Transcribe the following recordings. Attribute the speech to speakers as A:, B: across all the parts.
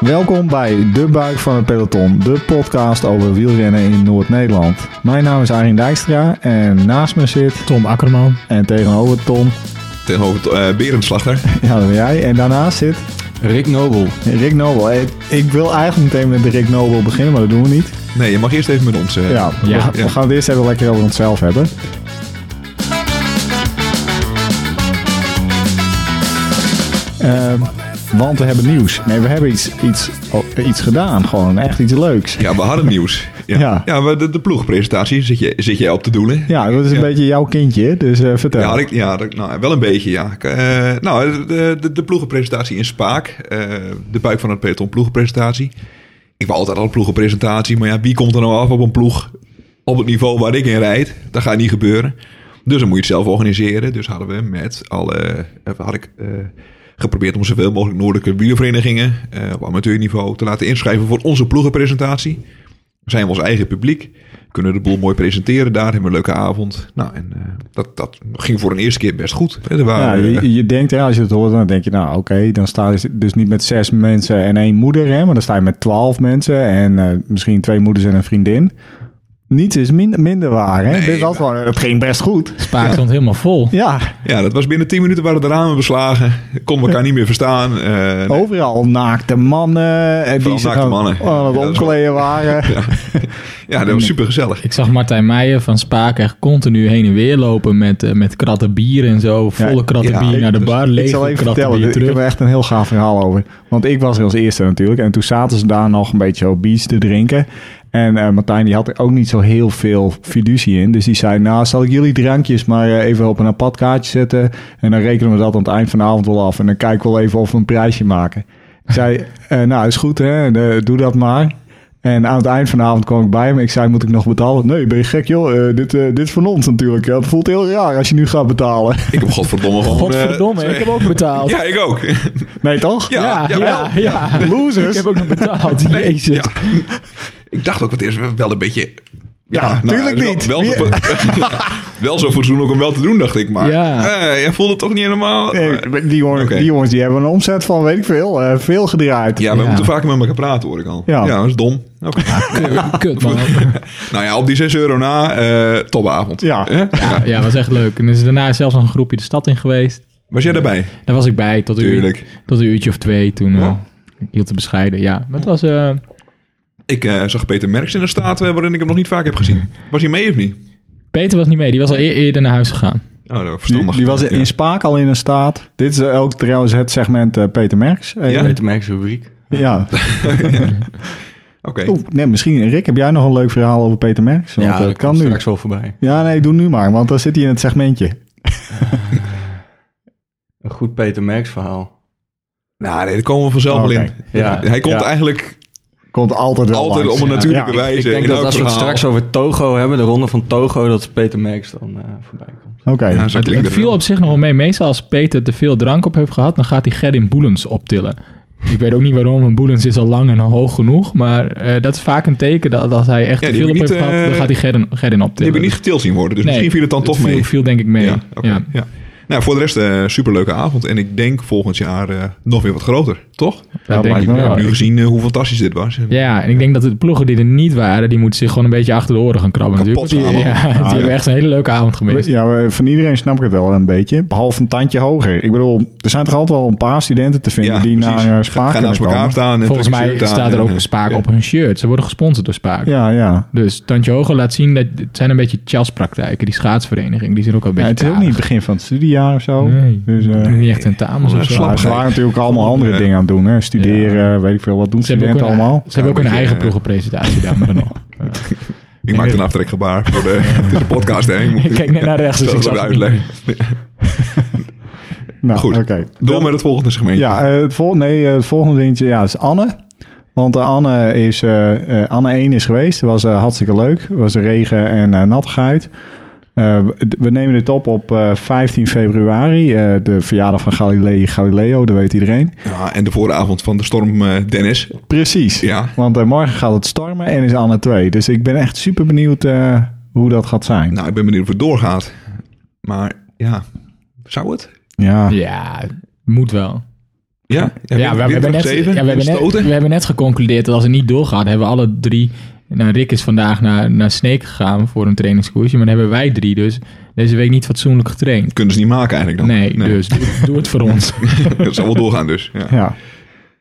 A: Welkom bij De Buik van het Peloton, de podcast over wielrennen in Noord-Nederland. Mijn naam is Arjen Dijkstra en naast me zit
B: Tom Akkerman.
A: en tegenover Tom,
C: Tegenover eh Berenslachter.
A: ja dat ben jij, en daarnaast zit
D: Rick Nobel.
A: Rick Nobel. Ik, ik wil eigenlijk meteen met de Rick Nobel beginnen, maar dat doen we niet.
C: Nee, je mag eerst even met ons. eh,
A: Ja,
B: Ja.
A: we, we gaan het eerst even lekker over onszelf hebben. Ehm, want we hebben nieuws. Nee, we hebben iets, iets, oh, iets gedaan. Gewoon echt iets leuks.
C: ja, we hadden nieuws. Ja,
A: Ja.
C: ja. we- de, de ploegpresentatie zit, je, zit jij op te doelen.
A: Ja, dat is een
C: Ja.
A: beetje jouw kindje, dus eh, vertel.
C: Ja, ik, ja dat- nou, wel een beetje, ja. Ik, eh, nou, de, de, de ploegenpresentatie in Spaak. eh, de buik van het peloton ploegenpresentatie. Ik wou altijd al een ploegenpresentatie. Maar ja, wie komt er nou af op een ploeg op het niveau waar ik in rijd? Dat gaat niet gebeuren. Dus dan moet je het zelf organiseren. Dus hadden we met alle... eh, Had ik eh, geprobeerd om zoveel mogelijk noordelijke wielerverenigingen... eh, op amateurniveau te laten inschrijven voor onze ploegenpresentatie. Zijn we ons eigen publiek. Kunnen de boel mooi presenteren daar. Hebben we een leuke avond. Nou, en eh, dat, dat ging voor een eerste keer best goed. Hè, Er
A: Ja,
C: waren, eh,
A: je, je denkt, hè, als je het hoort, dan denk je, nou oké, dan sta je dus niet met zes mensen en één moeder, hè, maar dan sta je met twaalf mensen en eh, misschien twee moeders en een vriendin. Niets is min- minder waar, hè? Dus
C: Nee,
A: Dit was gewoon, het ging best goed.
B: Spaak stond helemaal vol.
A: Ja,
C: Ja, dat was binnen 10 minuten waren de ramen beslagen. Konden elkaar niet meer verstaan. Eh, nee.
A: overal naakte mannen en die
C: Vooral
A: zich
C: naakte
A: aan-
C: mannen.
A: aan het
C: Ja, dat is
A: omkleden waren.
C: Ja, dat was super gezellig.
B: Ik zag Martijn Meijer van Spaak echt continu heen en weer lopen met, eh, met kratten bier en zo. Volle
A: Ja,
B: kratten
C: ja,
B: bier
C: ik-
B: naar de
C: dus-
B: bar,
A: Ik zal
B: lege
A: even
B: kratten
A: vertellen,
B: bier
A: ik heb er
B: terug.
A: echt een heel gaaf verhaal over. Want ik was er als eerste natuurlijk. En toen zaten ze daar nog een beetje op beach te drinken. En eh, Martijn die had er ook niet zo heel veel fiducie in. Dus die zei, nou zal ik jullie drankjes maar eh, even op een apart kaartje zetten. En dan rekenen we dat aan het eind van de avond wel af. En dan kijken we wel even of we een prijsje maken. Ik zei, eh, nou is goed hè, eh, doe dat maar. En aan het eind van de avond kwam ik bij hem. Ik zei, moet ik nog betalen? Nee, ben je gek joh. Eh, dit, eh, dit is van ons natuurlijk. Het voelt heel raar als je nu gaat betalen.
C: Ik heb godverdomme gewoon... eh,
B: Godverdomme, ik
C: twee-
B: heb ook betaald.
C: Ja, ik ook.
A: Nee toch?
B: Ja, ja,
C: ja,
B: ja.
C: wel.
B: Losers. Ik heb ook nog betaald. Jezus.
C: Ja. Ik dacht ook, het is wel een beetje... nou,
A: Ja, tuurlijk
C: wel-
A: niet.
C: Wel, zo- wel zo fatsoenlijk om wel te doen, dacht ik. Maar
B: Ja.
C: eh, jij voelde het toch niet helemaal...
A: Nee, maar die, jongens,
C: Oké.
A: die jongens die hebben een omzet van weet ik veel, eh, veel gedraaid.
C: ja, we
B: Ja.
C: moeten vaker met elkaar praten, hoor ik al.
A: Ja.
C: Ja, dat is dom. Oké.
B: Kut, kut, man.
C: nou ja, op die 6 euro na, eh topavond.
A: Ja.
C: Hè?
B: Ja, ja, was echt leuk. En er is daarna zelfs nog een groepje de stad in geweest.
C: Was jij daarbij?
B: Daar was ik bij tot een, uur,
C: Tuurlijk.
B: tot een uurtje of twee. Toen eh,
C: Ja.
B: ik hield te bescheiden. Ja, maar het was... eh,
C: Ik eh, zag Peter Merks in een staat eh, waarin ik hem nog niet vaak heb gezien. Was hij mee of niet?
B: Peter was niet mee. Die was al eer- eerder naar huis gegaan.
C: Oh, dat was
A: Die,
C: verstandig.
A: die was
C: Ja.
A: in Spaak al in een staat. Dit is ook trouwens het segment eh, Peter Merks. Eh,
C: Ja?
D: Met de Merck's rubriek.
A: ja.
C: Oké.
A: Oeh, nee, misschien, Rick, heb jij nog een leuk verhaal over Peter Merks? Want
C: eh,
A: ja, dat kan nu.
D: straks wel voorbij.
A: Ja, nee, doe nu maar, want dan zit hij in het segmentje.
D: Een goed Peter Merck's verhaal.
C: Nou, nee, daar komen we vanzelf
A: Oh,
C: wel
A: oké.
C: in.
D: Ja.
C: Hij komt
A: Ja.
C: eigenlijk
A: Komt altijd wel
C: altijd
A: langs.
C: op een natuurlijke
A: Ja, ik-
C: wijze.
D: Ik denk
C: in
D: dat
C: elk
D: als we het
C: verhaal.
D: straks over Togo hebben, de ronde van Togo, dat Peter Merck's dan eh, voorbij komt.
A: Oké,
C: Ja, zo
B: Het,
C: klinkt
B: het viel
C: wel.
B: op zich nog wel mee. Meestal als Peter te veel drank op heeft gehad, dan gaat hij Gerrit Boelens optillen. Ik weet ook niet waarom, want Boelens is al lang en al hoog genoeg. Maar eh, dat is vaak een teken dat als hij echt
C: Ja,
B: te
C: die
B: veel op
C: heb
B: heeft
C: ik niet,
B: gehad, dan
C: eh,
B: gaat hij Gerrit Gerrit optillen.
C: Die heb ik niet
B: Dus-
C: getild zien worden, dus
B: Nee,
C: misschien viel het dan toch
B: viel,
C: mee.
B: Viel denk ik mee.
C: Ja, oké,
B: Ja.
C: ja. Nou, voor de rest, eh superleuke avond. En ik denk volgend jaar eh, nog weer wat groter, toch? Ik
B: Dat denk
A: lijkt
B: ik
A: me
B: wel.
A: wel.
C: heb nu gezien eh, hoe fantastisch dit was.
B: Ja, en ik denk dat de ploegen die er niet waren, die moeten zich gewoon een beetje achter de oren gaan krabben.
C: Kapot
B: natuurlijk. Want die,
C: gaan,
B: ja, die
A: Ah,
B: hebben
A: ja.
B: echt een hele leuke avond gemist.
A: Ja, we- van iedereen snap ik het wel een beetje. Behalve een tandje hoger. Ik bedoel, er zijn toch altijd wel een paar studenten te vinden
C: Ja,
A: die
C: precies.
A: naar eh,
C: Ga-
A: Spaak
C: Ga
A: kunnen
C: naast elkaar
A: komen.
C: staan. En
B: Volgens
C: trek je
B: mij
C: shirt aan
B: staat er
C: en,
B: ook
C: eh,
B: Spaak
C: ja.
B: op hun shirt. Ze worden gesponsord door Spaak.
A: Ja, ja.
B: Dus Tantje Hoger laat zien dat het zijn een beetje chaspraktijken. Die schaatsvereniging, die zijn ook al een
A: Ja,
B: beetje
A: het is ook niet het begin van het studiejaar of zo.
B: Nee.
A: Dus, eh,
B: tarig. Niet echt tentamens of
C: Ja,
B: zo.
C: slap.
A: ja, ze waren natuurlijk allemaal andere dingen aan het doen. Hè. Studeren, weet ik veel. Wat doen
B: Ze hebben ook
A: studenten
B: een,
A: allemaal?
B: Ze hebben ook
C: Ja, eh,
B: een
C: een
B: eigen
C: beetje,
B: ploegenpresentatie daar, maar dan nog.
C: Ik maak een aftrekgebaar voor de, het is een podcast. Hè. Ik moet-
B: Ik kijk net naar rechts, dus
C: Dat
B: ik
C: is ook
B: zag het
C: uitleg.
A: Nou,
C: Goed.
A: oké.
C: Door met het volgende segmentje.
A: Ja, eh, het, vol nee, eh, het volgende dingetje ja, is Anne. Want eh, Anne, is, eh, eh, Anne 1 is geweest. was eh, hartstikke leuk. was regen en eh, nattigheid. Eh, we- we nemen dit op op eh, 15 februari. eh, de verjaardag van Galilei Galileo, dat weet iedereen.
C: Ja, en de vooravond van de storm eh, Dennis.
A: Precies.
C: Ja.
A: Want eh, morgen gaat het stormen en is Anne 2. Dus ik ben echt super benieuwd eh, hoe dat gaat zijn.
C: Nou, ik ben benieuwd of het doorgaat. Maar ja, zou het?
A: Ja,
B: Ja, moet wel.
C: Ja,
B: Ja, we, hebben net, ja, we, hebben net, we hebben net geconcludeerd dat als het niet doorgaat, hebben we alle drie... Nou, Rick is vandaag naar, naar Sneek gegaan voor een trainingskoersje, maar dan hebben wij drie dus deze week niet fatsoenlijk getraind.
C: Kunnen ze niet maken eigenlijk dan?
B: Nee, dus doe, doe het voor ons.
C: dat zal wel doorgaan dus. Ja.
A: Ja.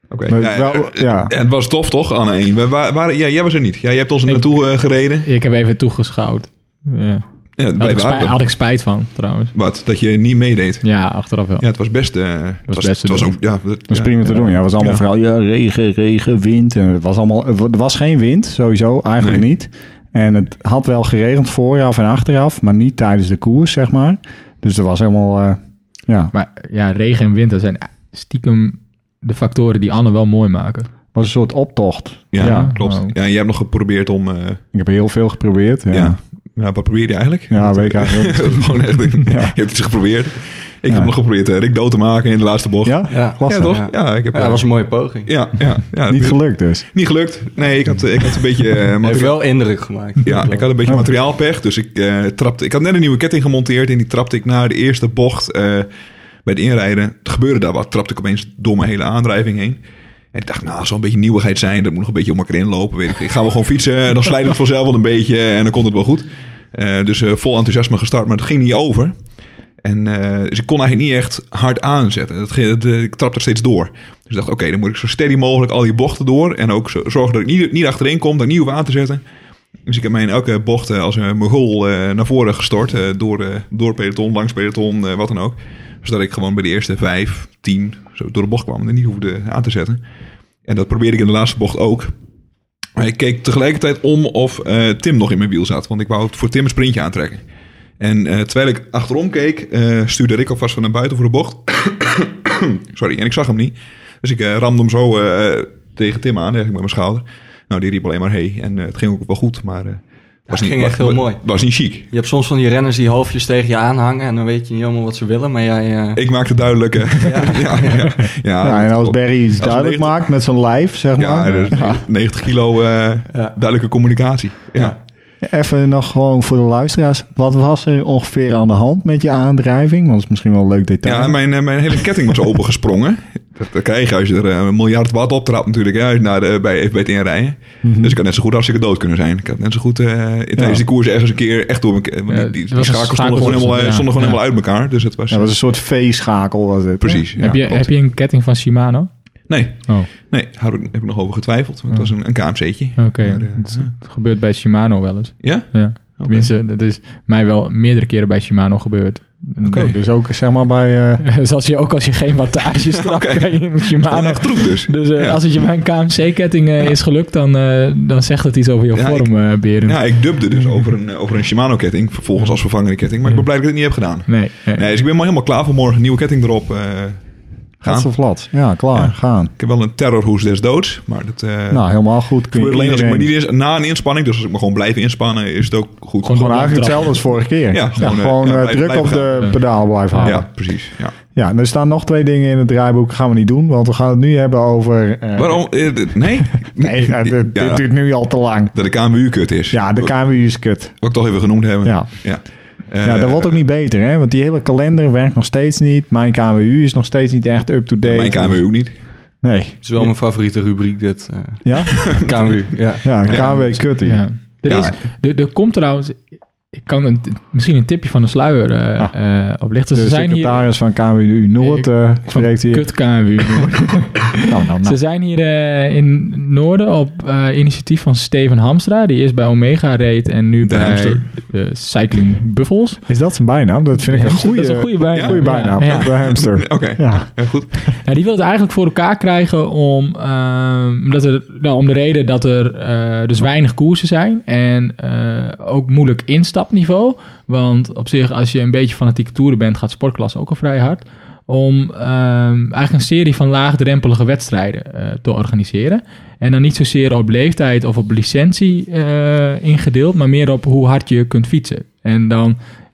C: Oké.
A: Maar
C: Ja,
A: wel-
C: eh,
A: ja.
C: eh, Het was tof toch, Anne 1? We wa- waren, ja, jij was er niet. Ja, jij hebt ons er
B: Ik-
C: naartoe eh, gereden.
B: Ik heb even toegeschouwd. Ja.
C: Ja,
B: Had,
C: wij
B: ik
C: waren
B: spijt,
C: er.
B: had ik spijt van, trouwens.
C: Wat? Dat je niet meedeed.
B: Ja, achteraf wel.
C: Ja, het was best... eh, het was,
B: best te
C: het was
B: doen.
C: ook, ja, dat-
A: Dat
C: ja.
A: is prima te doen. Ja, het was allemaal
C: Ja.
A: vooral ja, regen, regen, wind. En het was allemaal, er was geen wind, sowieso, eigenlijk
C: Nee.
A: niet. En het had wel geregend vooraf en achteraf, maar niet tijdens de koers, zeg maar. Dus er was helemaal, eh, ja,
B: Maar ja, regen en winter zijn stiekem de factoren die Anne wel mooi maken.
A: was een soort optocht.
C: Ja,
A: Ja.
C: klopt.
B: Oh.
C: Ja, jij hebt nog geprobeerd om... eh,
A: Ik heb heel veel geprobeerd. Ja,
C: ja.
A: ja.
C: Ja, wat probeer je eigenlijk?
A: weet ik eigenlijk ook niet.
C: Gewoon echt, Je
A: Ja.
C: hebt iets geprobeerd. Ik
A: Ja.
C: heb nog geprobeerd eh, Rick dood te maken in de laatste bocht.
A: Ja?
D: Ja.
A: Klasse.
C: Ja, toch?
D: Ja.
C: Ja, ik heb... eh,
D: Ja, dat was een mooie poging.
C: ja, ja, ja.
A: Niet
C: Niet,
A: gelukt dus.
C: niet gelukt. Nee, ik had, ik had een beetje... eh,
D: Heeft
C: materiaal-
D: wel indruk gemaakt.
C: Ja, ik had een beetje materiaalpech. Dus ik, eh, trapte, ik had net een nieuwe ketting gemonteerd. En die trapte ik na de eerste bocht eh, bij het inrijden. Het gebeurde daar wat. Trapte ik opeens door mijn hele aandrijving heen. En ik dacht, nou, zo'n beetje nieuwigheid zijn. Dat moet nog een beetje om elkaar inlopen. Weet ik. ik ga wel gewoon fietsen. En dan slijt het vanzelf wel een beetje. En dan komt het wel goed. Eh, dus eh, vol enthousiasme gestart. Maar het ging niet over. En eh, dus ik kon eigenlijk niet echt hard aanzetten. Dat, ging- dat, eh, ik trapte er steeds door. Dus ik dacht, oké, dan moet ik zo steady mogelijk al die bochten door. En ook zo- zorgen dat ik niet, niet achterin kom, dat ik niet hoef aan te zetten. Dus ik heb mij in elke bocht eh, als een mogol eh, naar voren gestort. eh, door, eh, door peloton, langs peloton, eh, wat dan ook. Zodat ik gewoon bij de eerste vijf, tien zo door de bocht kwam. En niet hoefde aan te zetten. En dat probeerde ik in de laatste bocht ook. Maar ik keek tegelijkertijd om of eh, Tim nog in mijn wiel zat. Want ik wou voor Tim een sprintje aantrekken. En eh, terwijl ik achterom keek, eh, stuurde Rick alvast van naar buiten voor de bocht. Sorry, en ik zag hem niet. Dus ik eh, ramde hem zo eh, tegen Tim aan, eigenlijk met mijn schouder. Nou, die riep alleen maar hey. En eh, het ging ook wel goed, maar... eh, was
D: het ging echt heel
C: was,
D: mooi.
C: Was niet chic.
D: Je hebt soms van die renners die halfjes tegen je aanhangen en dan weet je niet helemaal wat ze willen, maar jij... eh,
C: Ik maakte duidelijk... eh, ja, ja, ja,
A: Ja, en als Barry iets
C: Ah, Als
A: duidelijk
C: negen-
A: maakt met zijn lijf, zeg
C: Ja,
A: maar.
C: dus 90 kilo eh, duidelijke communicatie. Ja.
A: Even nog gewoon voor de luisteraars. Wat was er ongeveer aan de hand met je aandrijving? Want dat is misschien wel een leuk detail.
C: Ja, mijn, eh, mijn hele ketting was opengesprongen. Dat, dat krijg je als je er eh, een miljard watt optrapt natuurlijk. Ja, naar de, bij, even bij het inrijden.
B: Mhm.
C: Dus ik had net zo goed hartstikke dood kunnen zijn. Ik had net zo goed eh, in tijdens
A: Ja.
C: die koers ergens een keer echt door mijn... ke- Want
B: Ja,
C: die, die,
B: het
C: die
B: was een
C: schakels stonden
B: schakels-
C: gewoon helemaal, eh,
B: ja.
C: stonden gewoon
B: Ja.
C: helemaal uit elkaar. Dus het was...
A: Ja, dat was een soort V-schakel. was het, hè?
C: precies. ja,
B: heb, je,
C: klopt.
B: heb je een ketting van Shimano?
C: Nee,
B: Oh,
C: nee, daar heb ik nog over getwijfeld. Want het was een, een KMC'tje.
B: oké.
C: Maar, eh,
B: Het het gebeurt bij Shimano wel eens.
C: ja?
B: Ja. Tenminste, dat is mij wel meerdere keren bij Shimano gebeurd.
C: Oké.
A: Dus ook zeg maar bij... eh
B: Dus als je, ook als je geen wattage strapt
C: Oké.
B: bij je Shimano.
C: Echt troep dus.
B: Dus eh,
C: Ja.
B: als het je bij een KMC-ketting eh, is gelukt, dan, eh, dan zegt het iets over je
C: Ja, ik-
B: vorm, eh Berend.
C: Ja, ik dubde dus over een, eh, over een Shimano-ketting. Vervolgens als vervangende ketting. Maar ik ben blij dat ik het niet heb gedaan.
B: Nee, nee.
C: Nee, dus ik ben maar helemaal klaar voor morgen. Nieuwe ketting erop. eh, gaan.
A: Gaat of lat. Ja, klaar.
C: Ja.
A: Gaan.
C: Ik heb wel een terrorhoes des doods, maar dat eh
A: Nou, helemaal goed. Kun je
C: gebeurt alleen als ik me
A: iedereen-
C: niet eens na een inspanning, dus als ik me gewoon blijf inspannen, is het ook goed.
B: Gewoon
A: Gewoon eigenlijk
B: Opdracht.
A: hetzelfde als vorige keer.
C: Ja,
A: Ja,
C: gewoon,
A: gewoon,
C: eh, ja,
A: eh,
C: blijven-
A: druk op
C: blijven
A: de
B: gaan.
A: pedaal blijven houden.
C: ja,
A: Ja.
C: precies. Ja.
A: en er staan nog twee dingen in het draaiboek. Gaan we niet doen, want we gaan het nu hebben over... eh,
C: Waarom? Eh, d- nee?
A: Nee, eh, dit, dit
C: Ja,
A: duurt nu al te lang.
C: dat de KMU kut is.
A: Ja, de KMU is kut.
C: Wat ik toch even genoemd hebben.
A: Ja.
C: ja.
A: Ja, dat
C: Eh,
A: wordt ook niet beter, hè? Want die hele kalender werkt nog steeds niet. Mijn KWU is nog steeds niet echt up-to-date.
C: eh, Mijn KMU ook niet.
A: Nee.
D: Het is wel mijn favoriete rubriek, dit. eh
A: Ja?
D: KMU, ja.
C: Dus.
A: Ja, KW kutty.
B: Ja. Er,
C: Ja.
B: is, er, er komt trouwens, ik kan een, misschien een tipje van de sluier eh eh, oplichten. Ze
A: Ah. Dus De
B: zijn hier,
A: secretaris van KWU Noord
B: Ik-
A: eh
B: van
A: spreekt hier.
B: kut KMU.
A: Nou, nou,
B: Ze
A: nou.
B: zijn hier eh, in Noorden op eh, initiatief van Steven Hamstra. Die eerst bij Omega reed en nu
C: De
B: bij
C: hamster.
B: eh, Cycling Buffels.
A: Is dat zijn bijnaam? Dat vind ik een goede,
B: dat is een goede bijnaam.
A: goede bijnaam.
B: Ja.
A: De hamster.
C: Oké,
A: Ja.
C: eh, goed.
B: Ja, die wil het eigenlijk voor elkaar krijgen om, ehm, omdat er, nou, om de reden dat er eh, dus weinig koersen zijn. En eh, ook moeilijk instapniveau. Want op zich, als je een beetje fanatieke toeren bent, gaat sportklasse ook al vrij hard. Om ehm, eigenlijk een serie van laagdrempelige wedstrijden eh, te organiseren. En dan niet zozeer op leeftijd of op licentie eh, ingedeeld, maar meer op hoe hard je kunt fietsen. En dan,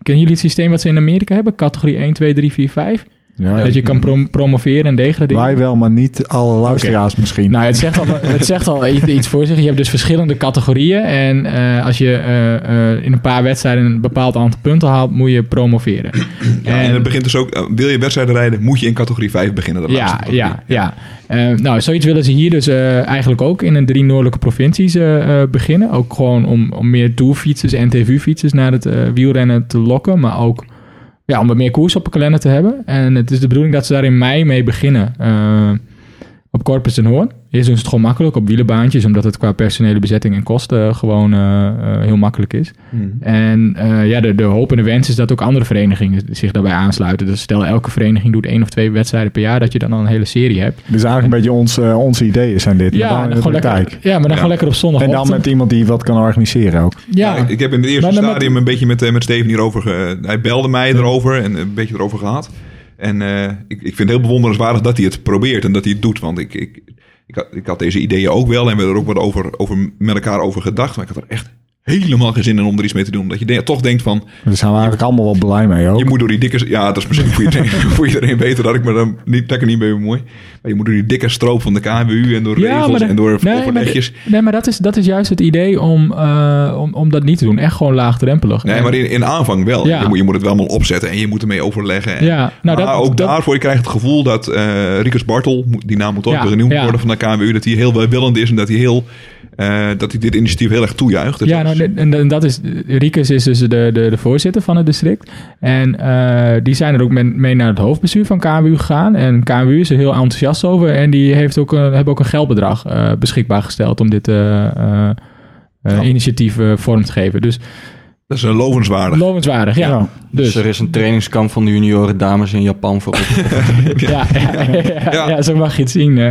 B: kennen jullie het systeem wat ze in Amerika hebben? Categorie 1, 2, 3, 4, 5?
A: Ja,
B: Dat je kan prom- promoveren en degraderen.
A: Wij wel, maar niet alle luisteraars misschien.
B: Nou, het zegt al, het zegt al i- iets voor zich. Je hebt dus verschillende categorieën. En eh, als je eh, eh, in een paar wedstrijden een bepaald aantal punten haalt, moet je promoveren.
C: en, het begint dus ook, eh, wil je wedstrijden rijden, moet je in categorie 5 beginnen. de laatste
B: ja,
C: categorie.
B: ja, ja. Eh, nou, zoiets willen ze hier dus eh, eigenlijk ook in de drie noordelijke provincies eh, eh, beginnen. Ook gewoon om, om meer tourfietsers en TV-fietsers naar het eh, wielrennen te lokken. Maar ook ja, om wat meer koers op de kalender te hebben. En het is de bedoeling dat ze daar in mei mee beginnen. eh, op Corpus en Hoorn. Hier doen ze het gewoon makkelijk op wielenbaantjes. Omdat het qua personele bezetting en kosten gewoon eh, eh, heel makkelijk is.
C: Mhm.
B: En eh, ja, de, de hoop en de wens is dat ook andere verenigingen zich daarbij aansluiten. Dus stel elke vereniging doet één of twee wedstrijden per jaar, dat je dan al een hele serie hebt.
A: Dus eigenlijk een beetje ons, eh, onze ideeën zijn dit. maar dan in de
B: gewoon lekker,
A: praktijk.
B: ja maar dan gewoon lekker op
A: En dan
B: zondagochtend.
A: met iemand die wat kan organiseren ook.
B: ja,
C: Ja, ik, ik heb in het eerste
B: Maar dan met-
C: stadium een beetje met, eh, met Steven hierover... ge- eh, hij belde mij erover en een beetje erover gehad. En eh, ik, ik vind het heel bewonderenswaardig dat hij het probeert en dat hij het doet. Want ik, ik, ik, had, ik had deze ideeën ook wel en we hebben er ook wat over, over, met elkaar over gedacht. Maar ik had er echt helemaal geen zin in om er iets mee te doen. Omdat je de- toch denkt van,
A: Daar zijn we eigenlijk allemaal wel blij mee ook.
C: je moet door die dikke... Ja, dat is misschien voor iedereen, voor iedereen beter dat ik me dan niet, dat ik er niet mee bemoei. Maar je moet door die dikke stroop van de KNWU en door
B: Ja, maar
C: regels
B: dat-
C: en door
B: nee, maar,
C: overlegjes.
B: nee, maar dat is, dat is juist het idee om, eh, om, om dat niet te doen. Echt gewoon laagdrempelig.
C: Nee,
B: En-
C: maar in, in aanvang wel.
B: Ja.
C: Je, moet, je moet het wel allemaal opzetten en je moet ermee overleggen. En,
B: Ja, nou,
C: maar
B: dat-
C: ook
B: dat-
C: daarvoor, je krijgt het gevoel dat eh Riekers Bartel, moet- die naam moet ook
B: Ja,
C: weer genoemd
B: ja.
C: worden van de KNWU, dat hij heel welwillend is en dat hij, heel, eh, dat hij dit initiatief heel erg toejuicht. Dus
B: ja,
C: dat
B: nou,
C: is-
B: en, en dat is, Riekes is dus de, de, de voorzitter van het district. En eh, die zijn er ook men- mee naar het hoofdbestuur van KMU gegaan. En KMU is er heel enthousiast over. En die heeft ook een, hebben ook een geldbedrag eh, beschikbaar gesteld om dit eh, eh, eh,
C: Ja.
B: initiatief eh, vorm te geven. Dus
C: dat is een lovenswaardig.
B: lovenswaardig, ja.
A: Ja.
D: Dus
B: Dus,
D: er is een trainingskamp van de junioren dames in Japan voor op.
B: ja, ja, ja,
C: Ja.
B: ja, zo mag je het zien. eh.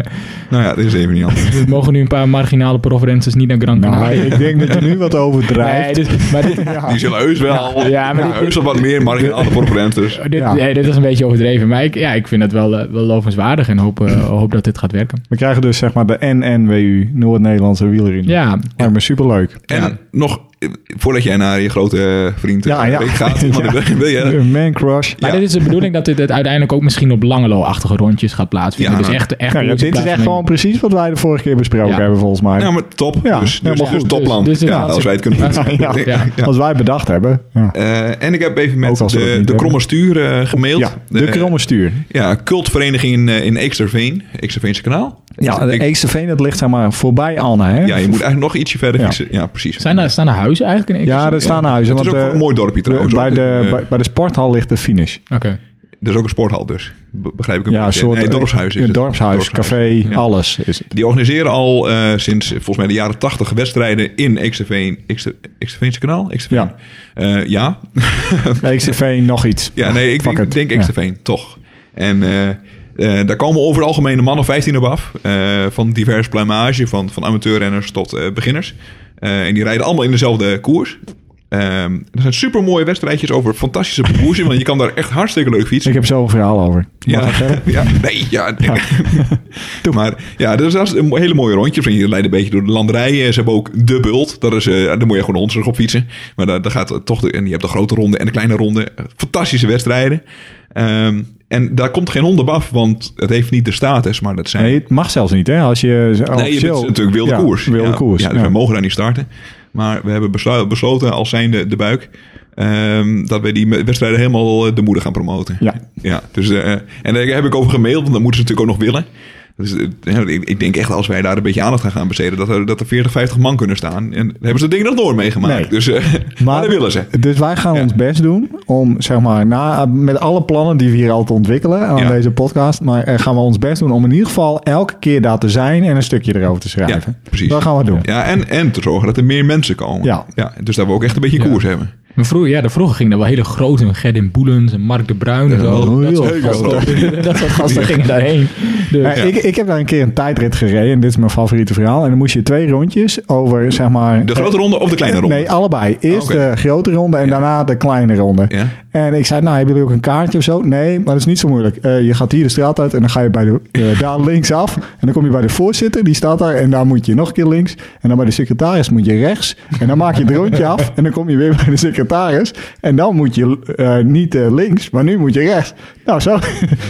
C: nou ja, dit is even niet anders.
B: we mogen nu een paar marginale provincies niet naar Gran Canaria.
A: Nou, ik denk dat je nu wat overdrijft.
B: Nee, dit, maar dit,
C: Die zullen heus wel.
B: Ja, maar dit-
C: heus wel wat meer marginale proponentes.
B: Eh, Dit,
A: Ja.
B: nee, dit is een beetje overdreven, maar ik, ja, ik vind het wel, eh, wel lovenswaardig en hoop, eh, hoop dat dit gaat werken.
A: We krijgen dus zeg maar de NNWU, Noord-Nederlandse wielerin.
B: Ja,
A: Lijkt me superleuk.
C: En nog, eh, voordat jij naar je grote vriend
A: Ja,
C: eh,
A: ja.
C: weet gaat, want
A: Ja.
C: wil- wil je...
A: Een man crush.
B: maar
C: Ja.
B: dit is de bedoeling dat dit het uiteindelijk ook misschien op Langelo-achtige rondjes gaat plaatsvinden.
C: Ja,
B: dus
C: nou,
B: echt, echt
A: Nou ja,
B: koersen
A: dit is echt
B: plaatsvinden.
A: gewoon precies wat wij de vorige keer besproken
B: Ja.
A: hebben volgens mij.
C: Ja, maar top.
A: Ja,
C: dus, dus,
A: helemaal
C: dus
A: goed.
C: topland.
B: Dus- dus
C: ja, als wij het kunnen
B: Ja,
C: doen.
B: ja. Ja.
C: Ja.
A: Wat wij bedacht hebben. Ja,
C: Eh, en ik heb even
A: Ook
C: met
A: als we dat
C: de,
A: niet
C: de kromme
A: hebben.
C: stuur eh, gemaild.
A: Ja, de
C: Eh,
A: kromme stuur.
C: ja, cultvereniging in, eh, in Eeksterveen. Eeksterveense kanaal. Dus
A: Ja, de
C: Ik-
A: Eeksterveen, dat ligt zeg maar voorbij Anne, hè?
C: ja, je moet eigenlijk nog ietsje verder.
A: Ja.
C: fietsen. Ja, precies.
B: Zijn daar, staan er huizen eigenlijk in?
A: Ja, er staan huizen.
C: het is
A: Want,
C: ook
A: eh,
C: een mooi dorpje trouwens.
A: bij,
C: hoor.
A: de,
C: Eh,
A: bij, bij de sporthal ligt de finish.
B: Oké.
C: er is ook een sporthal dus. Be- Begrijp ik een
A: Ja, een
C: beetje.
A: soort eh,
C: nee, dorpshuis is
A: een
C: het.
A: dorpshuis, café,
C: Ja.
A: alles is het.
C: Die organiseren al eh, sinds eh, volgens mij de jaren tachtig wedstrijden in Eeksterveen. Eekster- Eeksterveense kanaal? Eeksterveen.
A: Ja.
C: Eh, ja,
A: Eeksterveen, nog iets.
C: Ja, nee, ik
A: Fuck
C: denk,
A: it.
C: denk
A: Ja.
C: Exterveen, toch. En eh, eh, daar komen over het algemeen een man of 15 op af. eh, van divers pluimage, van, van amateurrenners tot eh, beginners. Eh, en die rijden allemaal in dezelfde koers. Ehm er zijn super mooie wedstrijdjes over fantastische parcoursen. want je kan daar echt hartstikke leuk fietsen.
A: Ik heb zo een verhaal over. Mag
C: Ja,
A: ik verder?
C: ja, nee, ja. Doe maar. Ja, dus dat is een hele mooie rondje. Je leidt een beetje door de landerijen. Ze hebben ook de bult. Dat is, eh, daar moet je gewoon hondsrug op fietsen. Maar daar, daar gaat het toch... De, en je hebt de grote ronde en de kleine ronde. Fantastische wedstrijden. Ehm, en daar komt geen hond op af, want het heeft niet de status. Maar dat zijn...
A: Nee, het mag zelfs niet, hè? Als je
C: Nee, je bent natuurlijk wilde
A: ja,
C: koers.
A: Wilde
C: ja,
A: koers.
C: Ja, dus
A: ja.
C: wij mogen daar niet starten. Maar we hebben beslu- besloten, als zijnde de buik, ehm, dat we die me- wedstrijden helemaal eh, de moeder gaan promoten.
A: Ja.
C: dus, eh, en daar heb ik over gemaild, want dat moeten ze natuurlijk ook nog willen. Dus, eh, ja, ik ik denk echt als wij daar een beetje aandacht aan gaan besteden, dat er, dat er 40, 50 man kunnen staan. En daar hebben ze dat ding nog nooit meegemaakt.
A: Nee.
C: Dus, eh, maar, dat willen ze.
A: Dus wij gaan
C: Ja.
A: ons best doen om, zeg maar, na, met alle plannen die we hier altijd ontwikkelen aan
C: Ja.
A: deze podcast, maar eh, gaan we ons best doen om in ieder geval elke keer daar te zijn en een stukje erover te schrijven.
C: Ja, precies.
A: Dat gaan we doen.
C: Ja, en, en te zorgen dat er meer mensen komen.
A: Ja.
C: dus dat we ook echt een beetje
B: Ja.
C: koers hebben.
B: Maar vroeger, ja, daar vroeger gingen er wel hele grote, Gerdin Boelens en Mark de Bruin en
C: Ja,
B: zo.
A: heel
B: dat,
A: groot.
B: soort gasten, dat soort gasten gingen daarheen. Dus,
A: Eh, ik, ik heb daar een keer een tijdrit gereden en dit is mijn favoriete verhaal. En dan moest je twee rondjes over, zeg maar... eh,
C: De grote ronde of de kleine ronde? Oh,
A: Nee, allebei. Eerst
C: Oké.
A: de grote ronde en daarna de kleine ronde.
C: Ja.
A: En ik zei, nou, hebben jullie ook een kaartje of zo? Nee, maar dat is niet zo moeilijk. Eh, je gaat hier de straat uit en dan ga je bij de, eh, daar linksaf. En dan kom je bij de voorzitter, die staat daar. En daar moet je nog een keer links. En dan bij de secretaris moet je rechts. En dan maak je het rondje af. En dan kom je weer bij de secretaris. En dan moet je eh, niet eh, links, maar nu moet je rechts. Nou, zo,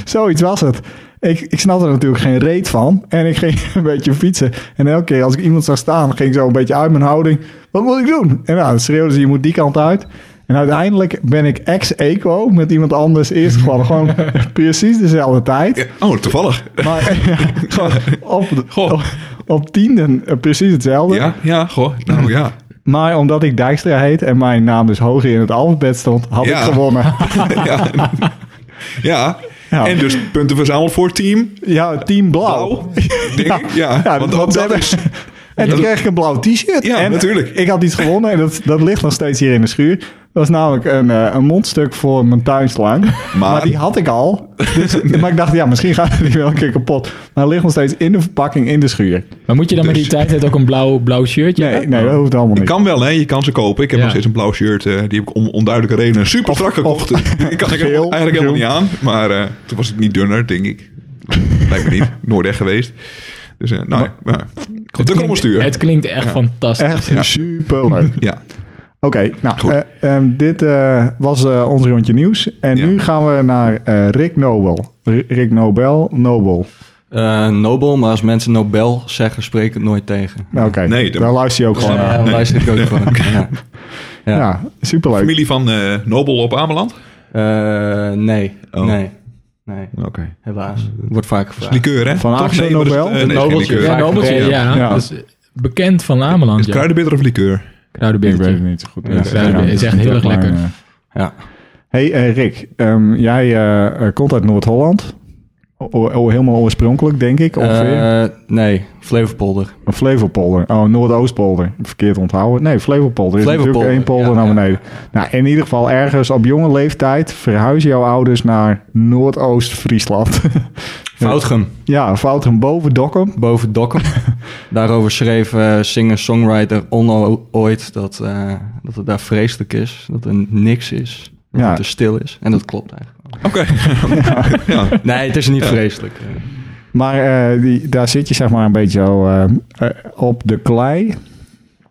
A: zoiets was het. Ik, ik snapte er natuurlijk geen reet van. En ik ging een beetje fietsen. En elke keer als ik iemand zag staan, ging ik zo een beetje uit mijn houding. Wat moet ik doen? En nou, dan schreeuwden ze, je moet die kant uit. En uiteindelijk ben ik ex-equo met iemand anders eerst gevallen. Gewoon precies dezelfde tijd.
C: Ja, Oh, toevallig.
A: Maar ja, gewoon op,
C: Goh.
A: op, op tienden eh, precies hetzelfde.
C: Ja, ja, goh. Nou ja.
A: Maar omdat ik Dijkstra heet en mijn naam dus hoger in het alfabet stond, had
C: Ja.
A: ik gewonnen.
C: ja. ja.
A: Ja.
C: En dus punten verzameld voor team.
A: Ja, team blauw.
C: Blauw. Denk ik. Ja,
A: Ja,
C: Ah, want
A: want we
C: dat, dat
A: hebben-
C: is...
A: En toen kreeg ik een blauw t-shirt.
C: Ja,
A: en
C: natuurlijk.
A: Ik had iets gewonnen en dat, dat ligt nog steeds hier in de schuur. Dat is namelijk een, eh, een mondstuk voor mijn tuinslang. Maar, die had ik al. Dus, maar ik dacht, ja, misschien gaat die wel een keer kapot. Maar het ligt nog steeds in de verpakking in de schuur.
B: Maar moet je dan met
C: Dus-
B: die tijd ook een blauw, blauw shirtje?
A: Nee,
B: aan?
A: nee dat hoeft allemaal
C: Je
A: niet.
C: kan wel, hè? Je kan ze kopen. Ik heb
B: Ja.
C: nog steeds een blauw shirt. eh, die heb ik om onduidelijke redenen super strak gekocht. Die kan ik
A: geel,
C: helemaal- eigenlijk helemaal niet aan. Maar eh, toen was ik niet dunner, denk ik. Lijkt me niet. Nooit echt geweest. Dus eh nou, ja, ja. Goed, de
B: klinkt-
C: krommelstuur.
B: Het klinkt echt fantastisch.
A: Echt super leuk.
C: Ja.
A: Oké, nou,
C: Goed.
A: eh, ehm, dit eh, was eh, ons rondje nieuws. En
C: Ja.
A: nu gaan we naar eh, Rick Nobel. R- Rick Nobel, Nobel.
D: Eh, Nobel, maar als mensen Nobel zeggen, spreek het nooit tegen.
A: Nou, Oké,
C: Nee, dat-
A: daar luister je ook gewoon
D: Ja,
A: naar.
D: daar luister ik ook van. Ja.
A: Ja,
D: Ja.
A: superleuk.
C: Familie van eh, Nobel op Ameland.
D: Eh, nee,
C: Oh.
D: nee, nee,
C: Oké.
D: helaas. Wordt vaak gevraagd.
C: Likeur, hè?
A: Van
C: Toch?
A: Axel
C: maar is het,
A: Nobel?
C: eh,
A: Een
C: nee, is geen
D: nobeltje.
C: likeur.
B: Ja,
D: Vaak
B: nobeltje,
D: gereden.
B: ja.
A: Ja.
B: Dat is bekend van Ameland,
C: Is het
B: ja.
C: kruidenbitter of likeur?
A: Ik weet het
B: Kruidenbeertje.
A: niet zo goed.
D: Ja,
A: Eh,
B: ja, is echt heel erg
A: maar,
B: lekker.
A: eh,
D: Ja.
A: hey eh, Rick, ehm, jij eh, eh, komt uit Noord-Holland. O- o- helemaal oorspronkelijk, denk ik, ongeveer.
D: Eh, nee, Flevopolder.
A: Of Flevopolder. Oh, Noordoostpolder. Verkeerd onthouden. Nee, Flevopolder is natuurlijk
D: Flevopolder,
A: één polder
D: ja,
A: naar
D: ja.
A: beneden. Nou, in ieder geval ergens op jonge leeftijd verhuizen jouw ouders naar Noordoost-Friesland.
D: Foutgem,
A: ja, Fouten boven Dokkum.
D: boven Dokkum. Daarover schreef eh, singer-songwriter Onno ooit dat, eh, dat het daar vreselijk is. Dat er niks is. Dat
A: Ja.
D: het te stil is. En dat klopt eigenlijk.
C: Oké. ja.
D: Nee, het is niet vreselijk.
A: Maar eh, die, daar zit je zeg maar een beetje zo, eh, eh, op de klei.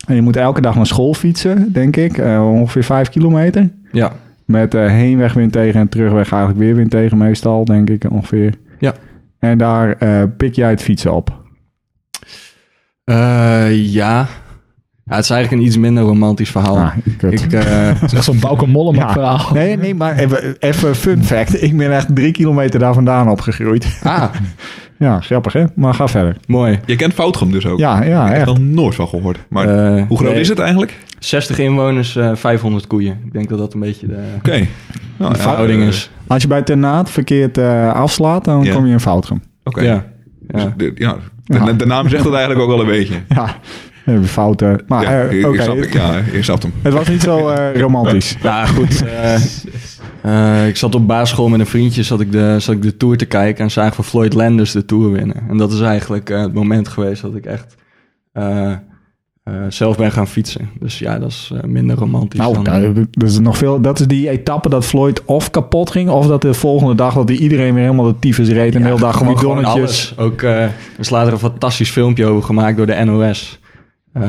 A: En je moet elke dag naar school fietsen, denk ik. Eh, ongeveer vijf kilometer.
D: Ja,
A: Met eh, heenweg wind tegen en terugweg eigenlijk weer wind tegen meestal, denk ik ongeveer.
D: Ja.
A: En daar eh, pik jij het fietsen op.
D: Eh, ja. ja. Het is eigenlijk een iets minder romantisch verhaal.
A: Ah, kut.
D: Ik, eh,
B: Dat is echt zo'n Bauke Mollema
A: Ja.
B: verhaal.
A: Nee, nee, maar even, even fun fact. Ik ben echt drie kilometer daar vandaan opgegroeid.
D: ah,
A: Ja, grappig hè? Maar ga verder.
D: mooi.
C: Je kent Foutgem dus ook.
A: Ja,
C: Ik
A: ja,
C: heb er
A: echt.
C: nog nooit van gehoord. Maar
D: Eh,
C: hoe groot
D: nee,
C: is het eigenlijk?
D: 60 inwoners, eh 500 koeien. Ik denk dat dat een beetje de
C: Oké. Nou,
D: de
C: ja,
D: verhouding
C: eh,
D: is.
A: Als je bij Tenaat verkeerd eh, afslaat, dan
C: Ja.
A: kom je in Foutgem.
C: Oké.
D: Ja.
C: Dus
D: Ja.
C: de- ja.
A: Ja.
C: De, de naam zegt het eigenlijk ook wel een beetje.
A: Ja, dan heb je fouten. Maar
C: ja,
A: eh,
C: ik- ik
A: oké,
C: snap-
A: het,
C: ja, ik snap hem.
A: het was niet zo eh, romantisch.
D: Nou goed, eh, eh, ik zat op basisschool met een vriendje, zat ik, de, zat ik de Tour te kijken en zagen we Floyd Landers de Tour winnen. En dat is eigenlijk eh, het moment geweest dat ik echt eh, eh, zelf ben gaan fietsen. Dus ja, dat is eh, minder romantisch
A: Nou,
D: dan...
A: nou, dat is nog veel. Dat is die etappe dat Floyd of kapot ging, of dat de volgende dag dat die iedereen weer helemaal de tyfus reed en de hele dag gewoon donnetjes.
D: alles. Ook, eh, er is later een fantastisch filmpje over gemaakt door de NOS. Eh,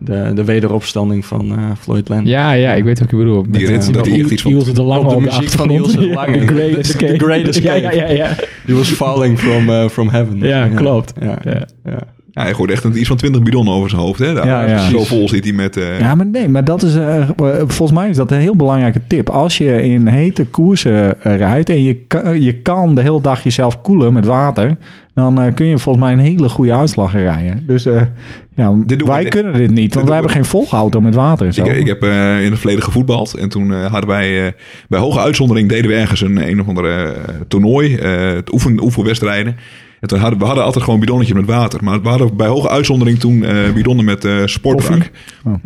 D: de, de wederopstanding van eh, Floyd Landers.
B: Ja, ja, ik weet wat je bedoelt. Met,
C: Die
B: eh,
C: rent- dat die echt iets van-
B: Ilse de Lange
D: Op de
B: op de
D: muziek van
B: achtergrond.
D: Ilse de Lange.
B: Ja, The Great
D: The
B: Escape.
D: Great Escape.
B: Ja, ja, ja. ja.
D: He was falling from, eh, from heaven.
B: Ja, klopt.
D: Ja,
B: Ja.
D: ja.
C: Ja, hij gooit echt een- iets van 20 bidonnen over zijn hoofd. Hè? Daar.
A: Ja, ja.
C: Zo vol zit hij met... eh,
A: Ja, maar nee, maar dat is eh, eh, volgens mij is dat een heel belangrijke tip. Als je in hete koersen eh, rijdt en je, ka- je kan de hele dag jezelf koelen met water, dan eh, kun je volgens mij een hele goede uitslag rijden. Dus eh, ja,
C: Dit doen
A: wij
C: we-
A: kunnen dit niet, want wij
C: doen we-
A: hebben geen volgauto met water. en Zo.
C: Ik, ik heb eh, in het verleden gevoetbald. En toen eh, hadden wij eh, bij hoge uitzondering deden we ergens een een of andere eh, toernooi. eh, het oefen, oefenwedstrijden. En toen hadden, we hadden altijd gewoon bidonnetjes met water. Maar we hadden bij hoge uitzondering toen eh, bidonnen met eh, sportdrank.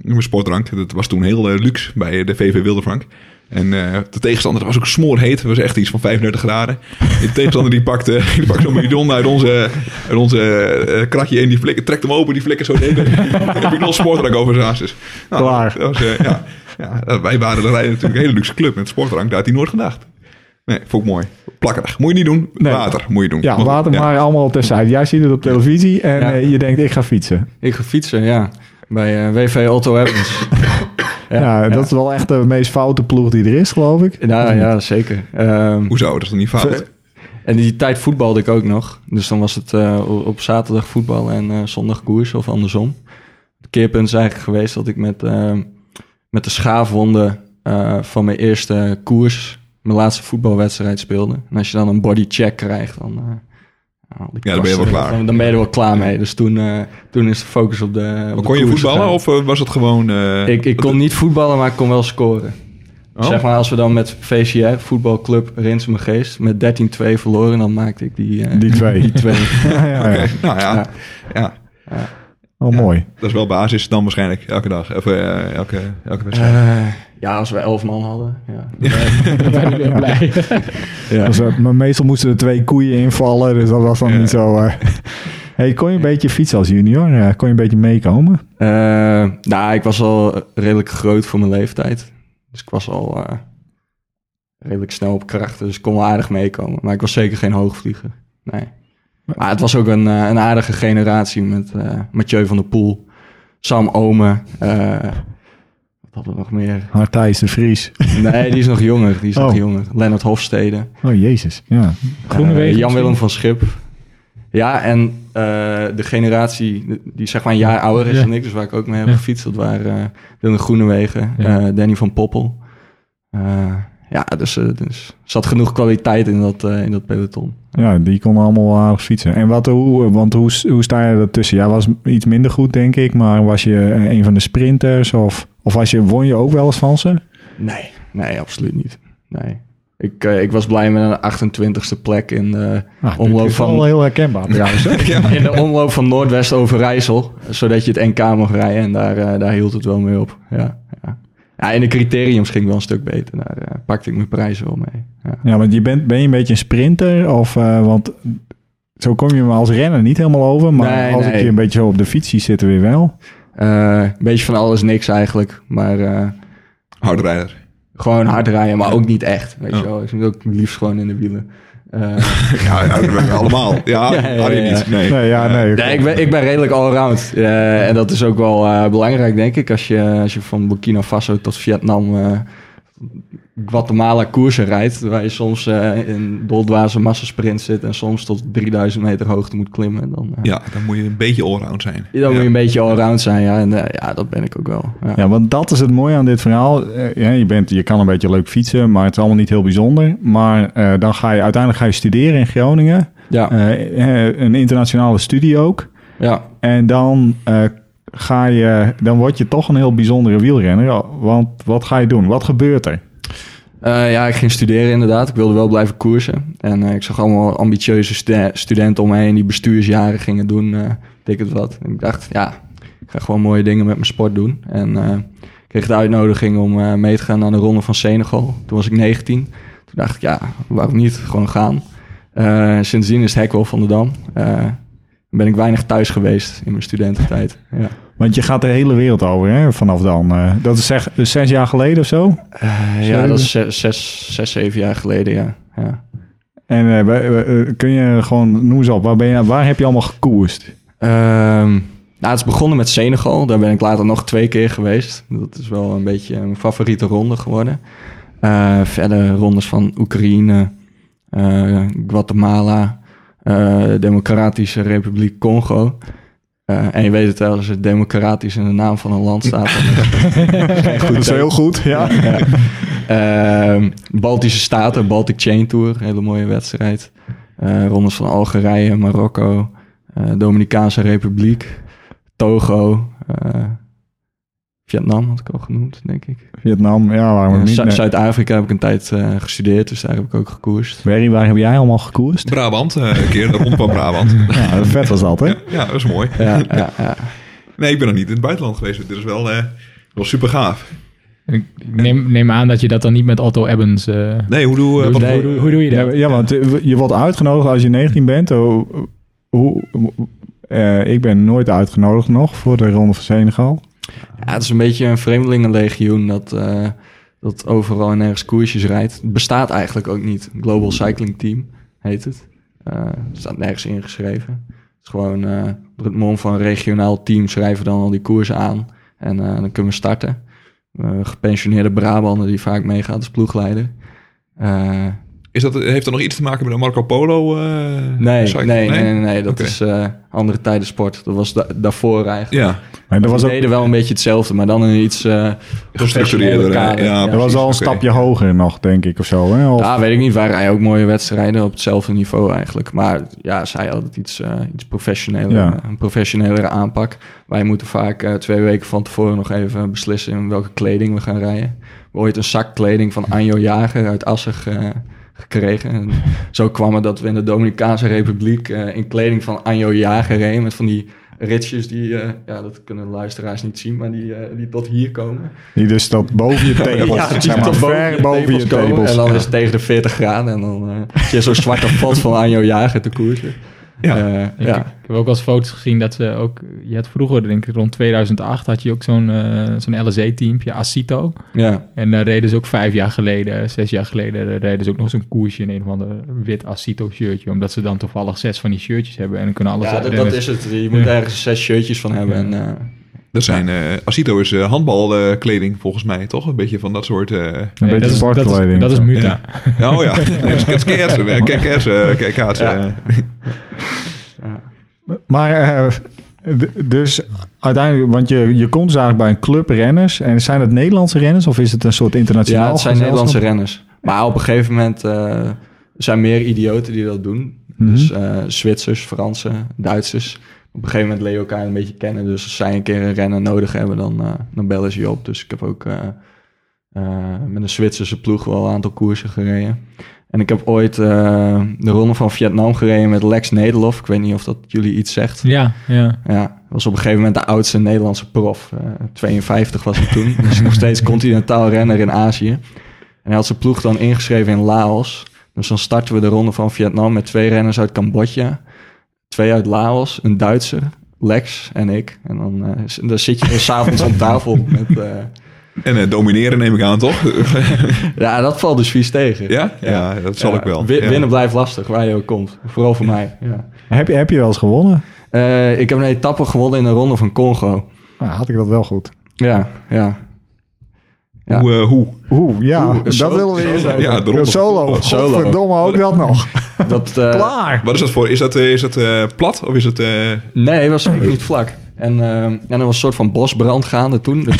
C: Met Sportdrank. Dat was toen heel eh, luxe bij de VV Wildevrank. En eh, de tegenstander was ook smoorheet. Het was echt iets van 35 graden. En de tegenstander die pakte, die pakte zo'n bidon uit onze, uit onze eh, kratje. En die flikker, trekt hem open, die flikker zo deden. En heb ik nog sportdrank over zijn hasses. Nou,
A: Klaar.
C: dat was, eh, ja. Ja, wij waren wij natuurlijk een hele luxe club met sportdrank. Daar had hij nooit gedacht. Nee, vond ik mooi. Plakkerig. Moet je niet doen.
A: Nee.
C: Water moet je doen.
A: ja,
C: Want-
A: water maar allemaal terzijde. Jij ziet het op televisie en
D: Ja.
A: eh, je denkt, ik ga fietsen.
D: Ik ga fietsen, ja. Bij eh, WV Otto Evans.
A: Ja, dat is wel echt de meest foute ploeg die er is, geloof ik.
D: Nou ja, zeker. Ehm,
C: Hoezo? Dat is toch niet fout?
D: en die tijd voetbalde ik ook nog. Dus dan was het eh, o- op zaterdag voetbal en eh, zondag koers of andersom. Het keerpunt is eigenlijk geweest dat ik met, ehm, met de schaafwonden eh, van mijn eerste koers mijn laatste voetbalwedstrijd speelde. En als je dan een bodycheck krijgt, dan... eh, al die
C: Ja, dan ben je wel
D: kwasten,
C: klaar.
D: Dan, dan ben je er wel klaar mee. Dus toen, eh, toen is de focus op de. op
C: Maar
D: de
C: kon je
D: koers
C: voetballen
D: gegaan.
C: of eh, was het gewoon... eh,
D: Ik, ik kon niet voetballen, maar ik kon wel scoren.
C: Oh.
D: Zeg maar, als we dan met VCR, voetbalclub Rins mijn Geest, met 13-2 verloren, dan maakte ik die, eh,
A: Die twee.
D: die twee.
A: ja, ja, ja.
C: Oké, Nou ja,
D: Ja.
C: ja,
A: Oh, mooi.
C: dat is wel basis dan waarschijnlijk. Elke dag. Of eh, elke, elke wedstrijd.
D: Eh, ja, als we 11 man hadden. Ja.
B: Dan ben ik weer blij.
A: Dat was, eh, maar meestal moesten er twee koeien invallen, dus dat was dan
C: Ja.
A: niet zo... eh. Hey, kon je een beetje fietsen als junior? Eh, kon je een beetje meekomen?
D: Eh, nou, ik was al redelijk groot voor mijn leeftijd. Dus ik was al eh, redelijk snel op krachten, dus ik kon wel aardig meekomen. Maar ik was zeker geen hoogvlieger. Nee. Maar het was ook een, eh, een aardige generatie met eh Mathieu van der Poel, Sam Omen. eh, wat hadden we nog meer?
A: Hartijs de Vries.
D: Nee, die is nog jonger. Die is nog
A: Oh.
D: jonger. Lennart Hofstede.
A: Oh, jezus. Ja.
B: Groenewegen
D: Eh, Jan-Willem
B: misschien?
D: van Schip. Ja, en eh, de generatie die zeg maar een jaar ouder is
B: Ja.
D: dan ik, dus waar ik ook mee heb
B: Ja.
D: gefietst, dat waren eh Dylan Groenewegen,
B: Ja.
D: eh, Danny van Poppel. Eh, ja, dus er dus zat genoeg kwaliteit in dat, eh, in dat peloton.
A: Ja, die kon allemaal aardig fietsen. En wat, hoe, want hoe, hoe sta je ertussen? Jij was iets minder goed, denk ik, maar was je eh, een van de sprinters? Of, of was je, won je ook wel eens van ze? Ah,
D: Nee, nee, absoluut niet. Nee. Ik, eh, ik was blij met een 28e plek in de,
A: Nou,
D: Omloop
A: is wel
D: van-
A: heel herkenbaar trouwens.
D: in de omloop van Noordwest Overijssel, zodat je het NK mocht rijden. En daar, eh, daar hield het wel mee op. Ja, ja. ja, en de criteriums ging wel een stuk beter. Daar eh, pakte ik mijn prijzen wel mee. Ja.
A: ja, want je bent, ben je een beetje een sprinter? Of, eh, want zo kom je me als renner niet helemaal over. Maar
D: Nee,
A: als
D: nee.
A: ik je een beetje zo op de fiets zie zitten weer wel.
D: Eh, een beetje van alles niks eigenlijk. Maar eh,
C: Hardrijder.
D: gewoon hard rijden, maar ook niet echt. Weet
C: Ja.
D: je wel. Ik zit ook liefst gewoon in de wielen. Eh,
C: Ja, hardrijder allemaal. Ja,
D: Ja, ja,
C: Harry
D: ja, ja.
C: niet. Nee.
A: Nee, ja, nee.
D: Nee, ik ben, ik ben redelijk allround. Eh en dat is ook wel eh, belangrijk, denk ik. Als je, als je van Burkina Faso tot Vietnam, eh, Guatemala koersen rijdt. Waar je soms eh, in doldwaze massasprint zit en soms tot 3000 meter hoogte moet klimmen. Dan, eh,
C: Ja, dan moet je een beetje allround zijn.
D: dan moet je
C: Ja.
D: een beetje allround zijn. Ja, en, eh, ja dat ben ik ook wel. Ja.
A: Ja, want dat is het mooie aan dit verhaal. Eh, ja, je, bent, je kan een beetje leuk fietsen, maar het is allemaal niet heel bijzonder. Maar eh, dan ga je uiteindelijk ga je studeren in Groningen.
D: Ja,
A: Eh, eh, een internationale studie ook.
D: ja.
A: En dan, eh, ga je, dan word je toch een heel bijzondere wielrenner. Want wat ga je doen? Wat gebeurt er?
D: Eh, ja, ik ging studeren inderdaad. Ik wilde wel blijven koersen. En eh, ik zag allemaal ambitieuze stu- studenten om me heen die bestuursjaren gingen doen. eh weet ik het wat. En ik dacht, ja, ik ga gewoon mooie dingen met mijn sport doen. En eh, ik kreeg de uitnodiging om eh, mee te gaan aan de Ronde van Senegal. Toen was ik 19. Toen dacht ik, ja, waarom niet? Gewoon gaan. Eh, sindsdien is het hek wel van de Dam. Eh, ben ik weinig thuis geweest in mijn studententijd. Ja.
A: Want je gaat de hele wereld over hè, vanaf dan. Eh, dat is zeg, dus zes jaar geleden of zo.
D: Eh, ja, dat is ze- zes, zes, zeven jaar geleden, ja. ja.
A: En eh, we- we- eh, kun je gewoon, noem eens op, waar, ben je, waar heb je allemaal gekoerst?
D: Ehm, nou, het is begonnen met Senegal. Daar ben ik later nog twee keer geweest. Dat is wel een beetje mijn favoriete ronde geworden. Eh, verder rondes van Oekraïne, eh, Guatemala, eh, Democratische Republiek Congo. Eh, en je weet het wel, als het democratisch in de naam van een land staat. dan is het geen goed teken.
A: goed, ja.
D: Ehm, Baltische Staten, Baltic Chain Tour, hele mooie wedstrijd. Eh, rondes van Algerije, Marokko, eh, Dominicaanse Republiek, Togo, eh, Vietnam had ik al genoemd, denk ik.
A: Vietnam, ja, waarom
D: Eh,
A: Nou, niet?
D: Zu-
A: Nee.
D: Zuid-Afrika heb ik een tijd eh, gestudeerd, dus daar heb ik ook gekoerst.
A: Barry, waar heb jij allemaal gekoerst?
C: Brabant, eh, een keer de rond van Brabant.
A: Ja, vet was dat, hè?
C: Ja, dat is mooi.
D: Ja, ja, ja.
C: Nee, ik ben nog niet in het buitenland geweest. Dit is wel, eh, wel super gaaf.
B: En Ik ik neem, neem aan dat je dat dan niet met Otto Ebbens... eh,
C: Nee, hoe doe, eh,
B: doet.
C: wat-
B: hoe, doe- hoe doe je
A: Ja,
B: dat?
A: ja, want eh, je wordt uitgenodigd als je 19 bent. Hoe, hoe, eh, ik ben nooit uitgenodigd nog voor de Ronde van Senegal.
D: Ja, het is een beetje een vreemdelingenlegioen dat, eh, dat overal en ergens koersjes rijdt. Het bestaat eigenlijk ook niet. Global Cycling Team heet het. Eh, Er staat nergens ingeschreven. Het is gewoon eh, op het mom van een regionaal team schrijven dan al die koersen aan. En eh, dan kunnen we starten. eh, gepensioneerde Brabander die vaak meegaat als ploegleider. Eh,
C: Is dat, heeft dat nog iets te maken met een Marco Polo? eh,
D: nee,
C: cycle?
D: nee, nee, nee, nee, dat
C: Oké.
D: is eh, andere tijden sport. Dat was da- daarvoor eigenlijk.
C: Ja,
A: Maar dat
D: Dat
A: was, ook,
D: deden wel een beetje hetzelfde, maar dan in iets eh
C: gestructureerder.
D: professioneler
C: hè?
D: kader.
C: Ja,
A: dat was
C: precies,
A: al een
C: oké. Ah,
A: stapje hoger nog, denk ik, of zo. Hè? Of-
D: Ja, weet ik niet. Waren hij ook mooie wedstrijden op hetzelfde niveau eigenlijk. Maar ja, zij hadden het iets, eh, iets professioneler,
A: Ja.
D: een professionelere aanpak. Wij moeten vaak eh, twee weken van tevoren nog even beslissen in welke kleding we gaan rijden. We hebben ooit een zak kleding van Anjo Jager uit Assen ge- gekregen. En zo kwam het dat we in de Dominicaanse Republiek eh, in kleding van Anjo Jager reden. Met van die ritsjes die, eh, ja, dat kunnen luisteraars niet zien, maar die, eh, die tot hier komen.
A: Die dus dat boven je tepels,
D: Ja, die
A: zeg maar,
D: tot
A: ver boven je
D: komen.
A: tepels.
D: En dan is het tegen de 40 graden. En dan eh, zie je zo'n zwarte pot van Anjo Jager te koersen.
C: Ja.
D: Eh,
B: Ik,
D: ja.
B: ik heb ook wel eens foto's gezien dat ze ook... Je had vroeger, denk ik rond 2008, had je ook zo'n eh zo'n LSE-teampje, Acito.
D: ja.
B: En daar reden ze ook vijf jaar geleden, zes jaar geleden, daar reden ze ook nog zo'n koersje in een van de wit Acito shirtje. Omdat ze dan toevallig zes van die shirtjes hebben en dan kunnen alles
D: Ja, dat,
B: renners-
D: dat is het. Je moet
B: Ja.
D: ergens zes shirtjes van hebben. En, eh,
C: Dat zijn, eh Asito is handbalkleding volgens mij, toch? Een beetje van dat soort... eh,
A: Een
B: Nee,
A: beetje
B: dat is- dat is-
A: sportkleding.
B: Dat is
A: Zo.
B: Muta.
C: Ja. Oh ja, Nee, dat is kersen. eh, kijk, kersen, eh, kijk, kaatsen,
D: Ja.
C: eh.
A: Maar eh, d- dus uiteindelijk, want je, je komt dus eigenlijk bij een club renners. En zijn dat Nederlandse renners of is het een soort internationaal
D: ja, het zijn
A: gezelschap?
D: Nederlandse renners. Maar op een gegeven moment eh, er zijn meer idioten die dat doen.
A: Mhm.
D: Dus eh, Zwitsers, Fransen, Duitsers. Op een gegeven moment leer je elkaar een beetje kennen. Dus als zij een keer een renner nodig hebben, dan, eh, dan bellen ze je op. Dus ik heb ook eh, eh, met een Zwitserse ploeg wel een aantal koersen gereden. En ik heb ooit eh, de Ronde van Vietnam gereden met Lex Nederlof. Ik weet niet of dat jullie iets zegt.
B: Ja, ja.
D: Ja, was op een gegeven moment de oudste Nederlandse prof. Eh, 52 was hij toen. Dus nog steeds continentaal renner in Azië. En hij had zijn ploeg dan ingeschreven in Laos. Dus dan starten we de ronde van Vietnam met twee renners uit Cambodja. Twee uit Laos, een Duitser, Lex en ik. En dan, eh, s- dan zit je dus s'avonds aan tafel met... eh,
C: En eh, domineren neem ik aan, toch?
D: ja, dat valt dus vies tegen.
C: ja? ja, dat zal
D: Ja,
C: ik wel.
D: wi-
C: Ja.
D: Winnen blijft lastig, waar je ook komt. Vooral voor mij. Ja.
A: Heb je, heb je wel eens gewonnen?
D: Eh, ik heb een etappe gewonnen in de ronde van Congo.
A: Nou, had ik dat wel goed.
D: Ja, ja. Ja.
C: Hoe, eh, hoe?
A: Oeh, ja,
D: Oeh,
A: dat
D: solo-
A: willen we eerst
C: solo.
A: even.
C: Ja, de ronde.
A: Solo,
D: Solo.
A: godverdomme ook dat nog.
D: Dat, eh,
A: Klaar.
C: Wat is dat voor? Is dat, eh, is dat eh, plat of is het... eh,
D: Nee, het was zeker niet vlak. En, ehm, en er was een soort van bosbrand gaande toen. Dus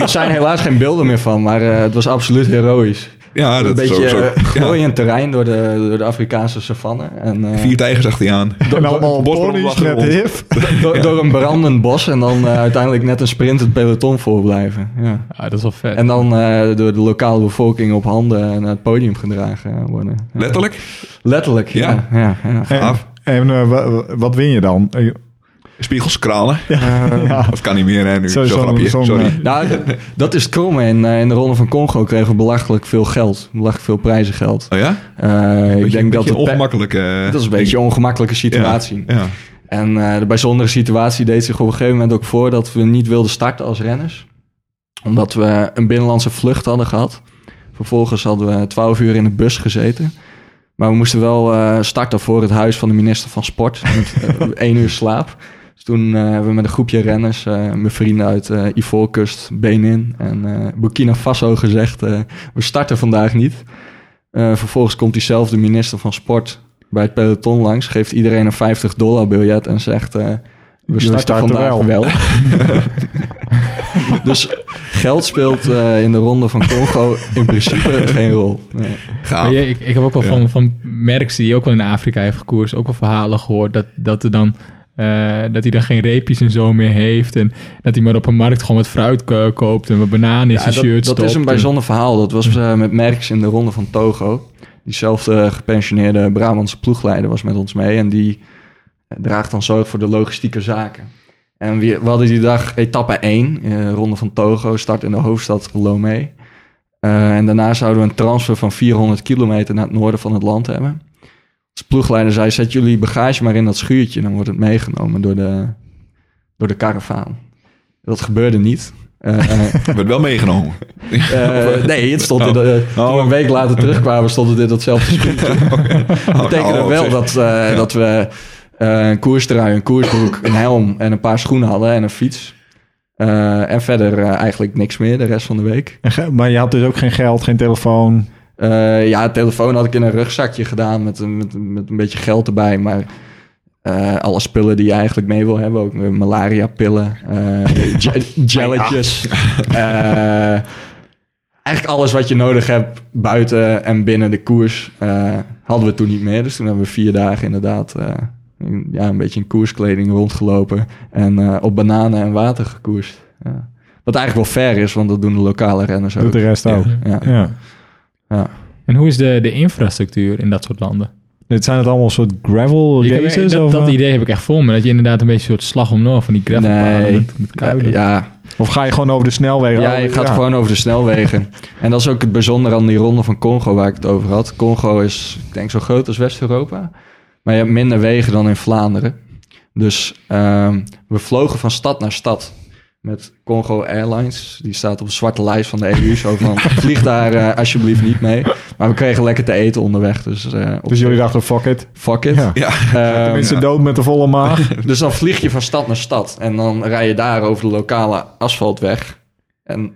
D: er zijn helaas geen beelden meer van, maar eh, het was absoluut heroïs.
C: ja, Ah, dat
D: een
C: is
D: beetje
C: zo- zo-
D: eh,
C: ja.
D: glooiend terrein door de, door de Afrikaanse savanne. En, eh,
C: Vier tijgers achter je aan.
A: En allemaal
C: Bosbrand
A: ponies
C: lachen
A: met
C: rond.
A: hif.
D: door- door een brandend bos en dan eh, uiteindelijk net een sprintend peloton voorblijven. Ja.
B: Ah, dat is wel vet.
D: En dan eh, door de lokale bevolking op handen naar het podium gedragen worden. Ja.
C: Letterlijk?
D: Letterlijk, ja. ja. ja,
A: En,
C: Gaaf.
A: en eh, wa- wa- wat win je dan? Eh,
C: Spiegels, kranen.
A: ja.
C: Dat kan niet meer, hè, nu.
A: Zo-
C: Zo'n
A: zo'n-
C: grapje,
A: zo'n,
C: sorry.
A: eh,
D: Nou, d- dat is het kromme. In, eh, in de Ronde van Congo kregen we belachelijk veel geld. Belachelijk veel prijzengeld.
C: Oh ja?
D: Eh, ik
C: Beetje-
D: denk
C: beetje
D: dat het pe-
C: ongemakkelijk... eh,
D: Dat is een beetje een ongemakkelijke situatie.
C: Ja, ja.
D: En eh, de bijzondere situatie deed zich op een gegeven moment ook voor dat we niet wilden starten als renners. Omdat we een binnenlandse vlucht hadden gehad. Vervolgens hadden we 12 uur in de bus gezeten. Maar we moesten wel eh, starten voor het huis van de minister van Sport. Met eh, één uur slaap. Dus toen eh, hebben we met een groepje renners, eh, mijn vrienden uit eh Ivoorkust, Benin en eh, Burkina Faso gezegd... eh, we starten vandaag niet. Eh, vervolgens komt diezelfde minister van Sport bij het peloton langs, geeft iedereen een 50 dollar biljet en zegt: eh, We starten,
A: starten
D: vandaag wel. dus geld speelt eh, in de ronde van Congo in principe geen rol. Nee.
C: Gaaf.
B: Maar je- ik, ik heb ook wel van, van Merckx, die ook wel in Afrika heeft gekoerst, ook wel verhalen gehoord dat, dat, er dan, eh, dat hij dan geen reepjes en zo meer heeft. En dat hij maar op een markt gewoon wat fruit ko- koopt en wat bananen in
D: Ja,
B: zijn
D: dat,
B: shirt
D: dat
B: stopt.
D: is een
B: En-
D: bijzonder verhaal. Dat was eh, met Merckx in de ronde van Togo. Diezelfde gepensioneerde Brabantse ploegleider was met ons mee. En die eh, draagt dan zorg voor de logistieke zaken. En we, we hadden die dag etappe 1, eh, ronde van Togo, start in de hoofdstad Lomé. Eh, en daarna zouden we een transfer van 400 kilometer naar het noorden van het land hebben. Als ploegleider zei, zet jullie bagage maar in dat schuurtje. Dan wordt het meegenomen door de, door de karavaan. Dat gebeurde niet. Eh, eh,
C: Werd wel meegenomen.
D: eh, nee, het stond in de,
C: Oh.
D: eh, toen we een week later terugkwamen, stond het in datzelfde schuurtje. Dat betekende
C: oh,
D: wel
C: zeg.
D: dat, eh, dat we eh, een koerstrui, een koersbroek, een helm en een paar schoenen hadden en een fiets. Eh, en verder eh, eigenlijk niks meer de rest van de week.
A: En ge- Maar je had dus ook geen geld, geen telefoon.
D: Eh, ja, telefoon had ik in een rugzakje gedaan met, een- met, met een beetje geld erbij. Maar eh, alle spullen die je eigenlijk mee wil hebben. Ook malaria pillen, eh, gelletjes. Eh, eigenlijk alles wat je nodig hebt buiten en binnen de koers eh, hadden we toen niet meer. Dus toen hebben we vier dagen inderdaad eh, in- ja, een beetje in koerskleding rondgelopen. En eh, op bananen en water gekoerst. Ja. Wat eigenlijk wel fair is, want dat doen de lokale renners
A: Doet
D: ook.
A: de rest ook.
D: Ja.
A: Ja.
D: Ja.
B: En hoe is de, de infrastructuur in dat soort landen?
A: Dit zijn het allemaal soort gravel
B: Ik heb-
A: races?
B: dat,
A: of,
B: dat
A: eh,
B: idee heb ik echt voor me. Dat je inderdaad een beetje een soort slag om Noord van die gravelpaden
D: Nee.
B: met, met
D: Ja,
B: kuilen.
D: Eh, ja,
A: of ga je gewoon over de snelwegen? Oh,
D: ja, je gaat gewoon over de snelwegen. en dat is ook het bijzondere aan die ronde van Congo waar ik het over had. Congo is, ik denk, zo groot als West-Europa. Maar je hebt minder wegen dan in Vlaanderen. Dus ehm, we vlogen van stad naar stad met Congo Airlines. Die staat op de zwarte lijst van de EU. Zo van, vlieg daar eh, alsjeblieft niet mee. Maar we kregen lekker te eten onderweg. Dus, eh, op
A: Dus jullie dachten, fuck it.
D: fuck it.
A: Ja.
C: Ja,
D: Ehm,
A: Mensen dood met de volle maag.
D: dus dan vlieg je van stad naar stad. En dan rij je daar over de lokale asfaltweg. En dan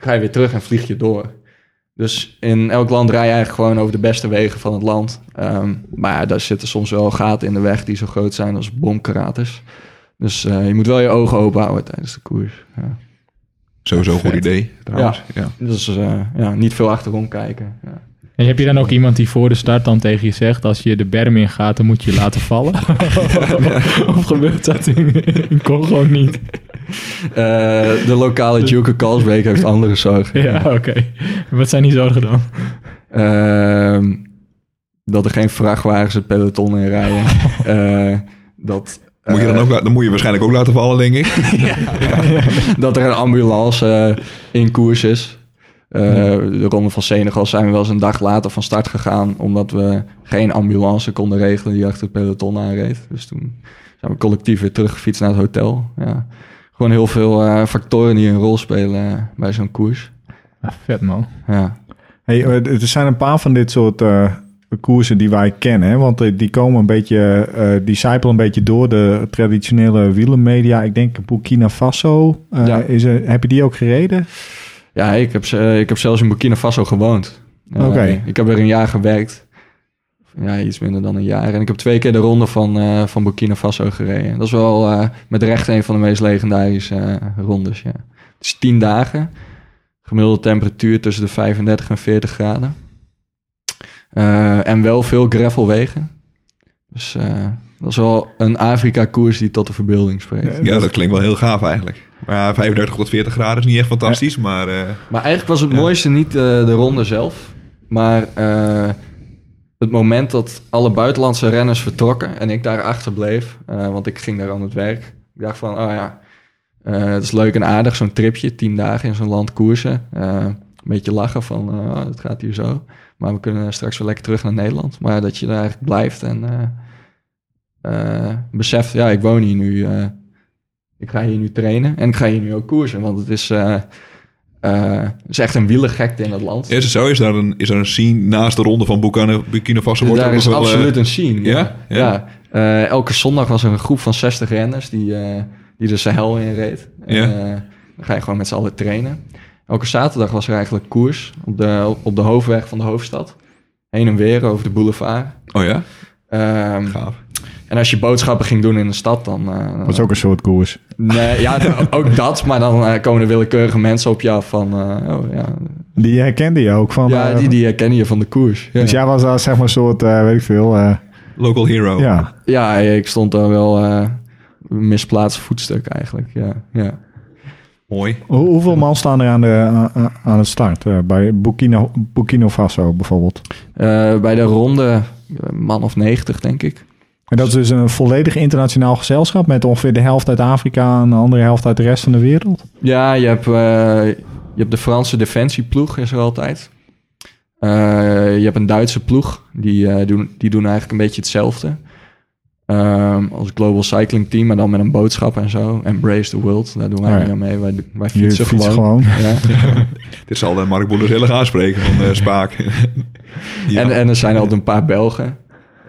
D: ga je weer terug en vlieg je door. Dus in elk land rij je eigenlijk gewoon over de beste wegen van het land. Ehm, maar ja, daar zitten soms wel gaten in de weg die zo groot zijn als bomkraters. Dus eh, je moet wel je ogen open houden tijdens de koers. Ja.
C: sowieso een goed idee trouwens. Ja.
D: Dus eh, ja, niet veel achterom kijken. Ja.
B: En heb je dan ook iemand die voor de start dan tegen je zegt... als je de berm in gaat, dan moet je je laten vallen? of gebeurt dat in, in Congo niet?
D: Eh, de lokale Duke Kalsbeek heeft andere zorgen.
B: Ja, oké. Wat zijn die zorgen dan?
D: Ehm, dat er geen vrachtwagens het peloton in rijden. Eh, dat,
C: Moet je dan,
D: eh,
C: ook, la- dan moet je waarschijnlijk ook laten vallen, denk ik.
D: dat er een ambulance eh, in koers is. Eh, De Ronde van Senegal zijn we wel eens een dag later van start gegaan. Omdat we geen ambulance konden regelen die achter het peloton aanreed. Dus toen zijn we collectief weer teruggefietst naar het hotel. Ja. Gewoon heel veel eh, factoren die een rol spelen eh, bij zo'n koers.
B: Ah, vet man.
D: Ja.
A: Hey, eh, er zijn een paar van dit soort eh, koersen die wij kennen. Hè? Want eh, die komen een beetje, eh die sijpelen een beetje door de traditionele wielermedia. Ik denk Burkina Faso. eh,
D: Ja.
A: is er, heb je die ook gereden?
D: Ja, ik heb, eh, ik heb zelfs in Burkina Faso gewoond. Eh,
A: Oké.
D: Ik heb er een jaar gewerkt. Ja, iets minder dan een jaar. En ik heb twee keer de ronde van, eh, van Burkina Faso gereden. Dat is wel eh, met recht een van de meest legendarische eh, rondes. Ja. Het is tien dagen. Gemiddelde temperatuur tussen de 35 en 40 graden. Eh, en wel veel gravelwegen. Dus eh, dat is wel een Afrika-koers die tot de verbeelding spreekt.
C: Ja, dat klinkt wel heel gaaf eigenlijk. Maar ja, 35 tot 40 graden is niet echt fantastisch, maar... eh,
D: Maar eigenlijk was het mooiste niet eh, de ronde zelf, maar eh, het moment dat alle buitenlandse renners vertrokken en ik daar achter bleef, eh, want ik ging daar aan het werk. Ik dacht van, oh ja, eh, het is leuk en aardig zo'n tripje, tien dagen in zo'n land koersen. Eh, een beetje lachen van, eh, oh, het gaat hier zo. Maar we kunnen straks weer lekker terug naar Nederland. Maar dat je daar eigenlijk blijft en eh, eh, beseft, ja, ik woon hier nu. eh, ik ga hier nu trainen en ik ga hier nu ook koersen, want het is... eh, eh, het is echt een wielergekte in het land.
C: Ja, is het zo? Is daar een, is er een scene naast de ronde van Burkina, Burkina Faso? wordt
D: Daar
C: er
D: is
C: nog wel, eh,
D: absoluut een scene.
C: ja?
D: ja.
C: Ja.
D: Eh, elke zondag was er een groep van 60 renners die, eh, die de Sahel in reed. En,
C: Ja.
D: eh, dan ga je gewoon met z'n allen trainen. Elke zaterdag was er eigenlijk koers op de, op de hoofdweg van de hoofdstad. Heen en weer over de boulevard.
C: Oh ja?
D: Ehm,
C: Gaaf.
D: en als je boodschappen ging doen in de stad, dan... eh,
A: Dat is ook een soort koers.
D: nee, ja, ook dat. Maar dan eh, komen er willekeurige mensen op je af van... eh, oh, ja,
A: Die herkende je ook van.
D: ja
A: eh,
D: die, die herkennen je van de koers. Ja.
A: Dus jij was daar zeg maar een soort, eh, weet ik veel. eh,
C: Local hero.
A: Ja.
D: Ja, ik stond daar wel eh, misplaatst voetstuk eigenlijk. Ja, ja.
C: Mooi.
A: Hoe- hoeveel man staan er aan, de, aan, aan het start? eh, bij Burkina, Burkina Faso bijvoorbeeld.
D: Eh, bij de ronde, eh, man of 90 denk ik.
A: En dat is dus een volledig internationaal gezelschap met ongeveer de helft uit Afrika en de andere helft uit de rest van de wereld.
D: Ja, je hebt, eh, je hebt de Franse defensieploeg is er altijd. Eh, je hebt een Duitse ploeg, die, eh, doen, die doen eigenlijk een beetje hetzelfde. Ehm, als Global Cycling Team, maar dan met een boodschap en zo. Embrace the World, daar doen wij
A: Oh ja.
D: niet aan mee. Wij, wij
A: Je
D: fietsen,
A: fietst
D: gewoon.
A: gewoon.
D: Ja.
C: Dit zal de Mark Boelers heel erg aanspreken van eh, Spaak. ja.
D: En, eh, en er zijn altijd een paar Belgen.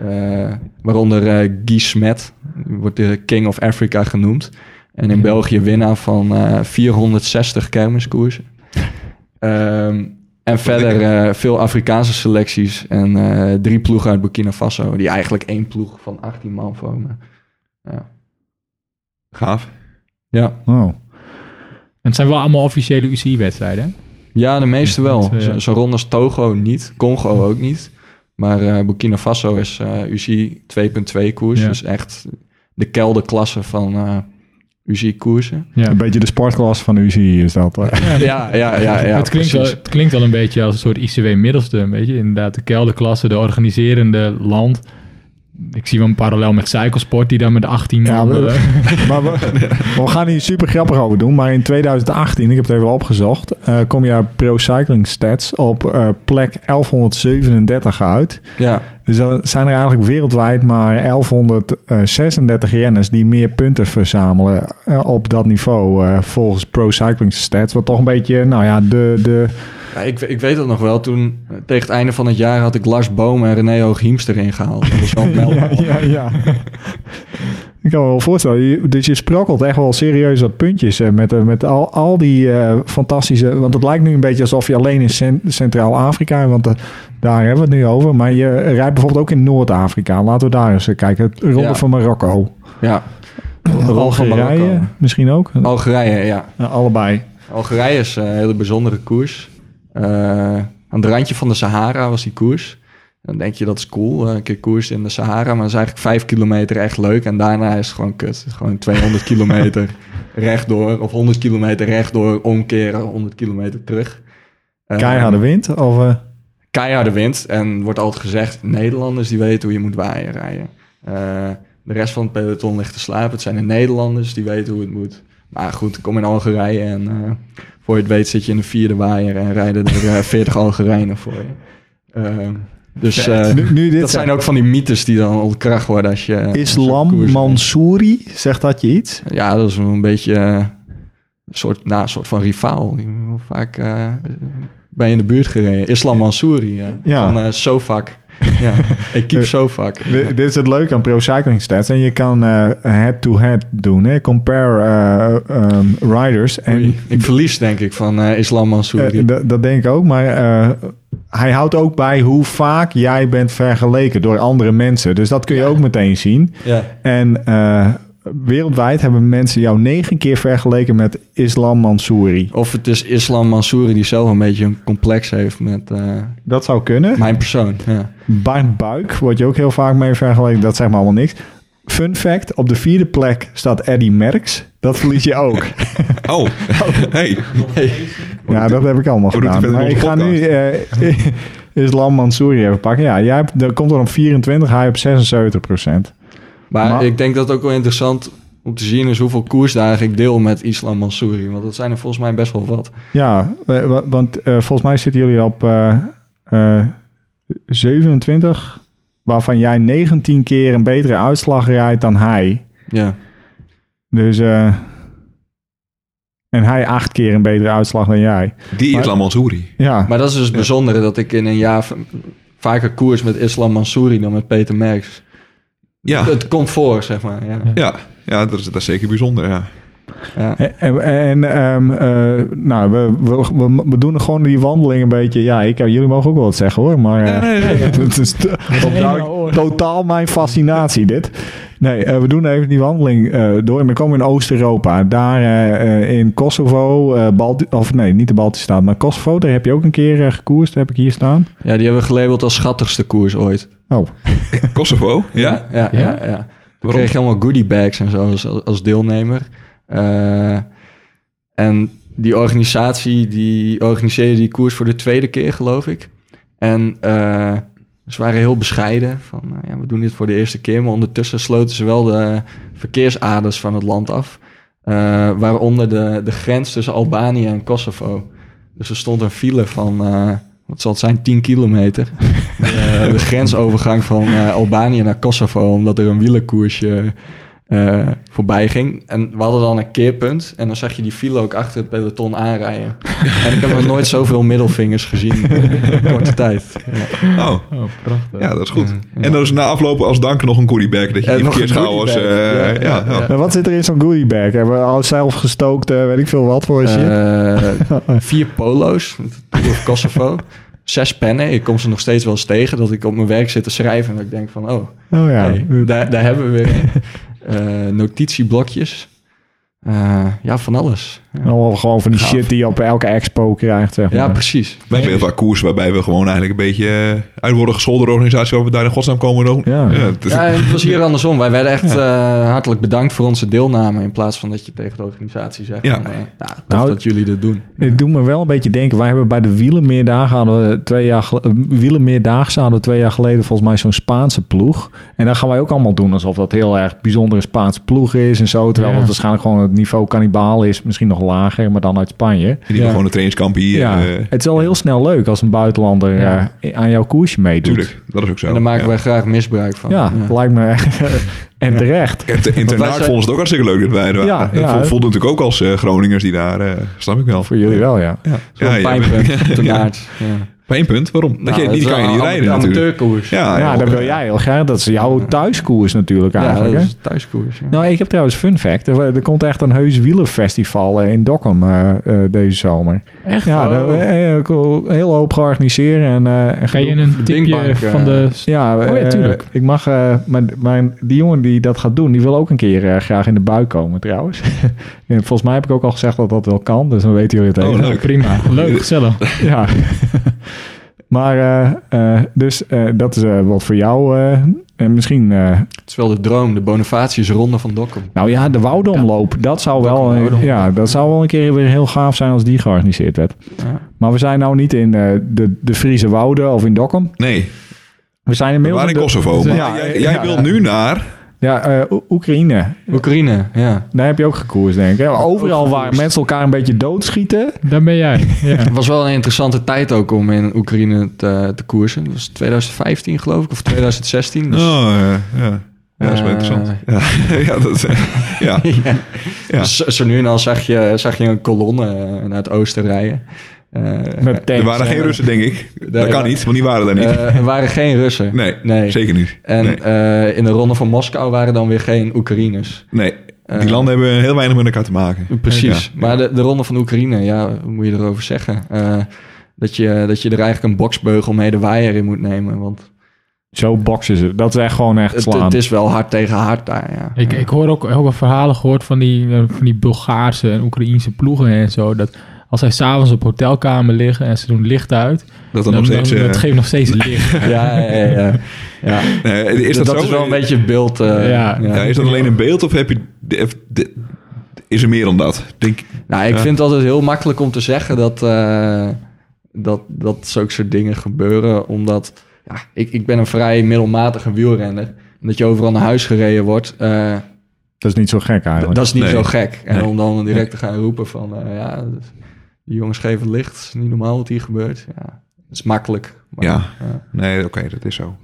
D: eh, waaronder eh Guy Smet. Wordt de King of Africa genoemd. En in België winnaar van eh, 460 kermiskoersen. Ehm, en verder eh, veel Afrikaanse selecties en eh, drie ploegen uit Burkina Faso. Die eigenlijk één ploeg van 18 man vormen.
C: Gaaf.
D: Ja,
A: Oh.
B: het zijn wel allemaal officiële UCI-wedstrijden. hè?
D: ja de meeste wel.
B: Ja.
D: Zo- Zo'n ronde als Togo niet, Congo ook niet. Maar eh, Burkina Faso is eh UCI 2.2 koers.
B: Ja.
D: Dus echt de kelderklasse van eh UCI koersen.
B: Ja.
A: Een beetje de sportklas van UCI is dat. eh.
D: Ja, ja, ja, ja.
B: het, klinkt wel,
D: precies.
B: het klinkt wel een beetje als een soort ICW-middelste. Weet je, inderdaad, de kelderklasse, de organiserende land. Ik zie wel een parallel met cyclesport, die dan met 18
A: Ja,
B: man. eh,
A: we- Maar we, we gaan hier super grappig over doen. Maar in 2018, ik heb het even opgezocht, eh, kom je uit Pro Cycling Stats op eh, plek 1137 uit.
D: Ja,
A: Dus dan zijn er eigenlijk wereldwijd maar 1136 renners die meer punten verzamelen eh, op dat niveau eh, volgens Pro Cycling Stats. Wat toch een beetje, nou ja, de... de
D: Ja, ik, ik weet dat nog wel. Toen, eh, tegen het einde van het jaar, had ik Lars Boom en René Hooghiemst erin gehaald. Dat was wel een
A: ja,
D: mijlpaal.
A: ja, ja. Ik kan me wel voorstellen. Je- Dus je sprokkelt echt wel serieus wat puntjes eh, met, eh, met al, al die eh, fantastische... Want het lijkt nu een beetje alsof je alleen in Cent- Centraal-Afrika... want eh, daar hebben we het nu over. Maar je rijdt bijvoorbeeld ook in Noord-Afrika. Laten we daar eens eh, kijken. Het Ronde
D: Ja.
A: van Marokko.
D: Ja. Ronde van
A: Algerije
D: Marokko.
A: misschien ook.
D: Algerije, ja.
A: Eh, allebei.
D: Algerije is eh, een hele bijzondere koers. Eh, aan het randje van de Sahara was die koers. Dan denk je dat is cool, eh, een keer koers in de Sahara. Maar dat is eigenlijk vijf kilometer echt leuk. En daarna is het gewoon kut. Gewoon 200 kilometer rechtdoor. Of 100 kilometer rechtdoor, omkeren, 100 kilometer terug. Eh,
A: Keiharde wind. Of, eh,
D: keiharde wind. En wordt altijd gezegd, Nederlanders die weten hoe je moet waaien rijden. Eh, de rest van het peloton ligt te slapen. Het zijn de Nederlanders die weten hoe het moet. Maar goed, kom in Algerije en eh, voor je het weet zit je in een vierde waaier en rijden er eh, 40 Algerijnen voor je. Ehm, dus eh,
A: nu, nu dit
D: dat zijn ook van die mythes die dan ontkracht worden als je... eh, zo'n
A: Islam
D: koers-
A: Mansouri. Zegt dat je iets?
D: Ja, dat is een beetje eh, een soort, nou, een soort van rivaal. Die heel Vaak eh ben je in de buurt gereden. Islam Mansouri, ja.
A: Ja.
D: Van eh, Sofak. ja, equipe Sofak.
A: D- Dit is het leuke aan Pro Cycling Stats. En je kan eh, head-to-head doen. Hè? Compare eh, ehm, riders. En
D: Oei, ik verlies denk ik van eh, Islam Mansouri.
A: eh, d- dat denk ik ook. Maar eh, hij houdt ook bij hoe vaak jij bent vergeleken door andere mensen. Dus dat kun je ook meteen zien.
D: ja.
A: En eh, wereldwijd hebben mensen jou negen keer vergeleken met Islam Mansouri.
D: Of het is Islam Mansouri die zelf een beetje een complex heeft met eh,
A: Dat zou kunnen.
D: mijn persoon. Ja.
A: Bart Buik wordt je ook heel vaak mee vergeleken. Dat zegt me allemaal niks. Fun fact, op de vierde plek staat Eddy Merckx. Dat verlies je ook.
C: Oh, hey.
A: Ja, dat heb ik allemaal
C: Hoe doet hij
A: gedaan.
C: verder
A: Maar ik
C: met onze
A: ga nu eh Islam Mansouri even pakken. Ja, jij hebt, dat komt er op 24, hij op 76 procent.
D: Maar,
A: Maar-
D: ik denk dat het ook wel interessant om te zien is hoeveel koersdagen ik deel met Islam Mansouri. Want dat zijn er volgens mij best wel wat.
A: Ja, eh, wa- want eh, volgens mij zitten jullie op eh, eh, 27, waarvan jij 19 keer een betere uitslag rijdt dan hij.
D: Ja.
A: Dus, eh, en hij acht keer een betere uitslag dan jij.
C: Die
A: Maar-
C: Islam Mansouri.
A: Ja,
D: Maar dat is dus het bijzondere dat ik in een jaar v- vaker koers met Islam Mansouri dan met Peter Merks.
C: Ja,
D: Het komt voor, zeg maar. Ja.
C: ja. ja dat, is, dat is zeker bijzonder. Ja.
D: Ja.
A: En, en ehm, eh, nou, we, we, we, we doen gewoon die wandeling een beetje. Ja, ik, jullie mogen ook wel wat zeggen hoor. Maar eh, het is te-
B: helemaal oor.
A: totaal mijn fascinatie dit. Nee, eh, we doen even die wandeling eh, door. En we komen in Oost-Europa. Daar eh, eh, in Kosovo, eh, Balti- of nee, niet de Baltische staat, maar Kosovo. Daar heb je ook een keer eh, gekoerst, heb ik hier staan.
D: ja, die hebben we gelabeld als schattigste koers ooit.
A: Oh,
C: Kosovo, ja?
D: Ja, ja, ja. We kregen allemaal goodie bags en zo als, als deelnemer. Eh, en die organisatie die organiseerde die koers voor de tweede keer, geloof ik. En eh, ze waren heel bescheiden. Van, nou ja, we doen dit voor de eerste keer. Maar ondertussen sloten ze wel de verkeersaders van het land af. Eh, waaronder de, de grens tussen Albanië en Kosovo. Dus er stond een file van, eh, wat zal het zijn, 10 kilometer. Eh, de grensovergang van eh, Albanië naar Kosovo, omdat er een wielerkoersje eh, voorbij ging. En we hadden dan een keerpunt. En dan zag je die file ook achter het peloton aanrijden. en ik heb nog nooit zoveel middelvingers gezien in korte tijd. Ja.
C: Oh,
B: Oh, prachtig.
C: ja, dat is goed.
D: Ja.
C: En dan is na aflopen als dank nog een goodiebag. Dat je
D: En
C: in
D: Eh, nog een
C: verkeerd gehouden was.
D: goodiebag.
C: eh,
D: Ja,
C: ja,
D: ja,
C: ja.
A: Maar wat zit er in zo'n goodie bag? Hebben we al zelf gestookt, eh, weet ik veel wat voor shit?
D: Eh, vier polo's, Tour of Kosovo. Zes pennen. Ik kom ze nog steeds wel eens tegen dat ik op mijn werk zit te schrijven. En dat ik denk van, oh,
A: Oh ja.
D: hey, daar, daar hebben we weer een. Eh, notitieblokjes. Eh, ja, van alles. Ja,
A: Allemaal gewoon van die
D: Gaaf.
A: shit die je op elke expo krijgt, zeg maar.
D: Ja, precies.
C: Wij hebben heel vaak koers waarbij we gewoon eigenlijk een beetje eh, uit worden gescholden door de organisatie waar we daar in godsnaam komen. doen.
A: Ja.
C: het is-
D: Ja, en het was hier andersom. Wij werden echt eh, hartelijk bedankt voor onze deelname. In plaats van dat je tegen de organisatie zegt:
C: Ja.
D: van, eh, nou, tof
A: Nou,
D: dat jullie dit doen.
A: Het doet me wel een beetje denken. Wij hebben bij de wielenmeerdagen hadden we twee jaar gel- eh, wielermeerdaagse hadden we twee jaar geleden volgens mij zo'n Spaanse ploeg. En dan gaan wij ook allemaal doen alsof dat heel erg bijzondere Spaanse ploeg is en zo. Terwijl
B: Ja.
A: dat waarschijnlijk gewoon het niveau kannibaal is, misschien nog lager, maar dan uit Spanje.
C: Die doen
B: Ja.
C: gewoon een trainingskamp hier.
A: Ja,
C: eh,
A: het is wel heel snel leuk als een buitenlander
B: Ja.
A: eh, aan jouw koersje meedoet.
C: tuurlijk, dat is ook zo.
D: En daar maken
C: ja.
D: wij graag misbruik van.
A: Ja, lijkt me echt. en terecht.
C: En te- Internaat
D: Want wij zijn-
C: vonden ze het ook hartstikke leuk dat wij er waren.
A: Ja,
C: dat
A: ja.
C: vo- voelde natuurlijk ook als eh, Groningers die daar, eh, snap ik wel.
A: Voor jullie wel, ja.
D: Zo'n
C: Ja, ja.
D: pijnpunt ten
C: Ja.
D: aard. Ja.
C: Pijnpunt, waarom? Dat
D: Nou,
C: je, die
D: het is
C: kan je
D: wel
C: niet
D: een
C: rijden
D: am-
C: natuurlijk.
D: amateurkoers.
C: Ah, Ja,
A: Ja, dat wil jij heel graag. Dat is jouw thuiskoers natuurlijk
D: Ja,
A: eigenlijk.
D: dat
A: hè?
D: is een thuiskoers. Ja.
A: Nou, ik heb trouwens fun fact. Er, er komt echt een heus wielerfestival eh, in Dokkum eh, eh, deze zomer.
B: Echt?
A: Ja,
B: Oh.
A: daar eh, eh, ko- een hele hoop georganiseerd. En, eh, en
B: Ga je in
A: gedoe.
B: een
D: Dingbank,
B: tipje
D: eh,
B: van de...
A: Ja,
B: ja,
A: eh,
B: tuurlijk.
A: ik mag... eh, maar, maar die jongen die dat gaat doen, die wil ook een keer eh, graag in de bui komen trouwens. en volgens mij heb ik ook al gezegd dat dat wel kan. Dus dan weten jullie het
C: Oh,
A: even.
C: leuk.
B: Prima. Leuk, gezellig.
A: Ja. maar eh, eh, dus eh, dat is eh, wat voor jou. eh, en misschien... eh,
D: Het is wel de droom, de Bonifatius Ronde van Dokkum.
A: Nou ja, de Woudomloop. Dat zou wel,
D: Woudomloop.
A: ja, dat zou wel een keer weer heel gaaf zijn als die georganiseerd werd.
D: Ja.
A: Maar we zijn nou niet in eh, de, de Friese Wouden of in Dokkum.
C: Nee,
A: We zijn
C: we
A: inmiddels...
C: waren in
A: de-
C: Kosovo. Maar
A: Ja,
C: jij,
A: ja,
C: jij
A: ja.
C: wilt nu naar...
A: Ja, eh, Oe- Oekraïne.
D: Oekraïne, ja.
A: Daar heb je ook gekoers, denk ik. hè? Overal
D: Ook
A: waar
D: gekoerst.
A: mensen elkaar een beetje doodschieten.
B: Daar ben jij. Ja.
D: Het was wel een interessante tijd ook om in Oekraïne te, te koersen. Dat was 2015 geloof ik, of 2016. Dus,
C: Oh, eh, ja. Ja, dat is wel
D: eh,
C: interessant. Ja, ja, dat, eh, ja.
D: ja.
C: Ja.
D: Dus zo nu en dan zag je, zag je een kolonne eh, naar het oosten rijden. Eh,
A: Met tanks.
C: Er waren geen
D: eh,
C: Russen, denk ik.
D: daar-
C: Dat kan niet, want die waren daar niet.
D: eh, er waren geen Russen.
C: Nee,
D: nee.
C: zeker niet.
D: En
C: nee.
D: eh, in de ronde van Moskou waren dan weer geen Oekraïners.
C: nee.
D: eh,
C: die landen hebben heel weinig met elkaar te maken.
D: Precies.
C: Ja.
D: Maar de, de ronde van Oekraïne, ja, hoe moet je erover zeggen? Eh, dat, je, dat je er eigenlijk een boksbeugel mee de waaier in moet nemen. Want
A: Zo boksen ze. Dat is echt gewoon echt
D: het,
A: slaan.
D: het is wel hard tegen hard daar. Ja.
B: Ik, ik hoor ook heel veel verhalen gehoord van die, eh, van die Bulgaarse en Oekraïense ploegen en zo. Dat als zij s'avonds op hotelkamer liggen en ze doen licht uit,
C: Dat
B: dan,
D: Nou,
C: dan nog
B: dan-
C: steeds... eh,
B: dat geeft nog steeds licht.
D: ja, ja, ja, ja. ja.
C: nee, is
D: dat
C: dat, zo?
D: is wel een beetje het beeld. eh,
B: Ja.
D: ja.
C: Ja, is dat alleen een beeld of heb je... de- de- is er meer dan dat? Denk,
D: Nou, ik
C: Ja.
D: vind het altijd heel makkelijk om te zeggen dat, eh, dat, dat zulke soort dingen gebeuren. Omdat ja, ik, ik ben een vrij middelmatige wielrenner. En dat je overal naar huis gereden wordt, eh,
A: Dat is niet zo gek
D: d-
A: eigenlijk.
D: dat is niet
C: Nee.
D: zo gek. En
C: Nee.
D: om dan direct te gaan roepen van, eh, ja, die jongens geven het licht. Het is niet normaal wat hier gebeurt. Ja, dat is makkelijk. Maar,
C: Ja. nee, oké, dat is zo.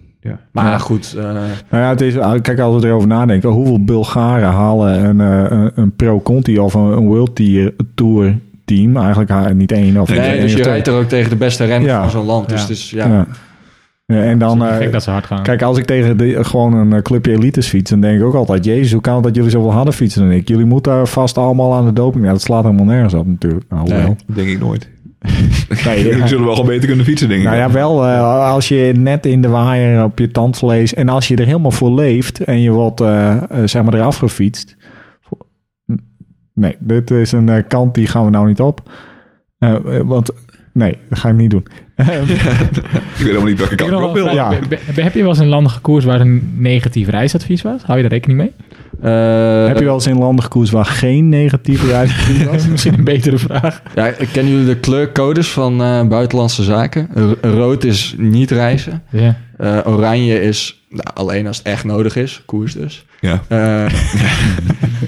D: maar
A: Ja.
D: goed, eh,
A: Nou ja, het is, kijk, als we erover nadenken, hoeveel Bulgaren halen een, eh, een, een pro-conti of een, een World Tier- Tour team? Eigenlijk ha- niet één of
C: Nee,
D: nee,
A: één
D: dus
A: of
D: je
A: twee.
D: rijdt er ook tegen de beste renners
A: Ja.
D: van zo'n land. Dus
B: Ja.
D: het is, ja,
A: Ja. Ja, En dan,
B: Het is
A: eh,
B: gek dat ze hard gaan.
A: kijk, als ik tegen de, gewoon een eh, clubje elites fiets, dan denk ik ook altijd, jezus, hoe kan het dat jullie zoveel harder fietsen dan ik? Jullie moeten daar vast allemaal aan de doping. Ja, dat slaat helemaal nergens op natuurlijk. Nou, hoewel.
D: Nee.
C: Denk ik nooit.
A: Nee,
C: Ik
A: ja.
C: zullen wel gewoon beter kunnen fietsen, denk ik.
A: Nou ja, wel eh, als je net in de waaier op je tandvlees en als je er helemaal voor leeft en je wordt eh, eh, zeg maar eraf gefietst. Nee, dit is een eh, kant die gaan we nou niet op. Eh, eh, want nee, dat ga ik niet doen. Eh,
C: Ik weet helemaal niet welke
B: Ik
C: kant
B: heb
C: ik
B: nog
C: op
B: wel
C: wil.
B: een vraag.
A: ja.
B: Be- be- Heb je wel eens een landige koers waar een negatief reisadvies was? Hou je daar rekening mee?
D: eh,
A: Heb je wel eens in landen gekoerst waar geen negatieve reis
B: Dat is misschien een betere vraag.
D: Ja, kennen jullie de kleurcodes van eh, buitenlandse zaken? R- rood is niet reizen.
B: Ja.
D: Eh, oranje is nou, alleen als het echt nodig is, koers dus.
C: Ja.
D: Eh,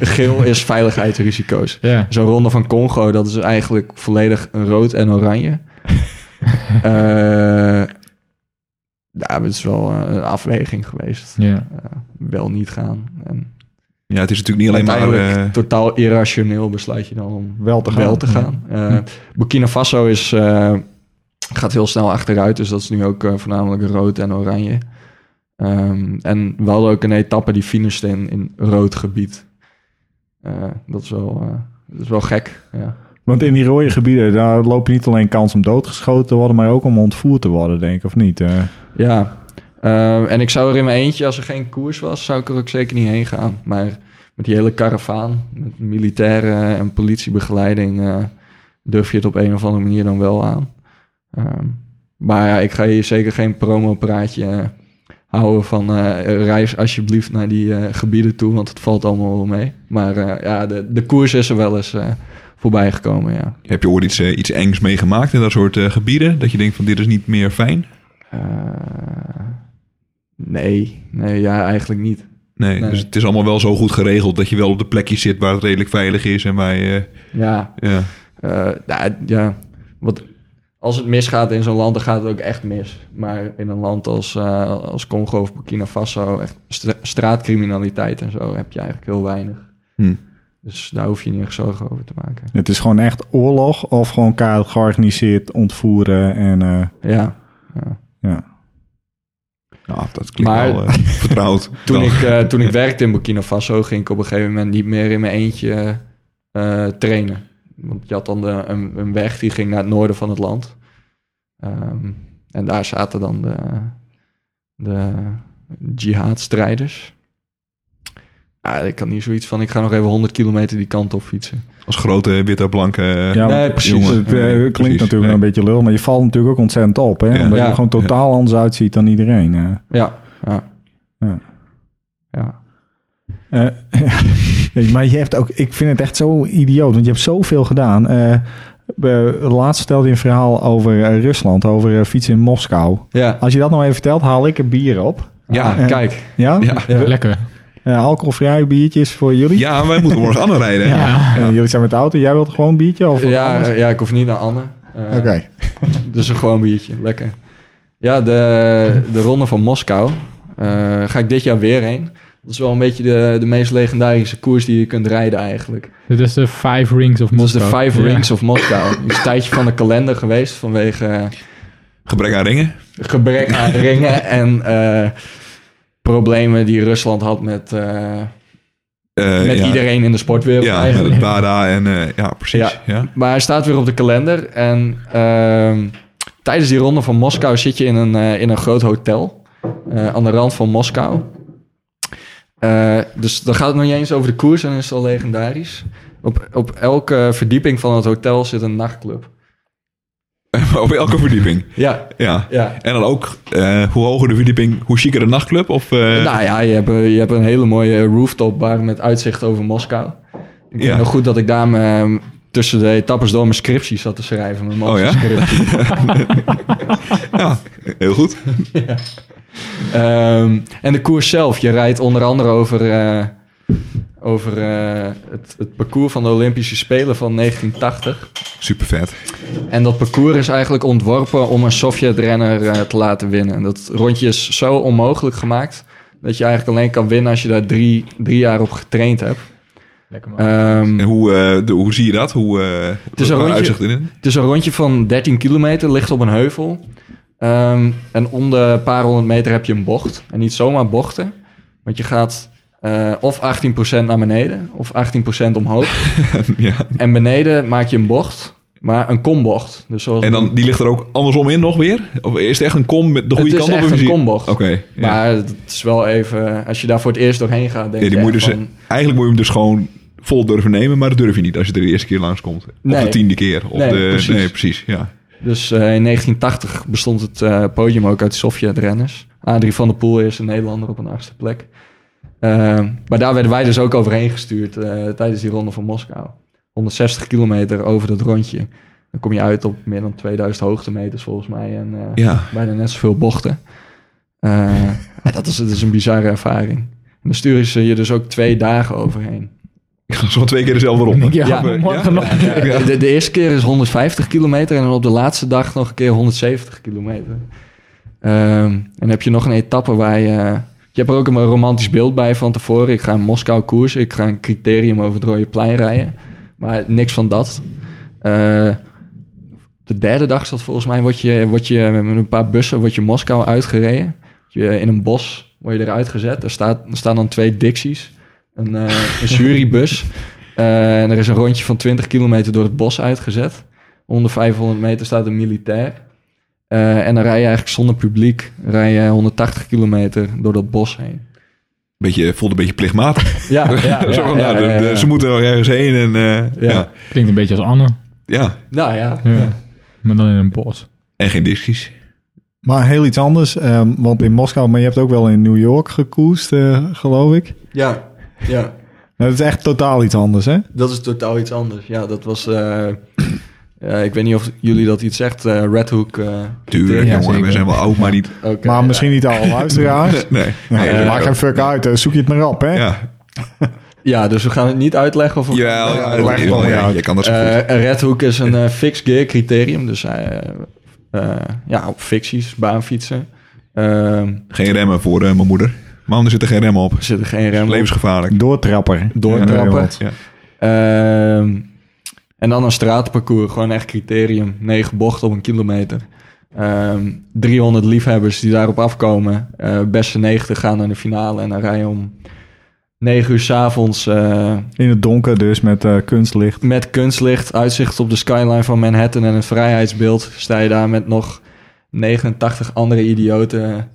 D: geel is veiligheidsrisico's.
B: ja.
D: Zo'n ronde van Congo, dat is eigenlijk volledig rood en oranje. Eh ja, het is wel eh, een afweging geweest.
B: ja.
D: Wel niet gaan. En,
C: Ja, het is natuurlijk niet alleen maar...
D: Uiteindelijk
C: eh,
D: totaal irrationeel besluit je dan om
A: Wel te gaan.
D: wel te gaan. Eh, Burkina Faso is, eh, gaat heel snel achteruit, dus dat is nu ook eh, voornamelijk rood en oranje. Ehm, en we hadden ook een etappe die finishte in, in rood gebied. Eh, dat, is wel, eh, dat is wel gek. Ja.
A: Want in die rode gebieden, daar loop je niet alleen kans om doodgeschoten te worden, maar ook om ontvoerd te worden, denk ik, of niet? Eh,
D: Ja, eh, en ik zou er in mijn eentje, als er geen koers was, zou ik er ook zeker niet heen gaan. Maar met die hele karavaan, met militaire en politiebegeleiding, eh, durf je het op een of andere manier dan wel aan. Ehm, maar ja, ik ga hier zeker geen promopraatje eh, houden van eh, reis alsjeblieft naar die eh, gebieden toe, want het valt allemaal wel mee. Maar eh, ja, de, de koers is er wel eens eh, voorbij gekomen, ja.
C: Heb je ooit iets, eh, iets engs meegemaakt in dat soort eh, gebieden? Dat je denkt van dit is niet meer fijn?
D: Eh, nee, nee, ja, eigenlijk niet.
C: Nee,
D: Nee.
C: dus het is allemaal wel zo goed geregeld dat je wel op de plekjes zit waar het redelijk veilig is en waar je... eh,
D: Ja,
C: ja.
D: Eh, nou, ja, want als het misgaat in zo'n land, dan gaat het ook echt mis. Maar in een land als, eh, als Congo of Burkina Faso, echt stra- straatcriminaliteit en zo, heb je eigenlijk heel weinig.
C: Hm.
D: Dus daar hoef je niet echt zorgen over te maken.
A: het is gewoon echt oorlog of gewoon elkaar georganiseerd ontvoeren en... eh,
D: Ja.
C: Nou, dat klinkt
D: Maar-
C: wel eh, vertrouwd.
D: Toen,
C: Dan-
D: ik, eh, toen ik werkte in Burkina Faso, ging ik op een gegeven moment niet meer in mijn eentje eh, trainen. Want je had dan de, een, een weg die ging naar het noorden van het land. Ehm, en daar zaten dan de, de jihadstrijders. Ah, ik kan niet zoiets van, ik ga nog even 100 kilometer die kant op fietsen.
C: Als grote witte blanke... eh,
A: Ja,
D: nee,
A: want-
D: precies.
A: jongen, het eh,
D: Nee,
A: klinkt
C: precies.
A: natuurlijk
C: Nee.
A: een beetje lul, maar je valt natuurlijk ook ontzettend op. Hè?
C: Ja.
A: Omdat
D: Ja.
A: je gewoon totaal anders uitziet dan iedereen. eh.
D: Ja, ja.
A: Ja.
D: ja.
A: Eh, ja, maar je hebt ook, ik vind het echt zo idioot, want je hebt zoveel gedaan. Eh, we- laatst vertelde je een verhaal over eh, Rusland, over eh, fietsen in Moskou.
D: ja.
A: Als je dat nou even vertelt, haal ik een bier op.
D: Ja,
A: Ah, Ja.
D: kijk.
A: Ja?
C: Ja.
B: Lekker.
A: Eh, alcoholvrije biertjes voor jullie.
C: Ja, wij moeten morgen Anne rijden.
B: Ja.
A: Eh, jullie zijn met de auto, jij wilt gewoon een biertje? Of wat
D: Ja,
A: anders?
D: ja, ik hoef niet naar Anne. Eh,
A: Oké.
D: Dus een gewoon biertje, lekker. Ja, de, de ronde van Moskou eh, ga ik dit jaar weer heen. Dat is wel een beetje de, de meest legendarische koers die je kunt rijden eigenlijk.
B: Dit is de Five Rings of
D: Dat is de
B: Moskou.
D: Five
B: Ja.
D: Rings of Moskou. Die is een tijdje van de kalender geweest vanwege eh,
C: Gebrek aan ringen.
D: gebrek aan ringen en eh, problemen die Rusland had met, eh,
C: Eh,
D: met
C: ja.
D: iedereen in de sportwereld
C: Ja, met
D: eigenlijk.
C: het Bada en... eh, ja, precies.
D: Ja.
C: Ja.
D: Maar hij staat weer op de kalender. En ehm, tijdens die ronde van Moskou zit je in een, eh, in een groot hotel. eh, aan de rand van Moskou. Eh, dus dan gaat het nog niet eens over de koers en is het al legendarisch. Op, op elke verdieping van het hotel zit een nachtclub.
C: Op elke verdieping.
D: Ja,
C: Ja.
D: ja.
C: En dan ook, eh, hoe hoger de verdieping, hoe chiquer de nachtclub? Of, eh,
D: nou ja, je hebt, eh, je hebt een hele mooie rooftop bar met uitzicht over Moskou. Ik
C: Ja.
D: weet nog goed dat ik daar me, tussen de etappes door mijn scriptie zat te schrijven. Mijn
C: Oh ja?
D: masterscriptie.
C: ja, heel goed.
D: Ehm, en de koers zelf. Je rijdt onder andere over, eh, over eh, het, het parcours van de Olympische Spelen van 1980.
C: Super vet.
D: En dat parcours is eigenlijk ontworpen om een Sovjet-renner eh, te laten winnen. En dat rondje is zo onmogelijk gemaakt dat je eigenlijk alleen kan winnen als je daar drie, drie jaar op getraind hebt.
B: Lekker man.
D: Ehm,
C: En hoe, eh, de, hoe zie je dat? Hoe, eh het
D: is een rondje-
C: uitzicht in?
D: Het is een rondje van 13 kilometer, ligt op een heuvel. Ehm, en om de paar honderd meter heb je een bocht. En niet zomaar bochten, want je gaat eh, of 18% naar beneden of 18% omhoog.
C: ja.
D: en beneden maak je een bocht, maar een kombocht. Dus zoals
C: En dan, die ligt er ook andersom in nog weer? Of is het echt een kom met de goede
D: Het is
C: kant op?
D: echt
C: Of
D: een
C: zie-
D: kombocht.
C: Oké. ja.
D: Maar het is wel even, als je daar voor het eerst doorheen gaat, denk
C: Ja, die
D: je
C: moet je
D: echt
C: dus,
D: van,
C: eigenlijk moet je hem dus gewoon vol durven nemen, maar dat durf je niet als je er de eerste keer langskomt. Of
D: Nee.
C: de tiende keer. Of
D: Nee,
C: de,
D: precies.
C: Nee, precies. Ja.
D: Dus eh, in 1980 bestond het eh, podium ook uit Sovjet-renners. Adrie van der Poel is een Nederlander op een achtste plek. Ehm, maar daar werden wij dus ook overheen gestuurd eh, tijdens die ronde van Moskou. 160 kilometer over dat rondje. Dan kom je uit op meer dan 2000 hoogtemeters volgens mij. En eh,
C: ja.
D: bijna net zoveel bochten. Eh, ja, dat, is, dat is een bizarre ervaring. En dan sturen ze je dus ook twee dagen overheen.
C: Ik ga zo twee keer dezelfde ronde.
B: Ja,
D: Ja.
B: morgen nog.
D: De, de eerste keer is 150 kilometer en dan op de laatste dag nog een keer 170 kilometer. Ehm, en heb je nog een etappe waar je, eh, Je hebt er ook een romantisch beeld bij van tevoren. Ik ga in Moskou koers, ik ga een criterium over het Rode Plein rijden. Maar niks van dat. Eh, de derde dag zat volgens mij, word je, word je met een paar bussen word je Moskou uitgereden. Je, in een bos word je eruit gezet. Er, staat, er staan dan twee Dixies, een, eh, een jurybus. Eh, en er is een rondje van 20 kilometer door het bos uitgezet. Onder 500 meter staat een militair. Eh, en dan rij je eigenlijk zonder publiek, rij je 180 kilometer door dat bos heen.
C: Beetje, voelde een beetje plichtmatig.
D: Ja,
C: Zo van, nou, de- de- Ze moeten wel ergens heen. En, eh, ja.
D: Ja.
C: Ja,
B: Klinkt een beetje als Anne,
D: Nou ja,
B: Ja. maar dan in een bos.
C: En geen discussies.
A: Maar heel iets anders, ehm, want in Moskou, maar je hebt ook wel in New York gekoest, eh, geloof ik.
D: ja, ja.
A: Nou, dat is echt totaal iets anders, hè?
D: Dat is totaal iets anders. Ja, dat was. eh, eh, ik weet niet of jullie dat iets zegt. eh, Red Hook. eh,
C: Tuurlijk,
A: Ja,
C: jongen.
A: zeker.
C: We zijn wel oud, maar niet...
D: ook,
A: Maar
D: eh,
A: misschien niet alle luisteraars.
C: Nee.
A: Ja,
C: Nee,
A: maak geen fuck uit, eh, zoek je het maar op, hè?
C: Ja,
D: Ja, dus we gaan het niet uitleggen. Of,
C: ja,
D: Eh,
C: ja,
A: dat
C: ja,
A: ligt wel,
C: ja,
A: ja.
C: je kan dat zo goed.
D: eh, Red Hook is een eh, fixed gear criterium. Dus eh, eh, ja, op ficties, baanfietsen. Ehm,
C: Geen remmen voor eh, mijn moeder. Man, er zitten geen remmen op.
D: er zitten geen remmen. op.
C: Levensgevaarlijk.
A: Doortrapper.
D: Doortrapper.
A: Ja, want-
D: Ehm, en dan een straatparcours, gewoon echt criterium. Negen bochten op een kilometer. Ehm, 300 liefhebbers die daarop afkomen. Eh, beste 90 gaan naar de finale en dan rij je om 9 uur s'avonds eh
A: In het donker dus, met eh, kunstlicht.
D: met kunstlicht, uitzicht op de skyline van Manhattan en een vrijheidsbeeld. Sta je daar met nog 89 andere idioten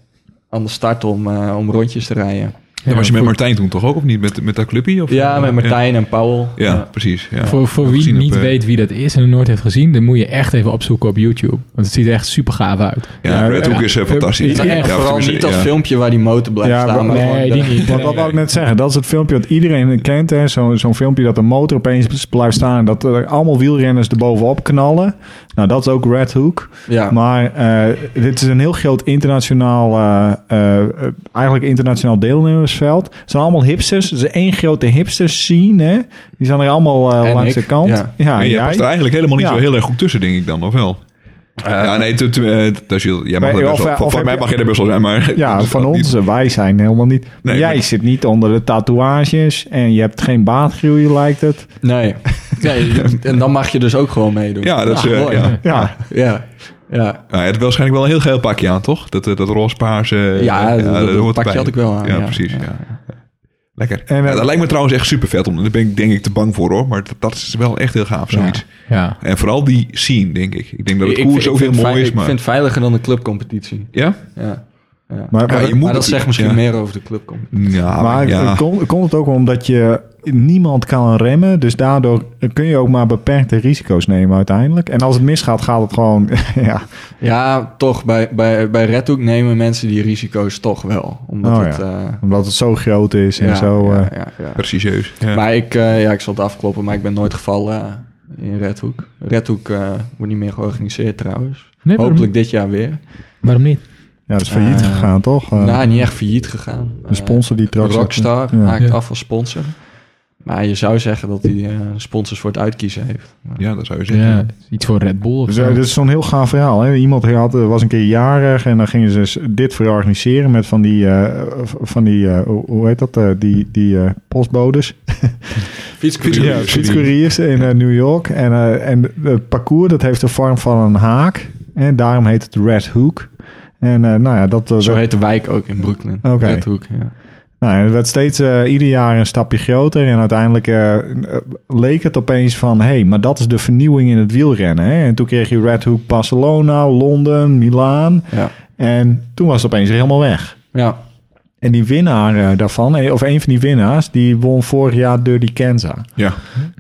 D: aan de start om, eh, om rondjes te rijden.
C: Ja, was je met
B: goed.
C: Martijn toen toch ook? Of niet? Met, met dat clubje? Of, eh,
D: Ja, met Martijn en Paul.
C: Ja, ja, precies. Ja.
B: voor voor wie
C: Gezien op,
B: niet
C: eh,
B: weet wie dat is en het nooit heeft gezien, dan moet je echt even opzoeken op YouTube. Want het ziet er echt super gaaf uit.
C: Ja, Red Hook is eh,
A: Ja,
C: fantastisch.
A: ja,
C: Ja,
D: En vooral
C: tenminste,
D: niet dat
C: ja.
D: filmpje waar die motor blijft
A: Ja,
D: staan.
A: maar-
D: gewoon
B: nee,
D: de-
B: die niet.
A: Want dat wou ik net zeggen, dat is het filmpje dat iedereen kent. hè. Zo- Zo'n filmpje dat de motor opeens blijft staan en dat er allemaal wielrenners erbovenop knallen. Nou, dat is ook Red Hook.
D: Ja,
A: Maar eh, dit is een heel groot internationaal, eh, eh, eh, eigenlijk internationaal deelnemersveld. Het zijn allemaal hipsters. Het is één grote hipster scene. Hè? Die zijn er allemaal eh,
D: En
A: langs
D: ik.
A: de kant.
D: Ja.
A: ja
C: Ja, je
A: jij.
C: past er eigenlijk helemaal niet
A: Ja.
C: zo heel erg goed tussen, denk ik dan, of wel? ja, nee, tu- tu- eh, dat is je- jij mag
A: Maar- of-
C: er best wel-
A: of
C: van-
A: heb
C: Van mij
A: je-
C: mag je er best wel zijn, maar...
A: Ja,
C: dat is
A: van
C: wel niet-
A: ons. eh, Wij zijn helemaal niet.
C: Nee,
A: jij
C: maar-
A: zit niet onder de tatoeages en je hebt geen baardgroei, lijkt het.
D: nee. nee. En dan mag je dus ook gewoon meedoen. Ah,
C: Ja, dat is... eh,
D: mooi.
C: ja.
A: Ja,
D: Ja, ja.
C: Nou, je hebt waarschijnlijk wel een heel geel pakje aan, toch? Dat, eh, dat roze paarse... eh,
D: Ja, dat- dat
C: hoort
D: pakje
C: erbij.
D: had ik wel aan,
C: Ja,
D: ja.
C: precies. Ja. Lekker.
A: En, eh,
C: Ja, dat lijkt me trouwens echt super vet. Daar ben ik denk ik te bang voor, hoor. Maar dat, dat is wel echt heel gaaf, zoiets.
B: Ja.
C: En vooral die scene, denk ik. Ik denk dat het
D: Ik-
C: koers
D: ik
C: ook heel
D: vind het
C: mooi
D: vei-
C: is, maar...
D: Ik vind het veiliger dan de clubcompetitie.
C: Ja?
D: Ja. Ja.
A: maar, maar,
C: Ja, je moet
D: maar dat
C: natuurlijk-
D: zegt misschien
C: ja.
D: meer over de clubcompetitie.
C: Ja,
A: maar
C: Ah, ja.
A: het komt, komt het ook omdat je niemand kan remmen. Dus daardoor kun je ook maar beperkte risico's nemen uiteindelijk. En als het misgaat, gaat het gewoon. ja,
D: Ja, toch. Bij, bij, bij Red Hook nemen mensen die risico's toch wel. Omdat
A: Oh,
D: het... eh,
A: Omdat het zo groot is en
D: ja,
A: zo. eh,
D: ja, ja, ja.
C: Precisieus. Ja.
D: Maar ik, eh, ja, ik zal het afkloppen, maar ik ben nooit gevallen eh, in Red Hook. Red Hook eh, wordt niet meer georganiseerd trouwens.
B: Nee, waarom-
D: Hopelijk dit jaar weer.
B: Waarom niet?
A: ja, dat is failliet
D: Eh,
A: gegaan, toch? Eh,
D: nou, niet echt failliet gegaan.
A: een sponsor die
D: Eh,
A: trouwens...
D: Rockstar
A: Ja.
D: haakt
B: Ja.
D: af als sponsor. Maar je zou zeggen dat hij eh, sponsors voor het uitkiezen heeft. Maar-
C: ja, dat zou je zeggen.
B: Ja, iets voor Red Bull of
A: Dus, eh,
B: zo.
A: dit is zo'n heel gaaf verhaal. Hè? Iemand had, eh, was een keer jarig en dan gingen ze s- dit voor organiseren met van die, eh, v- van die eh, hoe hoe heet dat, eh, die, die eh, postbodes.
C: Fietscouriers.
A: Ja, fietscouriers in eh, New York. En, eh, en het parcours, dat heeft de vorm van een haak. En daarom heet het Red Hook. En eh, nou ja, dat, eh,
D: Zo
A: dat-
D: heet de wijk ook in Brooklyn.
A: Oké.
D: Red Hook, ja.
A: Nou, en het werd steeds eh, ieder jaar een stapje groter. En uiteindelijk eh, eh, leek het opeens van... hé, hey, maar dat is de vernieuwing in het wielrennen. Hè? En toen kreeg je Red Hook Barcelona, Londen, Milaan.
D: Ja.
A: En toen was het opeens helemaal weg.
D: ja.
A: En die winnaar eh, daarvan, eh, of een van die winnaars... die won vorig jaar Dirty Kansas.
C: Ja.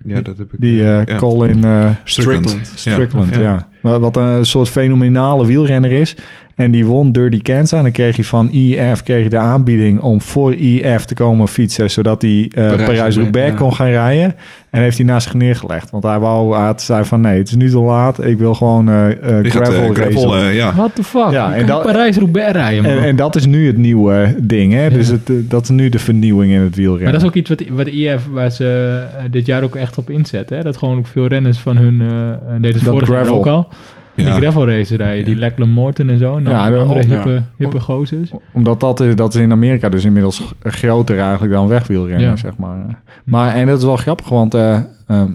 C: ja, dat heb ik.
A: Die eh,
C: Ja.
A: Colin eh,
C: Strickland.
D: Strickland.
A: Strickland, ja. Maar Wat een soort fenomenale wielrenner is. En die won Dirty Kansas. En dan kreeg hij van IF kreeg hij de aanbieding om voor IF te komen fietsen. Zodat hij eh
D: Parijs-Roubaix,
A: Parijs-Roubaix
D: ja.
A: kon gaan rijden. En heeft hij naast zich neergelegd. Want hij wou, hij had- zei van nee, het is nu te laat. Ik wil gewoon eh eh,
C: Die gaat
A: gravel
C: eh,
A: racen.
C: gravel, eh, ja.
B: What the fuck?
A: Ja,
B: Je
A: en
B: kan
A: dat-
B: Parijs-Roubaix rijden, man.
A: en, en dat is nu het nieuwe ding. Hè? Dus het, eh, dat is nu de vernieuwing in het wielrennen.
B: Maar dat is ook iets wat, wat IF, waar ze eh, dit jaar ook echt op inzet. Hè? Dat gewoon ook veel renners van hun, eh, eh, deden ze
A: Dat
B: vorig jaar
A: gravel.
B: ook al,
C: Ja.
B: Die gravel races rijden, die Lachlan Morton en zo. En dan
A: Ja,
B: ja, andere
A: ja.
B: hippe, hippe gozers.
A: Omdat dat, is- dat is in Amerika dus inmiddels g- groter eigenlijk dan wegwielrennen,
B: Ja.
A: zeg maar. Maar, en dat is wel grappig, want eh, eh,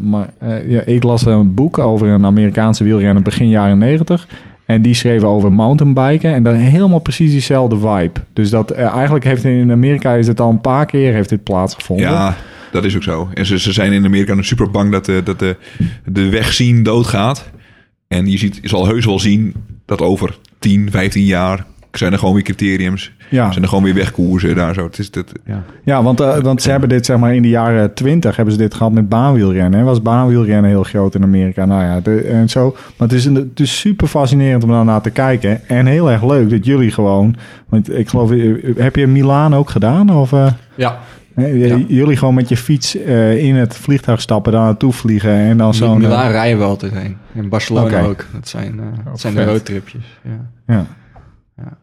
A: maar, eh, ja, ik las een boek over een Amerikaanse wielrenner begin jaren negentig. En die schreven over mountainbiken en dan helemaal precies diezelfde vibe. Dus dat eh, eigenlijk heeft in Amerika is het al een paar keer heeft dit plaatsgevonden.
C: Ja, dat is ook zo. En ze, ze zijn in Amerika nog super bang dat, de, dat de, de weg zien doodgaat. En je, ziet, je zal heus wel zien dat over 10, 15 jaar zijn er gewoon weer criteriums.
A: Ja.
C: Zijn er gewoon weer wegkoersen daar zo. Het is, dat,
A: Ja, want, eh, want ze hebben dit zeg maar in de jaren twintig hebben ze dit gehad met baanwielrennen. hè. Was baanwielrennen heel groot in Amerika. Nou ja, de- en zo. Maar het is, een- het is super fascinerend om daarnaar te kijken. En heel erg leuk dat jullie gewoon. Want ik geloof, eh, heb je Milaan ook gedaan? Of eh,
D: Ja,
A: eh,
D: Ja.
A: jullie gewoon met je fiets eh, in het vliegtuig stappen, daar naartoe vliegen en dan zo'n.
D: Milan
A: eh,
D: Milaan rijden we altijd heen. In Barcelona
A: Oké.
D: ook. Dat zijn, eh, dat zijn de
B: vet.
D: roadtripjes. Ja.
A: ja.
D: Ja.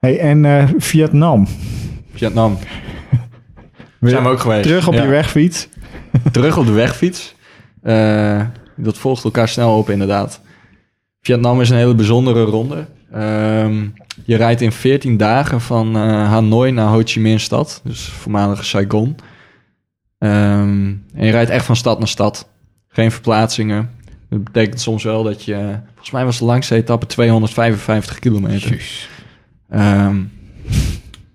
A: Hey, en eh, Vietnam.
D: Vietnam. Zijn we ook geweest.
A: Terug op
D: Ja.
A: je wegfiets.
D: Terug op de wegfiets. Eh, dat volgt elkaar snel op, inderdaad. Vietnam is een hele bijzondere ronde. Ehm, je rijdt in 14 dagen van eh, Hanoi naar Ho Chi Minh stad. Dus voormalige Saigon. Ehm, en je rijdt echt van stad naar stad. Geen verplaatsingen. Dat betekent soms wel dat je... Volgens mij was de langste etappe 255 kilometer. Ehm,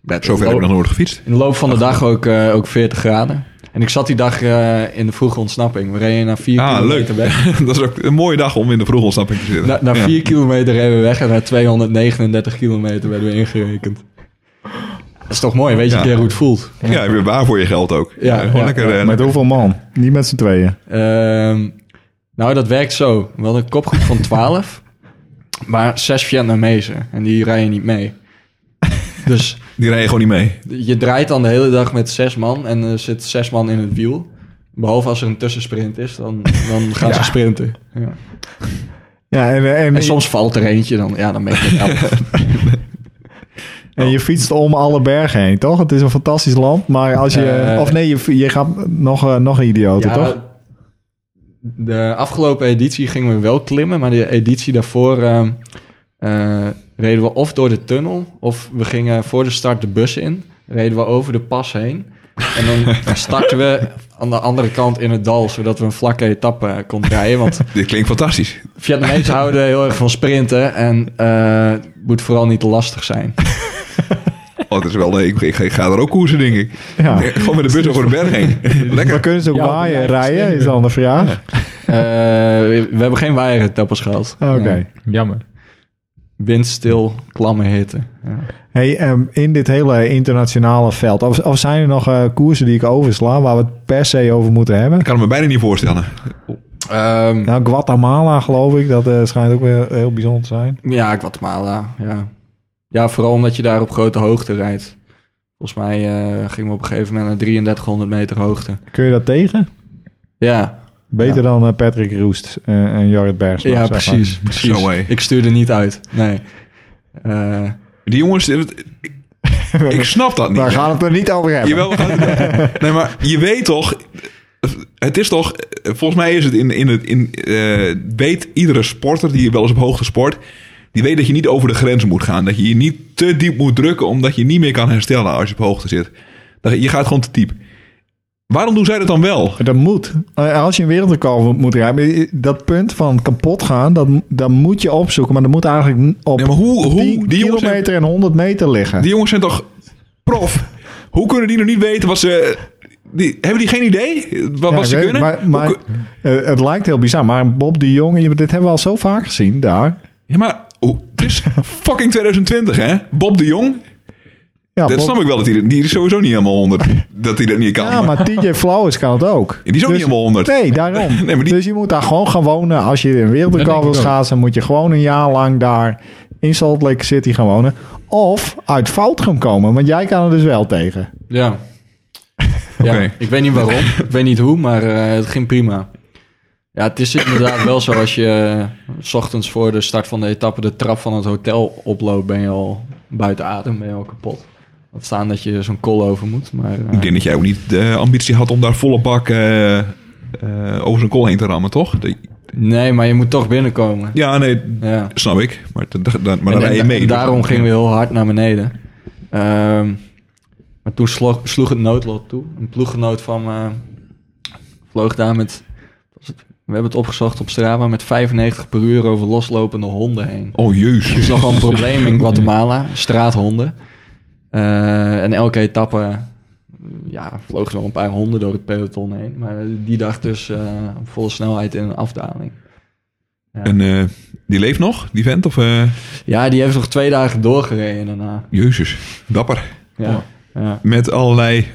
D: dat-
C: zover heb ik nog nooit gefietst.
D: in de loop van de dag ook, eh, ook 40 graden. En ik zat die dag eh, in de vroege ontsnapping. We reden naar 4
C: Ah,
D: kilometer
C: leuk.
D: weg.
C: dat is ook een mooie dag om in de vroege ontsnapping te zitten.
D: Na, na
C: Ja.
D: 4 kilometer reden we weg en na 239 kilometer werden we ingerekend. Dat is toch mooi, weet je
C: Ja.
D: een keer hoe het voelt.
C: Ja, weer waar voor je geld ook.
D: Ja,
C: Eh, gewoon
D: ja,
C: lekker. eh,
A: Met hoeveel man? Niet met z'n tweeën.
D: Ehm, nou, dat werkt zo. We hadden een kopgroep van 12, maar 6 Vietnamezen. En die rijden niet mee. Dus
C: Die rijden gewoon niet mee.
D: je draait dan de hele dag met zes man en er zit zes man in het wiel. Behalve als er een tussensprint is, dan, dan gaan ze sprinten. Ja.
A: Ja, en, eh, en,
D: En soms valt er eentje, dan, ja, dan ben je knap.
A: En
D: Oh.
A: je fietst om alle bergen heen, toch? Het is een fantastisch land, maar als je...
D: Eh,
A: of nee, je, je gaat nog, eh, nog een idioot,
D: Ja,
A: toch?
D: De afgelopen editie gingen we wel klimmen, maar de editie daarvoor ehm, eh, reden we of door de tunnel, of we gingen voor de start de bus in, reden we over de pas heen. En dan starten we aan de andere kant in het dal, zodat we een vlakke etappe eh, konden rijden. Want
C: Dit klinkt fantastisch.
D: Vietnamezen houden heel erg van sprinten en eh, het moet vooral niet te lastig zijn.
C: Oh, dat is wel, nee, ik, ik, ik ga er ook koersen, denk ik.
A: Ja.
C: Gewoon met de bus over de berg heen.
A: Maar
C: Lekker.
A: kunnen ze ook
B: Ja,
A: waaien en
B: ja,
A: rijden, is dan de vraag.
D: Eh, we, we hebben geen waaieretappers gehad.
A: Ah, Oké.
D: Ja.
B: Jammer.
D: Windstil, klamme hitte. Ja.
A: Hey, ehm, in dit hele internationale veld, of, of zijn er nog eh, koersen die ik oversla waar we het per se over moeten hebben?
C: Ik kan het me bijna niet voorstellen.
D: Ehm,
A: Nou, Guatemala geloof ik, dat eh, schijnt ook weer heel bijzonder te zijn.
D: ja, Guatemala. Ja. ja, vooral omdat je daar op grote hoogte rijdt. Volgens mij eh, gingen we op een gegeven moment naar 3300 meter hoogte.
A: Kun je dat tegen?
D: Ja,
A: Beter
D: Ja.
A: dan eh, Patrick Roest eh, en Jorrit Bergsma.
D: ja
A: zeg maar.
D: precies. precies.
C: Zo, hé.
D: Ik stuurde niet uit. Nee. Eh,
C: Die jongens, eh, het- ik snap dat niet.
A: Daar gaan we het er niet over hebben.
C: Jawel, we gaan het- nee, maar je weet toch... Het is toch... Volgens mij is het in... in, het, in eh, weet iedere sporter die wel eens op hoogte sport... Die weet dat je niet over de grens moet gaan. Dat je je niet te diep moet drukken... omdat je niet meer kan herstellen als je op hoogte zit. Dat- Je gaat gewoon te diep. Waarom doen zij dat dan wel?
A: Dat moet. Eh, Als je een wereldrecord moet rijden, eh, dat punt van kapot gaan, dat, dat moet je opzoeken. Maar dat moet eigenlijk n- op
C: Nee, maar hoe- hoe-
A: 10
C: die jongens
A: kilometer en 100 meter liggen.
C: Die jongens zijn toch prof? Hoe kunnen die nog niet weten wat ze... Die, hebben die geen idee wat,
A: Ja,
C: wat ze
A: ik weet-
C: kunnen?
A: Maar, maar
C: Hoe kun-
A: eh, het lijkt heel bizar. Maar Bob de Jong, je- dit hebben we al zo vaak gezien daar.
C: ja, maar oh, het is fucking 2020, hè? Bob de Jong,
D: Ah,
A: Ja,
C: dat
A: Bob-
C: snap ik wel. Dat hij, die is sowieso niet helemaal 100. dat hij dat niet kan.
A: ja
C: maar,
A: maar TJ Flowers kan het ook. Dus-
C: die is ook niet
D: Dus-
C: helemaal 100.
A: Nee, daarom.
C: Nee, maar die-
A: Dus je moet daar gewoon gaan wonen. Als je een
B: Dat
A: wereldrecord wil
B: denk ik ook.
A: schaatsen, moet je gewoon een jaar lang daar in Salt Lake City gaan wonen. Of uit Foutgem komen, want jij kan er dus wel tegen.
D: Ja. ja.
C: Oké.
D: Ik weet niet waarom, ik weet niet hoe, maar eh, het ging prima. Ja, het is inderdaad wel zo als je eh, s ochtends voor de start van de etappe de trap van het hotel oploopt, ben je al buiten adem, ben je al kapot. Laat staan dat je zo'n kol over moet, maar eh,
C: Ik denk dat jij ook niet de ambitie had om daar volle bak eh, eh, over zijn kool heen te rammen, toch? Dat-
D: Nee, maar je moet toch binnenkomen.
C: Ja, nee,
D: Ja.
C: snap ik. Maar, da- da- maar dan
D: En-
C: rij je
D: en
C: mee.
D: Daarom gingen we heel hard naar beneden. Ehm, maar toen sloeg, sloeg het noodlot toe. Een ploeggenoot van me vloog daar met... was het- We hebben het opgezocht op Strava met 95 per uur over loslopende honden heen.
C: Oh, jezus.
D: Het is nogal een probleem in Guatemala, straathonden. Eh, en elke etappe eh, ja, vlogen er wel een paar honden door het peloton heen. Maar die dag dus eh, op volle snelheid in een afdaling.
C: En eh, die leeft nog, die vent? Of, eh,
D: Ja, die heeft nog twee dagen doorgereden daarna.
C: jezus, dapper.
D: Ja, ja.
C: Met allerlei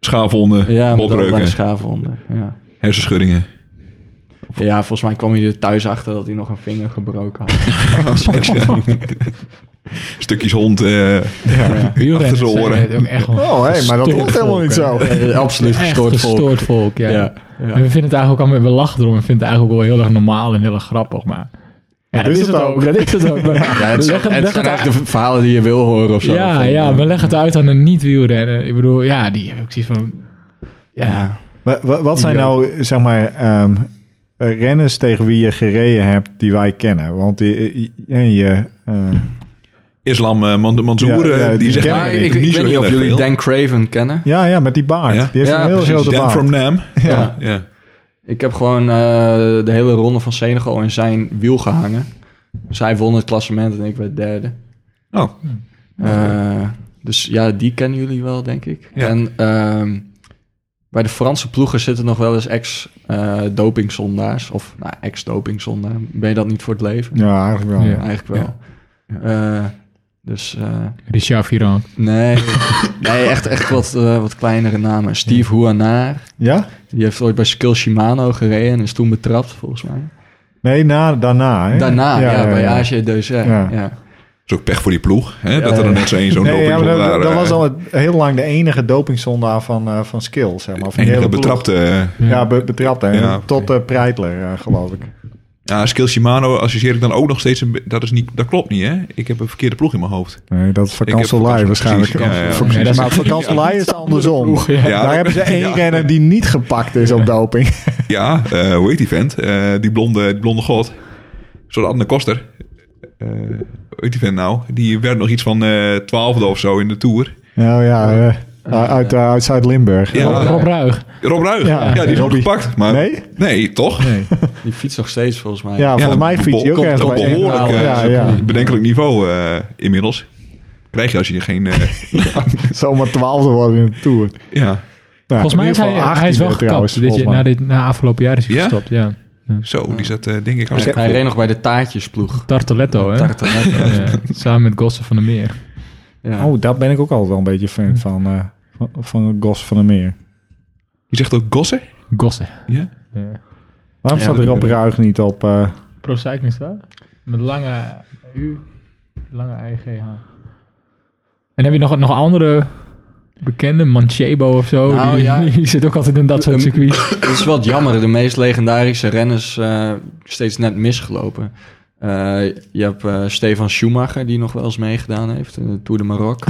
C: schaafwonden,
D: ja met allerlei
C: bobreuken,
D: schaafhonden. Ja.
C: hersenschuddingen.
D: ja, volgens mij kwam hij er thuis achter dat hij nog een vinger gebroken had.
C: Stukjes hond. eh,
D: Ja.
B: Wielrenners
C: zijn oren.
B: het ook echt wel
A: Oh, hey, maar dat
B: gestoord
A: klopt helemaal
B: volk,
A: niet
B: hè.
A: zo.
D: Eh, Absoluut
B: Echt
D: gestoord volk.
B: gestoord volk, ja.
D: Ja,
B: En we vinden het eigenlijk ook allemaal, we lachen erom. We vinden het eigenlijk ook wel heel erg normaal en heel erg grappig, maar... Ja,
A: is het ook.
B: Dat is het ook. maar-
D: Ja, het,
B: we
D: zijn-
B: leggen-
D: het
B: leggen
D: zijn
B: het uit-
D: eigenlijk de verhalen die je wil horen of zo.
B: Ja,
D: Van,
B: ja,
D: eh,
B: we leggen het uit aan een niet-wielrenner. Ik bedoel, ja, die heb ik zoiets van... Ja,
D: ja.
A: Wa- wa- Wat zijn nou, zeg maar, ehm, eh, renners tegen wie je gereden hebt die wij kennen? Want je, je- en je, eh,
C: Islam eh, Man- Mansour,
A: Ja, ja,
C: eh, die
A: die
C: zegt
A: ken
D: Ja,
C: eigenlijk
D: ik, ik
C: niet
D: weet
C: zo
D: niet
C: heel
D: of
C: erg
D: jullie
C: veel.
D: Dan Craven kennen.
A: ja, ja, met die baard.
C: Ja.
A: Die heeft
D: Ja,
A: een heel
D: precies.
A: grote
C: Dan
A: baard.
C: from Nam.
A: ja.
C: Ja.
D: Ik heb gewoon eh, de hele ronde van Senegal in zijn wiel gehangen. Zij won het klassement en ik werd derde.
C: Oh,
D: Eh, dus ja, die kennen jullie wel, denk ik.
C: Ja.
D: En ehm, bij de Franse ploegen zitten nog wel eens ex-dopingzondaars. of nou, ex-dopingzondaar. Ben je dat niet voor het leven?
A: Ja, eigenlijk wel.
B: Ja.
D: Eigenlijk wel. Eh, dus eh,
B: Richard Viron.
D: nee, nee echt, echt wat, eh, wat kleinere namen. Steve Huanaar.
A: Ja?
D: Die heeft ooit bij Skill Shimano gereden en is toen betrapt, volgens mij.
A: Nee, na, daarna. Hè?
D: Daarna, ja, bij
A: ja.
D: AG Deuze.
A: Ja.
D: Ja. Ja.
C: is ook pech voor die ploeg. Hè? dat
D: Ja,
C: er
D: ja.
C: net zo één zo'n
A: Nee, ja, maar
C: dopingzondaar,
A: dat, dat
C: eh,
A: was al het- heel lang de enige dopingzondaar van, eh, van skill, zeg maar. Van de
C: enige
A: hele ploeg.
C: betrapte. eh,
A: Ja, be- betrapt. Hè?
C: Ja, oké.
A: Tot eh, Preitler, eh, geloof ik.
C: Ja, Skill Shimano associeer ik dan ook nog steeds... Een, be- dat, is niet, dat klopt niet, hè? Ik heb een verkeerde ploeg in mijn hoofd.
A: Nee, dat is
C: vakantie heb-
A: vakantielij waarschijnlijk.
C: precies, ja, ja.
A: Vakantie-
B: Nee, dat is-
A: maar vakantielij is andersom.
C: Ja,
A: Daar hebben ze één
C: ja.
A: renner die niet gepakt is op doping.
C: Ja, eh, hoe heet die vent? Eh, die blonde, die blonde god. Een soort Anne Koster. Eh, hoe heet die vent nou? Die werd nog iets van eh twaalfde of zo in de Tour.
A: Nou ja, eh, uit, eh, uit Zuid-Limburg.
C: Ja.
B: Rob, Rob Ruig.
C: Rob Ruig.
A: Ja,
C: Ja, die is ook
A: Robbie.
C: gepakt. Maar,
A: Nee?
C: Nee, toch?
D: Die fietst nog steeds, volgens mij.
A: Ja, volgens mij
C: die
A: fiets je
C: bol-
A: ook
C: komt
A: ergens
C: op
A: bij één.
C: behoorlijk, eh,
A: Ja, ja.
C: bedenkelijk niveau eh, inmiddels. Krijg je als je geen... eh,
A: Zomaar twaalfde worden in de Tour. Nou,
C: ja,
A: in
B: Volgens mij
A: ieder
B: is
A: geval
B: hij, hij is wel
A: 18e
B: gekapt.
A: trouwens,
B: dit, jaar-
A: volgens
B: na,
A: mij.
B: dit, na afgelopen jaar is hij
C: Ja?
B: gestopt, ja.
C: zo. Die zat eh, denk ik... al
D: Hij-
C: sterk
D: hij
C: voor.
D: reed nog bij de taartjesploeg.
B: Tarteletto, hè?
D: Tartaret.
B: Ja, samen met Gossen van der Meer.
D: Ja.
A: Oh, daar ben ik ook altijd wel een beetje
B: Hm.
A: fan van. eh, van, van Gos van der Meer.
C: Je zegt ook Gossen?
B: Gossen.
C: Ja.
B: Ja.
A: Waarom
D: Ja,
A: staat
D: dat-
A: Rob Ruig niet op... eh,
B: Pro Cycling Star? Met lange U, lange IGH. En heb je nog, nog andere bekende? Manchebo of zo?
D: Nou,
B: die,
D: ja.
B: die zit ook altijd in dat soort
D: Een-
B: circuits.
D: Dat is wel jammer. De meest legendarische renners eh, steeds net misgelopen. Eh, je hebt eh, Stefan Schumacher, die nog wel eens meegedaan heeft. in de Tour de Maroc.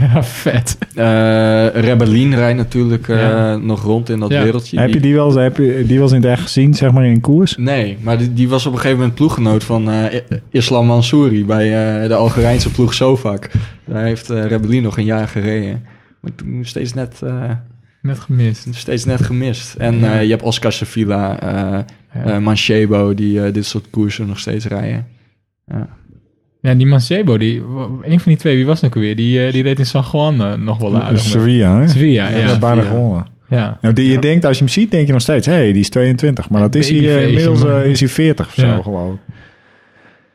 B: Ja, vet.
D: Eh Rebellin rijdt natuurlijk eh,
B: Ja.
D: nog rond in dat
B: Ja.
D: wereldje.
A: heb je die wel eens, heb je die wel eens in het echt gezien, zeg maar, in koers?
D: Nee, maar die, die was op een gegeven moment ploeggenoot van eh, I- Islam Mansouri bij eh, de Algerijnse ploeg Sofak. Daar heeft eh Rebellin nog een jaar gereden. Maar toen steeds net, eh,
B: Net gemist.
D: steeds net gemist. En
B: Ja.
D: eh, je hebt Oscar Sevilla, eh
B: Ja.
D: eh, Manchebo, die eh, dit soort koersen nog steeds rijden.
B: Ja, die Mancebo, die, een van die twee, wie was het ook weer? Die, eh, die reed in San Juan eh, nog wel aardig. met-
A: Sevilla, hè?
B: Sevilla,
A: Ja,
B: ja.
A: bijna
D: Sevilla.
A: gewonnen.
B: ja.
A: Nou, die, je denkt, als je hem ziet, denk je nog steeds... Hé, hey, die is 22. Maar dat is hij eh,
B: Babyface,
A: inmiddels
B: man.
A: eh, is hij 40 of zo,
B: Ja.
A: geloof ik.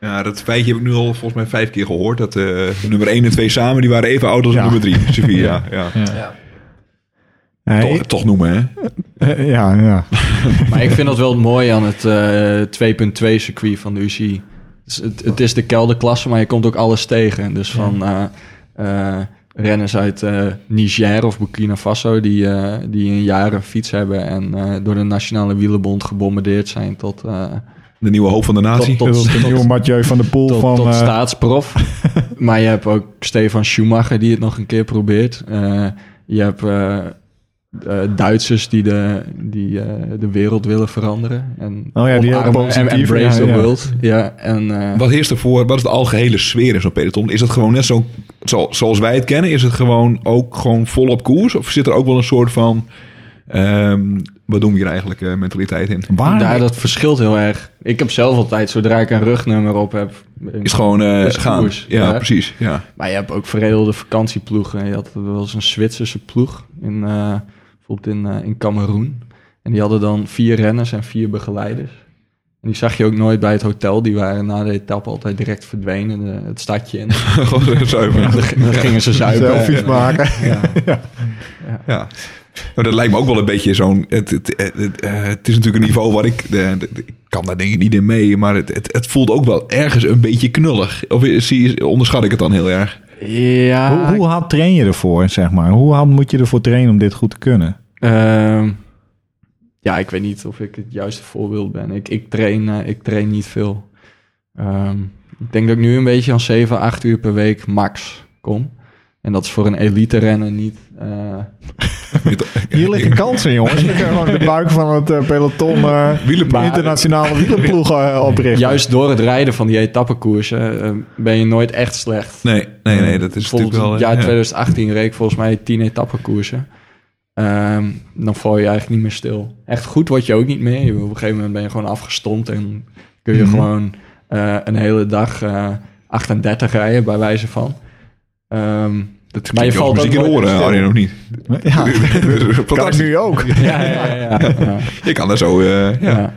C: Ja, dat feitje heb ik nu al volgens mij vijf keer gehoord. Dat eh, nummer 1 en 2 samen, die waren even oud als
A: Ja.
C: nummer 3. Sevilla, ja.
B: ja.
A: Nee,
C: Toch, toch noemen, hè?
A: eh, ja, ja.
D: Maar ik vind dat wel mooi aan het eh, 2.2 circuit van de UCI. Dus het, het is de kelderklasse, maar je komt ook alles tegen. Dus van eh, eh, renners uit eh, Niger of Burkina Faso... die, eh die een jaar een fiets hebben en eh, door de Nationale Wielenbond gebombardeerd zijn... tot, eh,
C: De nieuwe hoop van de natie.
D: tot,
A: Dat is
D: tot,
A: de nieuwe Mathieu van der Poel
D: tot,
A: van...
D: tot
A: eh,
D: staatsprof. maar je hebt ook Stefan Schumacher die het nog een keer probeert. Eh, je hebt eh, eh, Duitsers die, de, die eh, de wereld willen veranderen. En
A: Oh ja, die
D: omarmen en
A: positief,
D: embrace
A: ja,
D: the
A: ja.
D: world. Ja, en, eh,
C: Wat heerst ervoor? Wat is de algehele sfeer in zo'n peloton? Is dat gewoon net zo, zo- zoals wij het kennen? Is het gewoon ook gewoon volop koers? Of zit er ook wel een soort van... ehm, wat doen we hier eigenlijk eh, mentaliteit in?
A: Waar?
D: daar, dat verschilt heel erg. Ik heb zelf altijd, zodra ik een rugnummer op heb...
C: Is gewoon eh,
D: Is
C: gaan.
D: koers,
C: ja,
D: ja.
C: precies. Ja.
D: Maar je hebt ook verredelde vakantieploegen. Je had wel eens een Zwitserse ploeg, in, eh, bijvoorbeeld in, eh in Cameroen. En die hadden dan vier renners en vier begeleiders. En die zag je ook nooit bij het hotel. Die waren na de etappe altijd direct verdwenen, de- het stadje in.
C: gewoon zuiver.
D: En dan, dan gingen ze zuipen.
A: Selfies maken.
C: Ja. Maar dat lijkt me ook wel een beetje zo'n... Het, het, het, het, eh, het is natuurlijk een niveau waar ik... eh, d- d- ik kan daar dingen niet in mee, maar het, het, het voelt ook wel ergens een beetje knullig. Of is- zie, onderschat ik het dan heel erg?
D: Ja,
A: Hoe, hoe hard train je ervoor, zeg maar? Hoe hard moet je ervoor trainen om dit goed te kunnen?
D: Ehm, ja, ik weet niet of ik het juiste voorbeeld ben. Ik, ik, train, eh, ik train niet veel. Ehm, ik denk dat ik nu een beetje aan 7, 8 uur per week max kom. En dat is voor een elite rennen niet. eh,
A: Hier liggen kansen, jongens. Je kan gewoon de buik van het eh, peloton eh,
C: Wielenploeg.
A: internationale wielenploeg eh, oprichten.
D: juist door het rijden van die etappekoersen eh, ben je nooit echt slecht.
C: Nee, nee, nee, dat is
D: Volgens
C: natuurlijk wel... eh,
D: het jaar
C: ja.
D: 2018 reek volgens mij 10 etappekoersen. Ehm, dan val je eigenlijk niet meer stil. Echt goed word je ook niet meer. Je- Op een gegeven moment ben je gewoon afgestompt en kun je
A: Mhm.
D: gewoon eh, een hele dag eh, 38 rijden, bij wijze van. Ehm,
C: Dat
D: Maar je
C: klinkt als
D: valt
C: muziek
D: ook
C: in de
D: nooit
C: oren,
D: stil.
C: Arjen, of niet?
A: Ja, kan ik
C: Fantastisch.
A: nu ook.
D: ja, ja, ja, ja, ja.
C: Je kan daar zo... eh, ja.
D: Ja.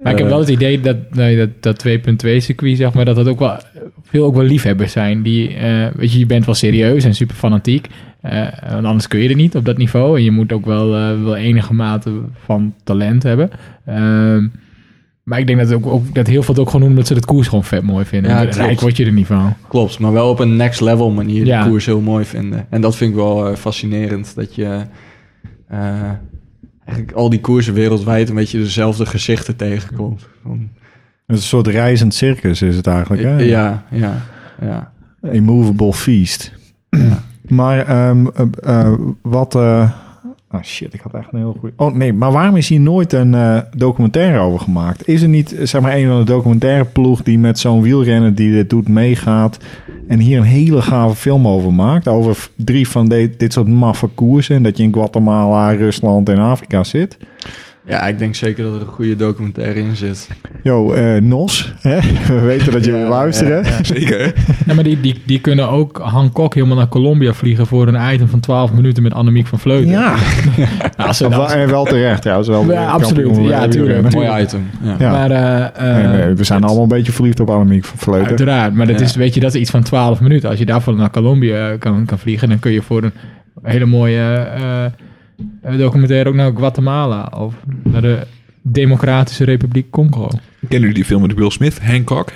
B: Maar ik heb
D: Eh,
B: wel het idee dat nee, dat, dat 2.2 circuit, zeg maar, dat dat ook wel veel ook wel liefhebbers zijn. Die, eh, weet je, je bent wel serieus en super fanatiek. eh, want anders kun je er niet op dat niveau. En je moet ook wel, eh, wel enige mate van talent hebben. Ehm, maar ik denk dat, ook, ook, dat heel veel het ook gewoon doen omdat ze het koers gewoon vet mooi vinden.
D: Ja,
B: En
D: klopt.
B: Rijk word je er niet van.
D: Klopt, maar wel op een next level manier
B: Ja.
D: de koers heel mooi vinden. En dat vind ik wel eh, fascinerend. Dat je eh, eigenlijk al die koersen wereldwijd een beetje dezelfde gezichten tegenkomt. Van-
A: Het is een soort reizend circus is het eigenlijk. Hè?
D: Ja, ja, ja.
A: Immovable feast. Maar ehm, eh, eh, wat... eh, Oh shit, ik had echt een heel goed. Oh nee, maar waarom is hier nooit een eh, documentaire over gemaakt? Is er niet, eh, zeg maar, een van de documentaire ploeg die met zo'n wielrenner die dit doet meegaat en hier een hele gave film over maakt? Over v- drie van de- dit soort maffe koersen en dat je in Guatemala, Rusland en Afrika zit.
D: Ja, ik denk zeker dat er een goede documentaire in zit.
A: Yo, eh, Nos, hè? we weten dat je
D: Ja,
A: wil luisteren.
D: ja, ja.
C: Zeker, hè?
B: Ja, maar die, die, die kunnen ook Hancock helemaal naar Colombia vliegen voor een item van 12 minuten met Annemiek van Vleuten.
A: Ja,
B: Nou, als ze
A: Wel-
B: dat-
A: en wel terecht trouwens. Wel
B: Ja,
A: terecht,
B: absoluut.
A: kampioen,
B: Ja,
A: eh,
B: tuurlijk.
A: wielrenner.
D: Mooi item. Ja.
A: Ja.
B: Maar, eh, eh,
A: Nee, nee, we zijn
B: het-
A: allemaal een beetje verliefd op Annemiek van Vleuten.
B: Uiteraard, maar dat
D: Ja.
B: is, weet je, dat is iets van 12 minuten. Als je daarvoor naar Colombia eh, kan, kan vliegen, dan kun je voor een hele mooie eh, eh, documentaire ook naar Guatemala of naar de Democratische Republiek Congo.
C: Kennen jullie die film met Will Smith, Hancock?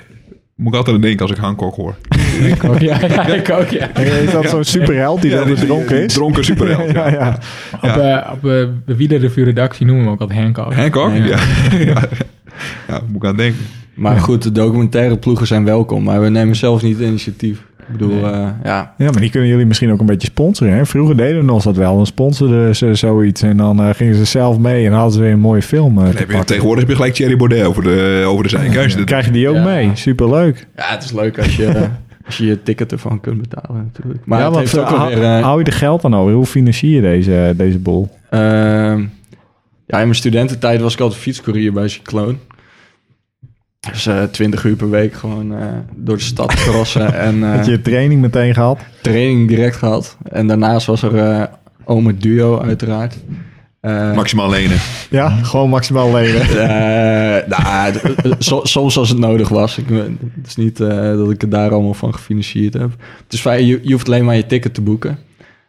C: Moet ik altijd aan denken als ik Hancock hoor.
B: Ik ook, ja, ja, ik ook, ja.
A: Is dat zo'n superheld die
C: Ja,
A: dan
C: die-
A: weer dronken
C: die
A: is?
C: Dronken superheld, ja.
A: ja, ja.
B: Op, eh, op eh, de wielerrevue redactie noemen we hem ook altijd Hancock. Oh,
C: Hancock?
D: Ja.
C: Ja. Ja. ja. moet ik aan denken.
D: Maar goed, de documentaire ploegen zijn welkom, maar we nemen zelf niet het initiatief. Ik bedoel, eh, ja.
A: Ja, maar die kunnen jullie misschien ook een beetje sponsoren. Hè? Vroeger deden we ons dat wel. Dan sponsorden ze zoiets en dan eh, gingen ze zelf mee en hadden ze weer een mooie film. eh, te
C: Dan heb je,
A: pakken.
C: tegenwoordig heb je gelijk Thierry Baudet over de, over de zijkant.
A: Dan krijg je die ook
D: Ja.
A: mee. Superleuk.
D: ja, het is leuk als je, als je je ticket ervan kunt betalen natuurlijk. Maar
A: ja,
D: het
A: want,
D: heeft
A: eh,
D: ook wel
A: hou-
D: weer... eh,
A: hou je de geld dan over? Hoe financier je deze, eh, deze bol?
D: Ehm, ja, in mijn studententijd was ik altijd fietscourier bij Cycloon. Dus twintig uur per week gewoon eh, door de stad crossen en
A: Had
D: eh,
A: je training meteen gehad?
D: training direct gehad. En daarnaast was er eh Ome Duo uiteraard. Eh,
C: Maximaal lenen.
A: Ja, gewoon maximaal lenen.
D: eh, nou, d- d- so- soms als het nodig was. Ik, ben- het is niet eh, dat ik het daar allemaal van gefinancierd heb. Het is fijn, je, je hoeft alleen maar je ticket te boeken.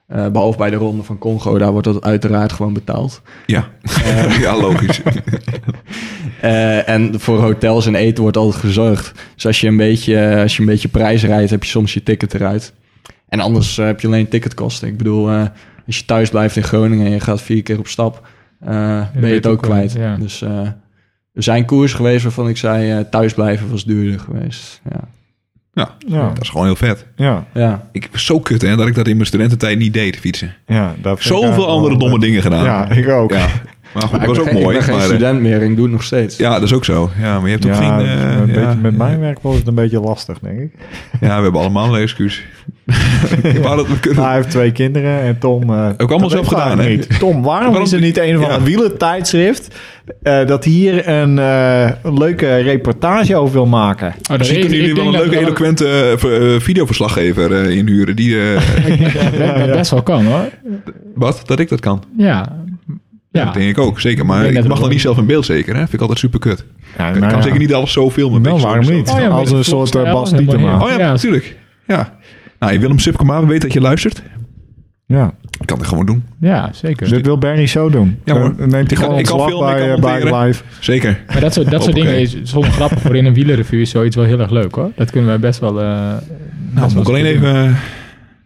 D: Eh, behalve bij de Ronde van Congo, daar wordt dat uiteraard gewoon betaald.
C: Ja, ja logisch.
D: Eh, en voor hotels en eten wordt altijd gezorgd. Dus als je een beetje, als je een beetje prijs rijdt, heb je soms je ticket eruit. En anders eh, heb je alleen ticketkosten. Ik bedoel, eh, als je thuis blijft in Groningen en je gaat vier keer op stap, eh, ben je
B: weet
D: het
B: ik
D: ook
B: wel,
D: kwijt.
B: ja.
D: Dus eh, er zijn koers geweest waarvan ik zei, eh thuis blijven was duurder geweest. Ja.
C: Ja,
A: Ja.
C: dat is gewoon heel vet.
A: Ja,
D: Ja.
C: Ik was zo kut hè, dat ik dat in mijn studententijd niet deed, fietsen.
A: ja. dat vind ik
C: Zoveel
A: eigenlijk
C: andere
A: wel-
C: domme dingen gedaan.
A: Ja, ik ook.
C: Ja. Maar goed, dat was
D: ik
C: ook
D: ben,
C: mooi.
D: Ik ben geen
C: maar, eh,
D: student meer, ik doe het nog steeds.
C: ja, dat is ook zo. Ja, maar je hebt ook
A: Ja, dus
C: vrienden. eh,
A: een
C: ja.
A: beetje, met mijn werk was het een beetje lastig, denk ik.
C: Ja, we hebben allemaal een excuus. ik wou dat we kunnen.
A: Maar Nou, hij heeft twee kinderen en Tom... eh,
C: Ook allemaal
A: dat
C: zelf
A: weet ik
C: gedaan,
A: eigenlijk
C: hè?
A: niet. Tom, waarom,
C: Waarom-
A: is er niet een van
C: Ja.
A: een wielertijdschrift... eh, dat hier een, eh, een leuke reportage over wil maken?
B: Oh, dat
C: Misschien
B: weet-
C: kunnen
B: ik
C: jullie wel
B: denk
C: een
B: dat
C: leuke,
B: dat-
C: eloquente eh, ver- eh, videoverslaggever eh, inhuren. Die, eh,
B: dat dat best wel kan hoor.
C: wat? Dat ik dat kan.
B: Ja. Ja.
C: Dat denk ik ook, zeker. Maar
B: Ik denk
C: ik
B: dat
C: mag
B: we-
C: dan niet zelf in beeld, zeker. Hè? Vind ik altijd super kut. Ik
A: Nou Ja,
C: kan zeker niet alles zo filmen.
A: Nou,
C: Weet je,
A: waarom
C: zo-
A: niet?
C: Oh
B: maar
A: Als
B: dat
A: een
B: klopt
A: soort, eh,
B: wel
A: Bas
B: helemaal
A: Dietema.
B: niet.
C: ja,
B: Ja,
C: natuurlijk. Ja. Nou, Willem Sipkema, we weten dat je luistert.
A: Ja, dus
C: Ik kan het gewoon doen.
B: Ja, zeker.
C: Dus-
A: dit wil Barry zo doen.
C: Ja, hoor.
A: Dan neemt hij
C: Ik kan-
A: gewoon
C: ik kan
A: ontslag
C: filmen, ik
A: bij,
C: kan
A: eh, bij
C: monteren.
A: live. Nou,
C: Zeker.
B: Maar dat soort, dat soort dingen
C: Hoppakee.
B: is soms grappig voor in een wielerrevue is zoiets wel heel erg leuk hoor. Dat kunnen wij best wel. eh,
C: Nou,
B: best wel
C: moet ik alleen
B: doen.
C: even... eh,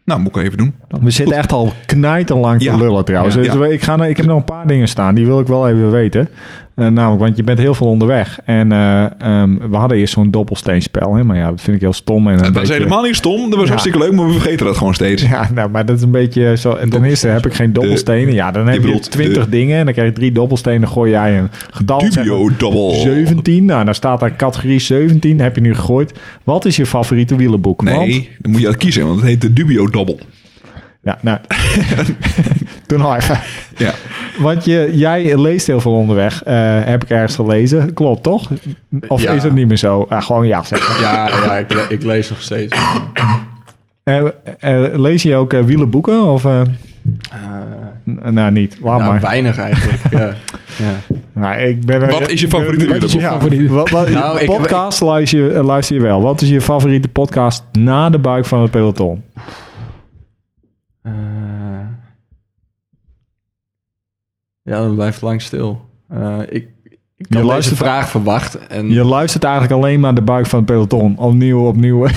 C: Nou, moet ik even doen.
A: We zitten echt al knijterlang te
C: Ja.
A: lullen trouwens.
B: Ja.
A: Dus
C: Ja.
A: Ik, ga, naar- ik heb nog een paar dingen staan, die wil ik wel even weten. Eh, namelijk, want je bent heel veel onderweg. En eh, ehm, we hadden eerst zo'n dobbelsteenspel, hè? maar ja, dat vind ik heel stom. En een
C: Dat was
A: beetje-
C: helemaal niet stom. Dat was
A: Ja.
C: hartstikke leuk, maar we vergeten dat gewoon steeds.
A: Ja, nou, maar dat is een beetje zo. En ten eerste heb ik geen dobbelstenen. Ja, dan heb je
C: bedoelt
A: twintig
C: de-
A: dingen en dan krijg je drie dobbelstenen. Dan gooi jij een getal. zeg maar
C: Dubio double.
A: 17. Nou, dan staat daar categorie 17. Heb je nu gegooid. Wat is je favoriete wielenboek? Want-
C: Nee, dan moet je dat kiezen, want het heet de Dubio Double.
A: ja, nou. Doe nou even.
C: Ja.
A: Want je, jij leest heel veel onderweg. eh, heb ik ergens gelezen. Klopt, toch? Of
D: Ja.
A: is dat niet meer zo? Ah, gewoon ja zeggen.
D: Ja, ja, ik, le- ik lees nog steeds.
C: Ah,
A: Eh, eh, lees je ook eh, wielenboeken? Of, eh,
D: Eh,
A: n- nou, niet. Laat
D: nou,
A: maar.
D: weinig eigenlijk. ja. Ja.
A: Nou, ik ben er-
C: Wat is je favoriete
A: Wat is je
B: wielerboek?
A: favoriete- wat- wat-
D: Nou, ik-
A: podcast luister, je, eh, luister je wel. Wat is je favoriete podcast na de buik van het peloton?
D: Eh, ja, dat blijft lang stil. Eh, ik, ik
A: Je
D: had deze
A: luistert-
D: vraag verwacht. En,
A: Je luistert eigenlijk alleen maar de buik van het peloton. Opnieuw, opnieuw.
D: Oh,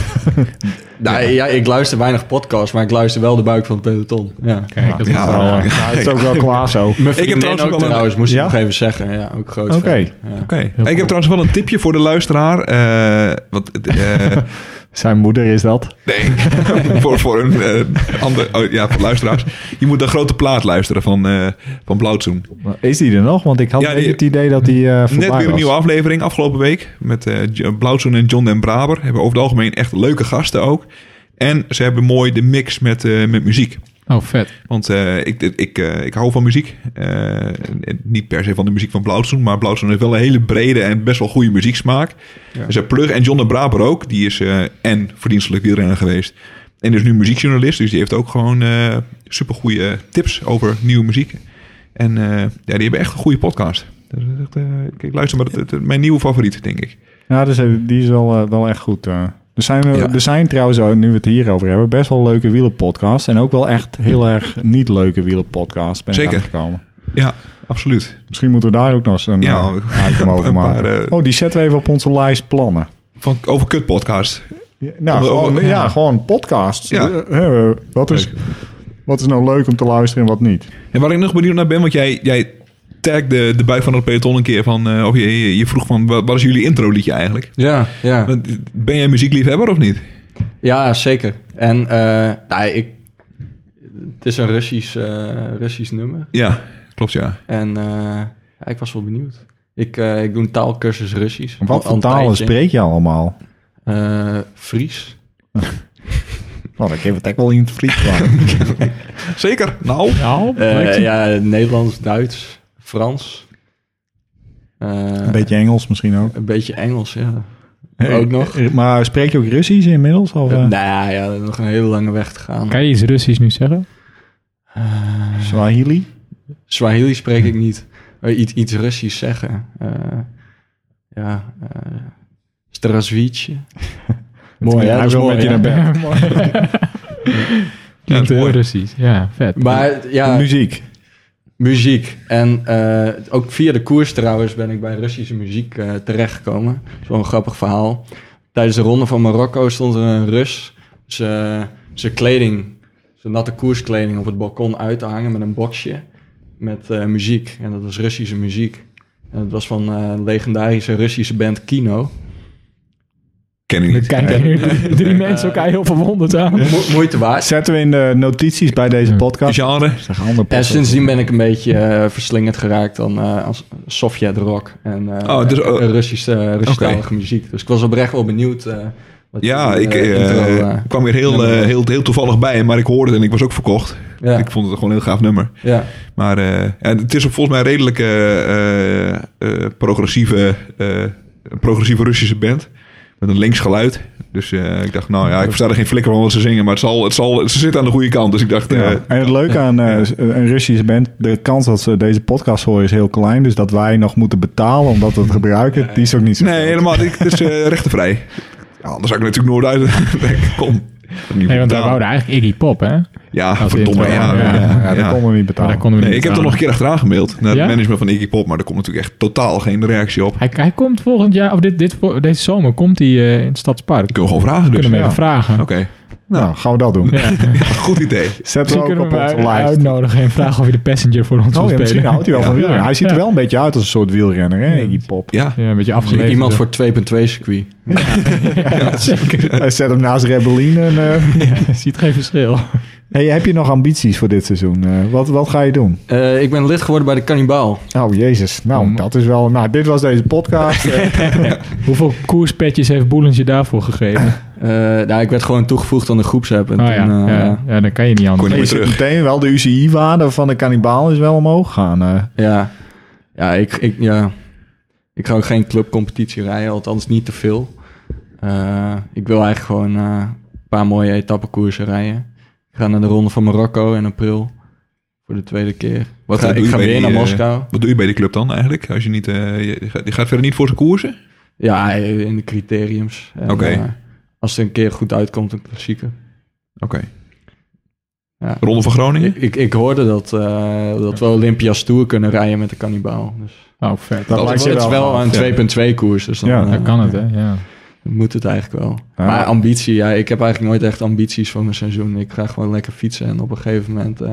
D: nou, ja. ik luister weinig podcasts, maar ik luister wel de buik van het peloton. Ja.
B: Kijk, dat
C: Ja.
B: is wel, eh,
A: Nou, het is ook wel klaar zo. Oké.
D: Mijn vriendin
C: trouwens ook
D: ook
C: wel een-
D: trouwens, moest
A: Ja?
D: ik nog even zeggen. Ja, ook groot
A: Oké.
D: fan. Ja.
C: Oké. Ik heb trouwens wel een tipje voor de luisteraar. eh, wat, eh,
A: Zijn moeder is dat.
C: nee, voor, voor een eh, ander, oh, ja, voor luisteraars. Je moet de grote plaat luisteren van, eh van Blauwtsoen.
A: Is die er nog? Want ik had
C: Ja,
A: net
C: die-
A: het idee dat die eh voorbij
C: Net weer een
A: was.
C: nieuwe aflevering afgelopen week met eh Jo- Blauwtsoen en John den Braber. Hebben over het algemeen echt leuke gasten ook. En ze hebben mooi de mix met, eh, met muziek.
B: Oh, vet.
C: Want eh, ik, ik, eh, ik hou van muziek. Eh, en- en niet per se van de muziek van Blauwtsoen. Maar Blauwtsoen heeft wel een hele brede en best wel goede muzieksmaak. Dus hij plug en John de Braber ook. Die is eh, en verdienstelijk wielrenner geweest. En is nu muziekjournalist. Dus die heeft ook gewoon eh super goede tips over nieuwe muziek. En eh, ja, die hebben echt een goede podcast. Dat is echt, eh, ik- ik luister maar, dat, dat- mijn nieuwe favoriet, denk ik.
A: Ja, dus, eh, die is wel, eh, wel echt goed. eh. Er zijn, eh,
C: Ja.
A: er zijn trouwens, ook, nu we het hierover hebben, best wel leuke wielenpodcasts. En ook wel echt heel erg niet leuke wielenpodcasts. Ben ik
C: Zeker.
A: aangekomen.
C: Ja, absoluut.
A: Misschien moeten we daar ook nog eens een
C: Ja,
A: ja, item over
C: een paar,
A: maken.
C: eh,
A: oh, die zetten we even op onze lijst plannen.
C: Van, over kutpodcast.
A: Ja, Nou,
C: Over-
A: gewoon,
C: over-
A: ja, gewoon podcasts.
C: Ja.
A: Eh, eh, wat, is, wat is nou leuk om te luisteren en wat niet?
C: En waar ik nog benieuwd naar ben, want jij, jij tagde de buik van het peloton een keer van... eh, of je, je, je vroeg van, wa- wat is jullie intro liedje eigenlijk?
D: Ja, ja.
C: Want, Ben jij muziekliefhebber of niet?
D: Ja, zeker. En eh, nou, ik, het is een Russisch, eh, Russisch nummer.
C: Ja, klopt ja.
D: En eh, ja, ik was wel benieuwd. Ik, eh, ik doe een taalkursus Russisch.
A: Wat
D: Al
A: voor
D: een
A: talen
D: tijdje.
A: spreek je allemaal?
D: Eh, Fries.
A: Nou, dan geef het echt wel in het Fries van.
C: Zeker, nou.
B: Nou,
D: Eh,
B: leuk.
D: ja, Nederlands, Duits, Frans. Eh,
A: Een beetje Engels misschien ook.
D: een beetje Engels, ja. Ook nog.
A: Eh, Maar spreek je ook Russisch inmiddels? Of, eh?
D: nou ja, ja, nog een hele lange weg te gaan.
B: Kan je iets Russisch nu zeggen?
D: Eh,
A: Swahili?
D: Swahili spreek ik niet. Eh, iets, iets Russisch zeggen. Eh, ja, eh Strasvitje.
A: Mooi,
D: ja, dat
A: hij
D: is
A: wil
D: mooi,
A: met je
D: ja.
A: naar bed.
C: dat
B: Klinkt
C: is
B: heel
C: mooi.
B: Russisch. Ja, vet.
D: Maar ja,
A: Muziek.
D: muziek. En eh, ook via de koers trouwens ben ik bij Russische muziek eh, terechtgekomen. Zo'n grappig verhaal. Tijdens de ronde van Marokko stond er een Rus zijn zijn kleding, zijn natte koerskleding op het balkon uit te hangen met een boxje met eh, muziek. En dat was Russische muziek. En dat was van eh, een legendarische Russische band Kino.
C: Ken ik
B: Er
C: niet.
B: kijken nu drie- drie mensen elkaar heel verwonderd aan.
D: Mo- moeite waard.
A: Zetten we in de notities bij deze podcast.
C: Genre?
A: Zeg, andere
D: En
A: podcast.
D: sindsdien ben ik een beetje eh, verslingerd geraakt aan eh als Sovjet rock en eh,
C: Oh, dus,
D: eh,
C: oh.
D: Russisch, eh, Russisch-talige muziek. Dus ik was oprecht wel benieuwd. eh, wat
C: Ja,
D: die,
C: ik
D: eh, intro,
C: eh,
D: eh,
C: kwam weer heel, eh, heel, heel toevallig bij, maar ik hoorde het en ik was ook verkocht.
D: ja,
C: Ik vond het gewoon een heel gaaf nummer.
D: ja.
C: Maar eh, en het is ook volgens mij een redelijke eh, eh, progressieve, eh, progressieve Russische band. Met een links geluid. Dus eh, ik dacht, nou ja, ik versta er geen flikker van wat ze zingen. Maar het zal, het zal, ze zitten aan de goede kant. Dus ik dacht, eh,
A: Ja. En het leuke aan eh, een Russische band, de kans dat ze deze podcast horen is heel klein. Dus dat wij nog moeten betalen omdat we het gebruiken, die is ook niet zo
C: nee,
A: groot.
C: helemaal niet. Het is eh, rechtenvrij. Ja, anders zou ik natuurlijk nooit uit. Ik Kom.
B: Nee, want
C: Nou.
B: wij wouden eigenlijk Iggy Pop, hè?
C: Ja,
B: Als
C: verdomme.
D: Oh,
B: intro,
C: Ja,
B: ja,
A: Ja,
C: ja.
A: dat konden we niet
B: Maar
A: betalen.
B: daar konden we
C: Nee,
B: niet
C: ik heb er
B: aan.
C: nog een keer achteraan gemaild naar
B: Ja?
C: het management van Iggy Pop, maar daar komt natuurlijk echt totaal geen reactie op.
B: Hij, hij komt volgend jaar, of dit, dit, voor- deze zomer, komt hij eh, in het Stadspark.
C: Ik wil gewoon vragen dus.
B: Kunnen we
C: Oké,
B: even
A: ja.
B: vragen.
A: Nou, gaan we dat doen.
B: Ja.
C: goed idee.
A: Zetten we
B: Misschien
A: ook
B: kunnen
A: op
B: we
A: onze
B: hem
A: lijst.
B: uitnodigen en vragen of hij de passenger voor ons wil
A: Oh, ja, misschien
B: spelen.
A: houdt hij wel van
B: Ja.
A: wielrennen. Hij ziet er
B: Ja.
A: wel een beetje uit als een soort wielrenner, hè,
B: Ja.
A: Iggy Pop.
C: Ja,
B: Ja, een beetje afgeleverd.
D: Iemand voor 2.2 circuit.
B: Ja, zeker.
A: Hij zet hem naast Rebellin. En, eh,
B: Je ziet geen verschil.
A: hey, heb je nog ambities voor dit seizoen? Eh, wat, wat ga je doen?
D: Eh, ik ben lid geworden bij de Cannibaal.
A: Oh, jezus. Nou,
B: Om-
A: dat is wel... Nou, dit was deze podcast. Eh,
B: Hoeveel koerspetjes heeft Boelens je daarvoor gegeven?
D: Eh, nou, ik werd gewoon toegevoegd aan de groepsapp. En
B: Oh
D: toen,
B: ja,
D: eh,
B: ja, ja, dan kan je niet
C: Kon
B: anders.
C: je
A: je
C: weer
A: ziet
C: terug.
A: meteen wel de UCI-waarde van de kannibaal is wel omhoog gaan. eh.
D: Ja, ja, ik, ik, ja. ik ga ook geen clubcompetitie rijden, althans niet te veel. Eh, ik wil eigenlijk gewoon eh, een paar mooie etappekoersen rijden. Ik ga naar de Ronde van Marokko in april voor de tweede keer.
C: Wat
D: Ik ga,
C: doe
D: ik
C: je
D: ga
C: bij
D: weer
C: die,
D: naar
C: eh,
D: Moskou.
C: Wat doe je bij die club dan eigenlijk? Als je niet, eh, je, je gaat, je gaat verder niet voor zijn koersen?
D: Ja, in de criteriums. En,
C: Oké.
D: eh, als er een keer goed uitkomt, een klassieker.
C: Oké.
D: Ja.
C: Ronde van Groningen?
D: Ik, ik, ik hoorde dat, eh, dat we Olympia's Tour kunnen rijden met de kannibaal. Dus
B: Oh, vet.
A: Dat
D: het
A: lijkt je
D: is
A: wel
D: wel
A: gaaf,
D: een
A: ja.
D: 2.2 koers. Dus dan,
A: Ja,
D: eh,
B: Dan kan het, hè? Ja.
D: Moet het eigenlijk wel.
A: Ja.
D: Maar ambitie, ja, ik heb eigenlijk nooit echt ambities voor mijn seizoen. Ik ga gewoon lekker fietsen en op een gegeven moment eh,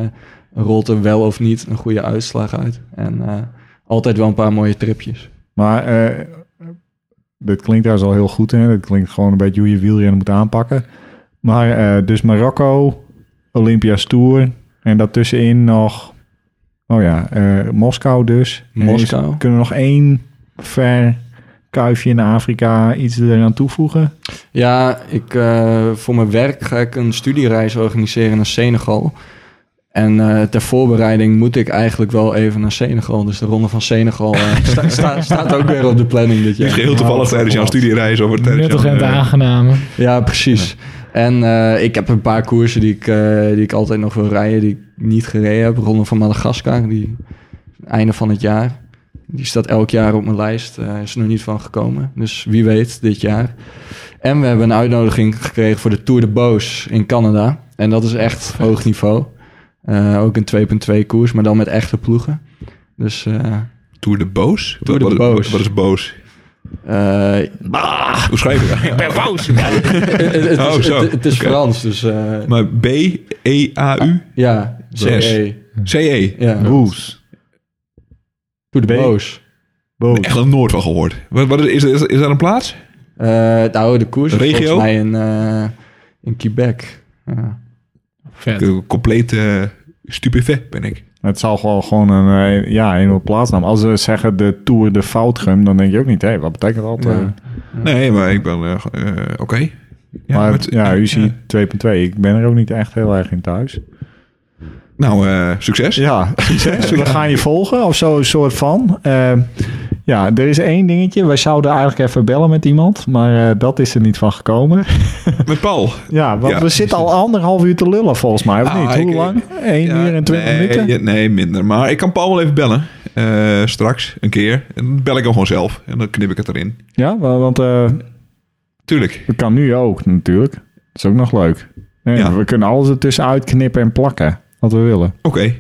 D: rolt er wel of niet een goede uitslag uit. En eh, altijd wel een paar mooie tripjes.
A: Maar eh, dit klinkt trouwens al heel goed. Hè? Dat klinkt gewoon een beetje hoe je wielrennen moet aanpakken. Maar eh, dus Marokko, Olympia's Tour en daartussenin nog... Oh ja, eh, Moskou dus. En
D: Moskou.
A: is- kunnen we nog één ver kuifje in Afrika iets eraan toevoegen?
D: Ja, ik, eh, voor mijn werk ga ik een studiereis organiseren naar Senegal. En eh, ter voorbereiding moet ik eigenlijk wel even naar Senegal. Dus de ronde van Senegal eh, sta- sta- staat ook weer op de planning dit
C: Niet
D: jaar.
C: geheel toevallig tijdens jouw studiereis over tijdens
B: Nuttig en
C: jouw,
B: te
C: eh,
B: aangename.
D: Ja, precies. En eh, ik heb een paar koersen die ik, eh, die ik altijd nog wil rijden, die ik niet gereden heb. Ronde van Madagaskar, die einde van het jaar. Die staat elk jaar op mijn lijst. Eh is er nog niet van gekomen. Dus wie weet, dit jaar. En we hebben een uitnodiging gekregen voor de Tour de Boos in Canada. En dat is echt hoog niveau. Eh, ook een 2.2 koers, maar dan met echte ploegen. Dus eh,
C: Tour de Boos?
D: Tour de
C: wat,
D: Boos.
C: Wat, wat is Boos?
D: eh,
C: Hoe schrijf je dat?
D: het, het is,
C: Oh, zo.
D: het- het is
C: Oké.
D: Frans, dus eh,
C: Maar E B-E-A-U?
D: ja.
C: Zes.
D: CE,
C: C-E?
D: Ja.
A: Roes.
D: Tour de
A: B.
D: Boos.
A: Boos.
C: Echt nog nooit van gehoord. Wat, wat is, is, is, is dat een plaats?
D: Eh, nou, de koers is
C: Regio?
D: volgens mij in, eh, in Quebec. Ja.
B: Vet.
C: Compleet eh stupefait ben ik.
A: Het zal gewoon, gewoon een, eh, ja, een plaatsnaam. Als ze zeggen de Tour de Foutgum, dan denk je ook niet, hé, wat betekent dat?
D: Ja.
A: Eh,
C: Nee, maar ik ben... eh, eh, Oké. Ja,
A: maar
C: maar
A: het-
C: het-
A: ja, u
C: ja.
A: ziet 2.2. Ik ben er ook niet echt heel erg in thuis.
C: Nou, eh, succes.
A: Ja, succes. We gaan je volgen of zo, een soort van. Eh, ja, er is één dingetje. Wij zouden eigenlijk even bellen met iemand, maar eh, dat is er niet van gekomen.
C: Met Paul.
A: Ja, want
C: Ja,
A: we zitten al anderhalf uur te lullen volgens mij, of
C: Ah,
A: niet? Hoe
C: ik-
A: lang? Eén
C: Ja,
A: uur en twintig
C: nee,
A: minuten?
C: ja, nee, minder. Maar ik kan Paul wel even bellen. Eh, straks, een keer. En dan bel ik hem gewoon zelf. En dan knip ik het erin.
A: Ja, wa- want eh
C: Tuurlijk.
A: het kan nu ook natuurlijk. Dat is ook nog leuk. Nee,
C: Ja.
A: We kunnen alles ertussen uitknippen en plakken, wat we willen.
C: Oké.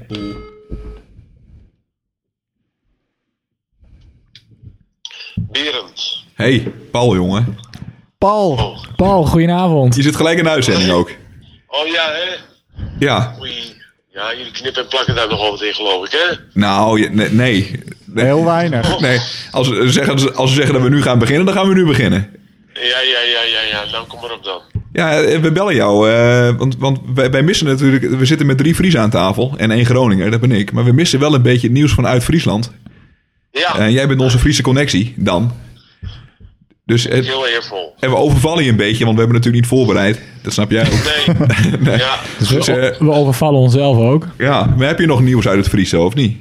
E: Berend.
C: Hey, Paul, jongen.
A: Paul!
B: Paul, goedenavond.
C: Je zit gelijk in de uitzending ook.
E: Oh ja, hè?
C: Ja.
E: Oei. Ja, jullie knippen en plakken daar nog altijd in, geloof ik, hè?
C: Nou, je- nee. Nee. eh, nee.
A: Heel weinig.
C: Nee. Als, ze zeggen, als ze zeggen dat we nu gaan beginnen, dan gaan we nu beginnen.
E: Ja, ja, ja, ja, ja. Nou, kom maar op dan.
C: Ja, eh, we bellen jou. eh, want want wij, wij missen natuurlijk... We zitten met drie Friesen aan tafel en één Groninger, dat ben ik. Maar we missen wel een beetje het nieuws vanuit Friesland.
E: Ja,
C: En jij bent onze Friese connectie dan. Dus eh,
E: heel eervol.
C: en we overvallen je een beetje, want we hebben natuurlijk niet voorbereid. Dat snap jij ook.
E: Nee,
C: Nee.
E: ja.
B: Dus
C: Dus,
B: we,
C: eh,
B: we overvallen onszelf ook.
C: Ja, maar heb je nog nieuws uit het Friese, of niet?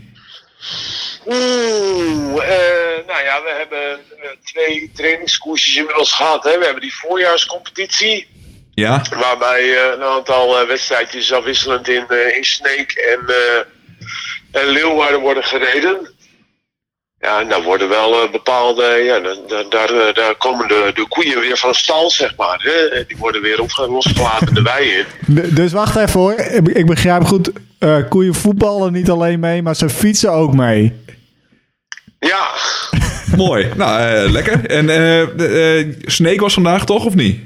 E: Oeh, eh, nou ja, we hebben eh, twee trainingskoersjes inmiddels gehad. Hè. We hebben die voorjaarscompetitie.
C: Ja?
E: Waarbij eh, een aantal eh, wedstrijdjes afwisselend in, eh, in Sneek en, eh, en Leeuwarden worden gereden. Ja, en daar worden wel eh, bepaalde, ja, dan- dan- daar, eh, daar komen de, de koeien weer van stal, zeg maar. Hè? En Die worden weer opge- losgelaten de wei in.
A: D- dus wacht even hoor. Ik, ik begrijp goed. eh, koeien voetballen niet alleen mee, maar ze fietsen ook mee.
E: Ja,
C: Mooi. Nou, eh, lekker. En eh de- eh, Snake was vandaag toch, of niet?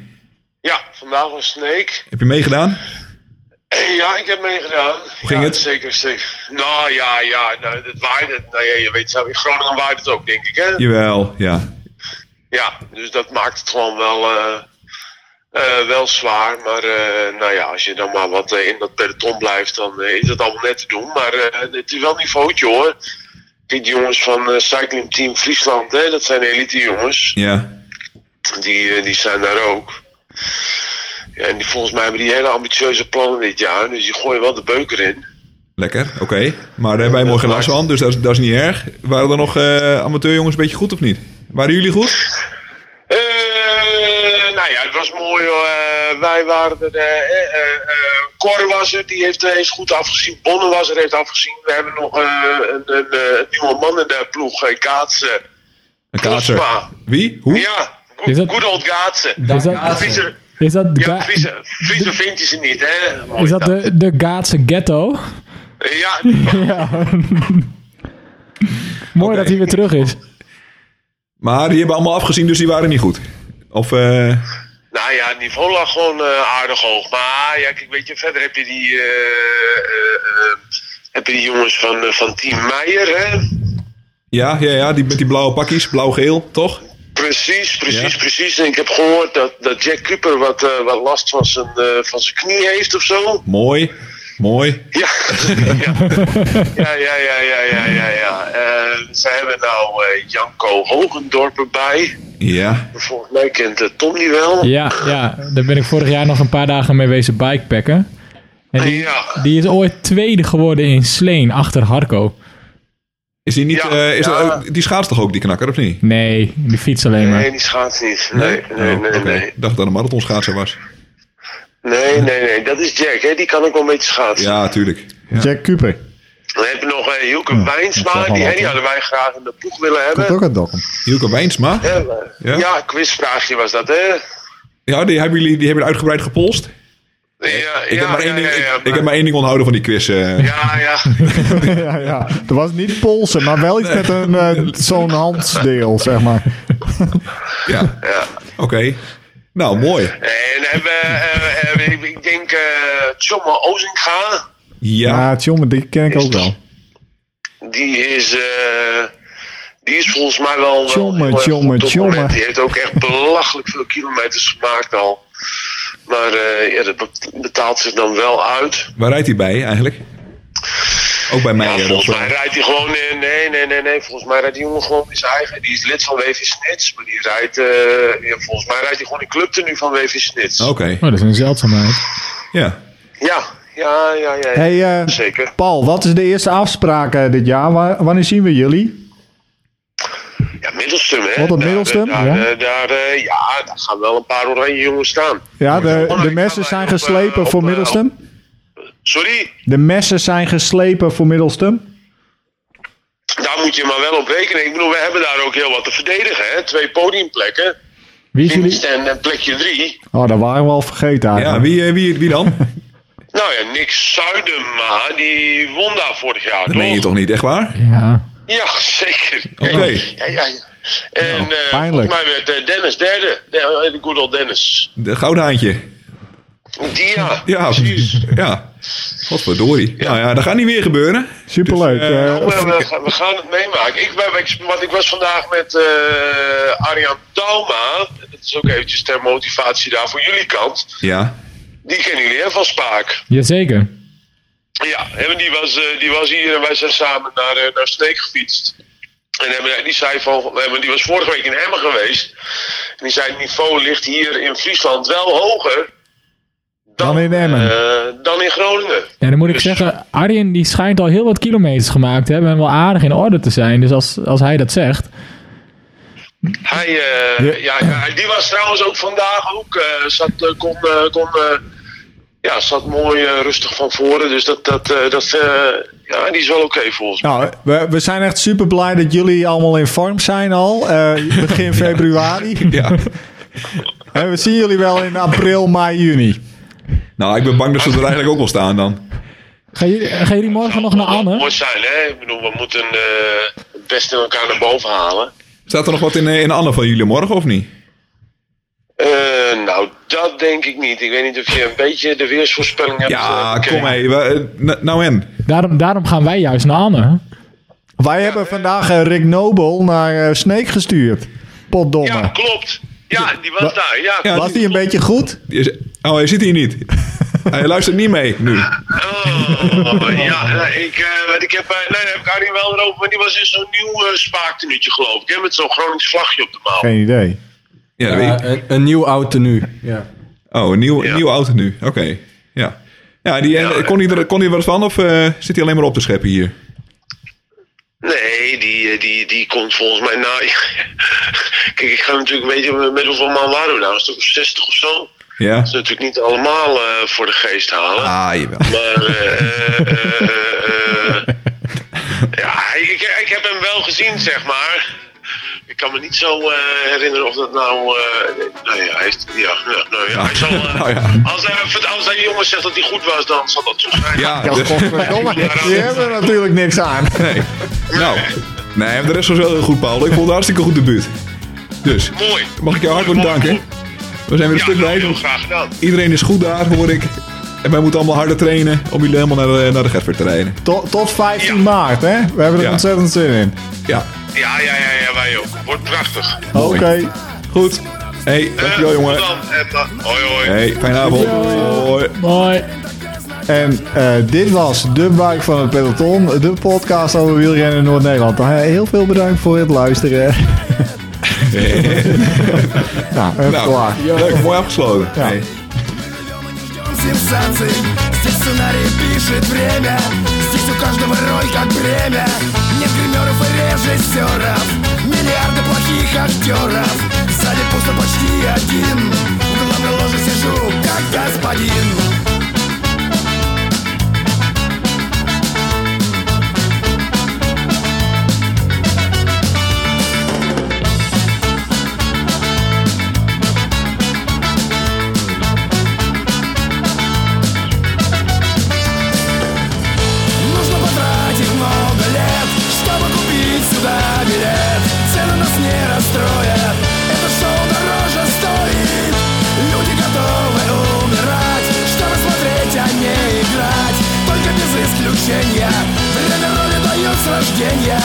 E: ja, vandaag was Sneek. Eh,
C: Heb je meegedaan?
E: Ja, ik heb meegedaan. Hoe
C: ging
E: ja,
C: het?
E: Zeker, zeker. Nou ja, ja, nou, het waaide. Nou ja, je weet zelf, in Groningen waait het ook, denk ik, hè?
C: Jawel, ja.
E: Ja, dus dat maakt het gewoon wel, eh, eh, wel zwaar. Maar eh, nou ja, als je dan maar wat eh, in dat peloton blijft, dan eh, is het allemaal net te doen. Maar eh, het is wel een niveautje hoor. Die jongens van eh Cycling Team Friesland, hè, dat zijn elite jongens.
C: Ja.
E: Die, eh, die zijn daar ook. Ja, en die, volgens mij hebben die hele ambitieuze plannen dit jaar. Dus die gooien wel de beuker in.
C: Lekker, oké. Maar daar hebben wij mooi geen last van, dus dat is, dat is niet erg. Waren er nog eh, amateurjongens een beetje goed, of niet? Waren jullie goed?
E: Eh, nou ja, het was mooi. hoor. Eh, wij waren er. eh, eh, eh, eh, Cor was er, die heeft, heeft goed afgezien. Bonne was er, heeft afgezien. We hebben nog eh, een, een, eh, een nieuwe man in de ploeg, eh, Kaatsen.
C: Een kaatser.
E: Postma.
C: Wie? Hoe?
E: Ja,
B: Is dat-
E: goed old Kaatsen.
B: Is dat,
E: Friese,
B: is dat, de
E: ja,
B: Ga-
E: Friese, Friese vindt hij ze niet, hè? Mooi
B: is dat de, de Gaatse ghetto?
E: Eh, Ja,
B: Ja. Mooi dat hij weer terug is.
C: Maar die hebben allemaal afgezien, dus die waren niet goed. Of, eh,
E: nou ja, het niveau lag gewoon eh, aardig hoog. Maar ja, kijk, weet je, verder heb je die, eh, eh, eh, heb je die jongens van, eh, van Team Meijer, hè?
C: ja, ja, ja, die met die blauwe pakjes, blauw-geel, toch?
E: Precies, precies,
C: Ja.
E: precies. En ik heb gehoord dat, dat Jack Cooper wat, eh, wat last van zijn, eh, van zijn knie heeft of zo.
C: Mooi, mooi.
E: Ja, ja, ja, ja, ja, ja, ja. ja, ja. Eh, ze hebben nou eh, Janko Hogendorp erbij.
C: Ja,
E: Volgens mij kent eh, Tom die wel.
B: Ja, ja, daar ben ik vorig jaar nog een paar dagen mee wezen bikepacken. En die,
E: Ah, Ja.
B: die is ooit tweede geworden in Sleen achter Harco.
C: is die niet,
E: Ja,
C: eh, is dat
E: ja.
C: ook- die schaats toch ook, die knakker, of niet?
B: Nee, die fiets alleen maar.
E: Nee, die schaats niet. Nee, nee,
C: Oh,
E: nee,
C: oké.
E: nee.
C: Ik dacht dat een marathon schaatser was.
E: Nee, nee, nee. Dat is Jack, hè. Die kan ook wel een beetje schaatsen.
C: Ja, tuurlijk. Ja.
A: Jack Cooper.
E: Dan heb je nog eh Hilke Wijnsma.
A: dat is wel
E: Die, hè,
A: wat,
E: die
A: hè.
E: hadden wij graag in de ploeg willen
A: Komt
E: hebben.
A: ook uit Dokkum.
C: Hielke Wijnsma.
E: Hè, maar-
C: Ja?
E: ja, quizvraagje was dat, hè?
C: Ja, die hebben jullie die hebben uitgebreid gepolst.
E: Ja,
C: Ik, heb, maar één ding, ik- ik,
E: maar-
C: heb maar één ding onthouden van die quiz. eh.
E: Ja, ja.
A: ja, ja. Er was niet polsen, maar wel iets met een eh, zo'n handsdeel, zeg maar.
C: Ja,
E: ja.
C: oké. Nou, mooi.
E: En hebben, eh, eh, ik- ik denk eh Tjomme Ozinga,
C: Ja,
A: Ja, jongen, die ken ik ook wel.
E: die is, eh, die is volgens mij wel... wel
A: Tjomme,
E: heel erg
A: Tjomme,
E: goed op het
A: Tjomme.
E: moment. Die heeft ook echt belachelijk veel kilometers gemaakt al. Maar eh, ja, dat be- betaalt zich dan wel uit.
C: waar rijdt hij bij eigenlijk? Ook bij mij.
E: Ja,
C: eh,
E: volgens
C: dat-
E: mij rijdt hij gewoon... in- nee, nee, nee, nee. Volgens mij rijdt die jongen gewoon in zijn eigen... Die is lid van WV Snits. Maar die rijdt... eh, ja, volgens mij rijdt hij gewoon in clubtenu van WV Snits.
C: Oké,
B: Oh, dat is een zeldzaamheid.
C: ja.
E: Ja, ja, ja, ja. ja.
A: Hey, eh,
E: Zeker.
A: Paul, wat is de eerste afspraak eh, dit jaar? Wa- wanneer zien we jullie?
E: Ja, Middelstum, hè?
A: Wat, op
E: Daar-
A: Middelstum?
E: Daar,
A: Ja.
E: daar, daar, eh, ja, daar gaan wel een paar oranje jongens staan.
A: Ja, de,
E: Oh,
A: de
E: ik
A: messen
E: ga
A: zijn
E: bij- op, eh,
A: geslepen
E: op,
A: voor
E: eh,
A: Middelstum.
E: Sorry,
A: De messen zijn geslepen voor Middelstum.
E: daar moet je maar wel op rekenen. Ik bedoel, we hebben daar ook heel wat te verdedigen, hè? Twee podiumplekken.
B: Wie is jullie?
E: Dienst en, en plekje drie.
A: Oh, dat waren we al vergeten
C: Ja,
A: eigenlijk.
C: wie, eh, wie, wie dan?
E: Nou ja, Nick Zuidema, die won daar vorig jaar,
C: Dat
E: toch?
C: meen je toch niet, echt waar?
B: Ja.
E: Ja, zeker.
C: Oké.
E: Ja, ja, ja. En eh
A: Nou, pijnlijk.
E: volgens mij werd eh, Dennis derde. De, de good old Dennis.
C: De gouden haantje.
E: Dia.
C: Ja,
E: precies.
C: Ja, godverdorie. Ja, ja, dat gaat niet weer gebeuren.
A: Superleuk.
C: Dus, eh,
A: eh,
E: We, we- we gaan het meemaken. Ik, ben, ik, want ik was vandaag met eh Arjan Talma. Dat is ook eventjes ter motivatie daar voor jullie kant.
C: Ja,
E: Die kennen jullie hè, van Spaak.
B: Jazeker.
E: Ja, en die was, eh, die was hier en wij zijn samen naar, eh, naar Sneek gefietst. En hebben- die zei van, eh, want die was vorige week in Emmen geweest. En die zei, het niveau ligt hier in Friesland wel hoger
A: Dan in Emmen.
E: eh, dan in Groningen.
B: Ja, dan moet ik
E: Dus-
B: zeggen, Arjen die schijnt al heel wat kilometers gemaakt te hebben en wel aardig in orde te zijn. Dus als, als hij dat zegt,
E: Hij, eh, ja. ja, die was trouwens ook vandaag ook. eh, zat, eh, kon, eh, kon, eh, ja, zat mooi eh, rustig van voren. Dus dat, dat, eh, dat eh, ja, die is wel oké volgens mij.
A: Nou, we, we zijn echt super blij dat jullie allemaal in vorm zijn al. eh, begin februari.
C: ja.
A: En we zien jullie wel in april, mei, juni.
C: Nou, ik ben bang dat ze er eigenlijk ook wel staan dan.
B: gaan jullie, gaan jullie morgen nog naar Anne?
E: Mooi zijn, hè? Ik bedoel, we moeten eh, het beste in elkaar naar boven halen.
C: Staat er nog wat in, eh, in Anne van jullie morgen of niet?
E: Eh, nou, dat denk ik niet. Ik weet niet of je een beetje de weersvoorspelling hebt. eh,
C: Ja,
E: bekeken.
C: kom mee. We- eh, n- Nou en?
B: Daarom, daarom gaan wij juist naar Anne.
A: Wij hebben vandaag eh, Rick Nobel naar eh Sneek gestuurd. Potdomme.
E: Ja, klopt. Ja, die was daar. Ja,
C: Ja,
A: Was die een beetje goed?
C: Die is- Oh, hij zit hier niet. Hij luistert niet mee nu.
E: Oh, ja, nou, ik, eh, want ik heb, eh, nee, daar heb ik Arjen wel erover, maar die was in zo'n nieuw eh spaaktenuutje geloof ik, hè, met zo'n Gronings vlagje op de mouw.
A: Geen idee.
C: Ja, dat weet
D: Ja,
C: ik.
D: Eh, een, een nieuw oud tenue. Ja.
C: Oh, een nieuw,
E: Ja.
C: nieuwe auto nu. Oké, ja. Ja, die, en,
E: Ja.
C: kon, hij er, kon hij er wat van of eh, zit hij alleen maar op te scheppen hier?
E: Nee, die, eh, die, die komt volgens mij na. Kijk, ik ga natuurlijk een beetje met hoeveel man waren we nou? Een stuk of 60 of zo. Dat
C: Ja?
E: is natuurlijk niet allemaal eh, voor de geest halen.
C: Ah, jawel.
E: Maar eh, eh, eh, eh, eh, ja, ik, ik heb hem wel gezien, zeg maar. Ik kan me niet zo eh, herinneren of dat nou. eh, nou ja, hij, heeft, ja, ja, nou ja, hij zal, eh,
C: Nou ja.
E: Als, hij, als hij jongen zegt dat hij goed was, dan zal dat zo zijn.
C: Ja,
A: Ja,
C: dus-
A: godverdomme. Die hebben er natuurlijk niks aan.
C: nee. Nou, nee, de rest was wel heel goed, Paul. Ik vond het hartstikke goed debuut. Dus,
E: Mooi.
C: mag ik jou hartelijk
E: Mooi,
C: danken?
E: mooi.
C: We zijn weer een
E: Ja,
C: stuk
E: nou, heel
C: rijden.
E: graag gedaan.
C: Iedereen is goed daar, hoor ik. En wij moeten allemaal harder trainen om jullie helemaal naar, de- naar de Gertver te rijden.
A: Tot, tot 15
E: Ja.
A: maart, hè? We hebben er
C: Ja.
A: ontzettend zin in.
C: Ja,
E: Ja, ja, ja, ja, wij ook. Wordt prachtig.
A: Oké.
C: Mooi. goed. hey, dankjewel
E: Eh,
C: jongen.
E: Dan, Emma. Hoi, hoi.
C: hey, fijne avond. Hoi.
B: Mooi.
A: En eh, dit was de Buik van het Peloton, de podcast over wielrennen in Noord-Nederland. Eh, Heel veel bedankt voor het luisteren. nou, eh,
C: Nou,
A: klaar.
C: leuk, mooi afgesloten. Hey.
F: Ждем сенсаций Здесь сценарий пишет время Здесь у каждого роль как бремя Нет гримеров и режиссеров Миллиарды плохих актеров Сзади пусто почти один В главной ложе сижу как господин Нужно потратить много лет, чтобы купить сюда билет. Цены нас не расстроят, это шоу дороже стоит. Люди готовы умирать, чтобы смотреть, а не играть. Только без исключения, время роли дают с рождения.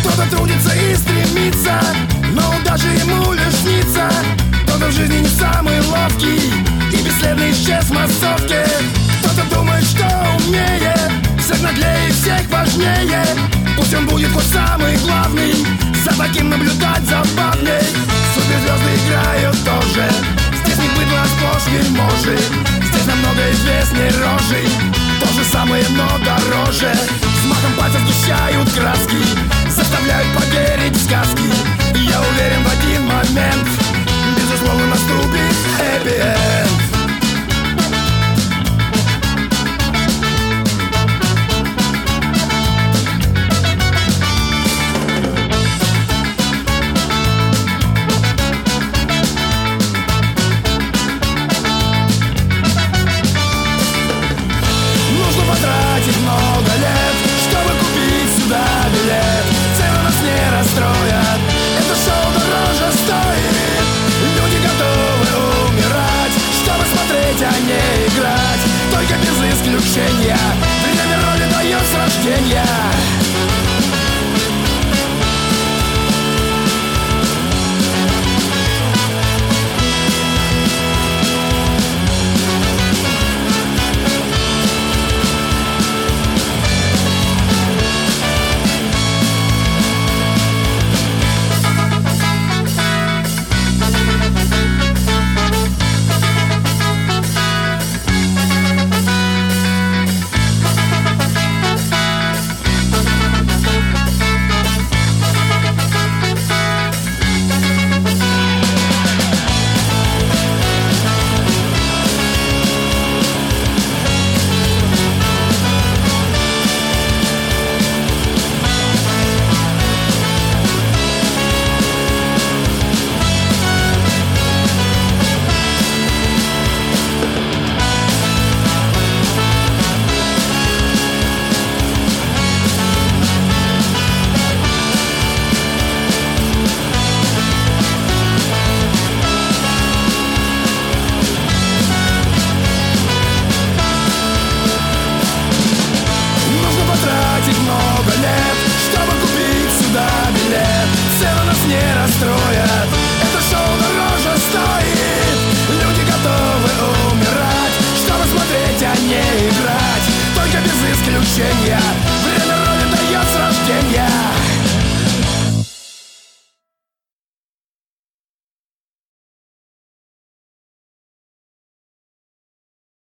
F: Кто-то трудится и стремится, но даже ему лишь снится Кто-то в жизни не самый ловкий и бесследно исчез в массовке Кто-то думает, что умнее, всех наглее и всех важнее Пусть он будет хоть самый главный, за таким наблюдать забавней Суперзвезды играют тоже, здесь не быдло, а сплошь вельможи Здесь намного известней рожей, то же самое, но дороже С махом пальцев сгущают краски, заставляют поверить в сказки Я уверен в один момент, безусловно наступит happy end. а а приключения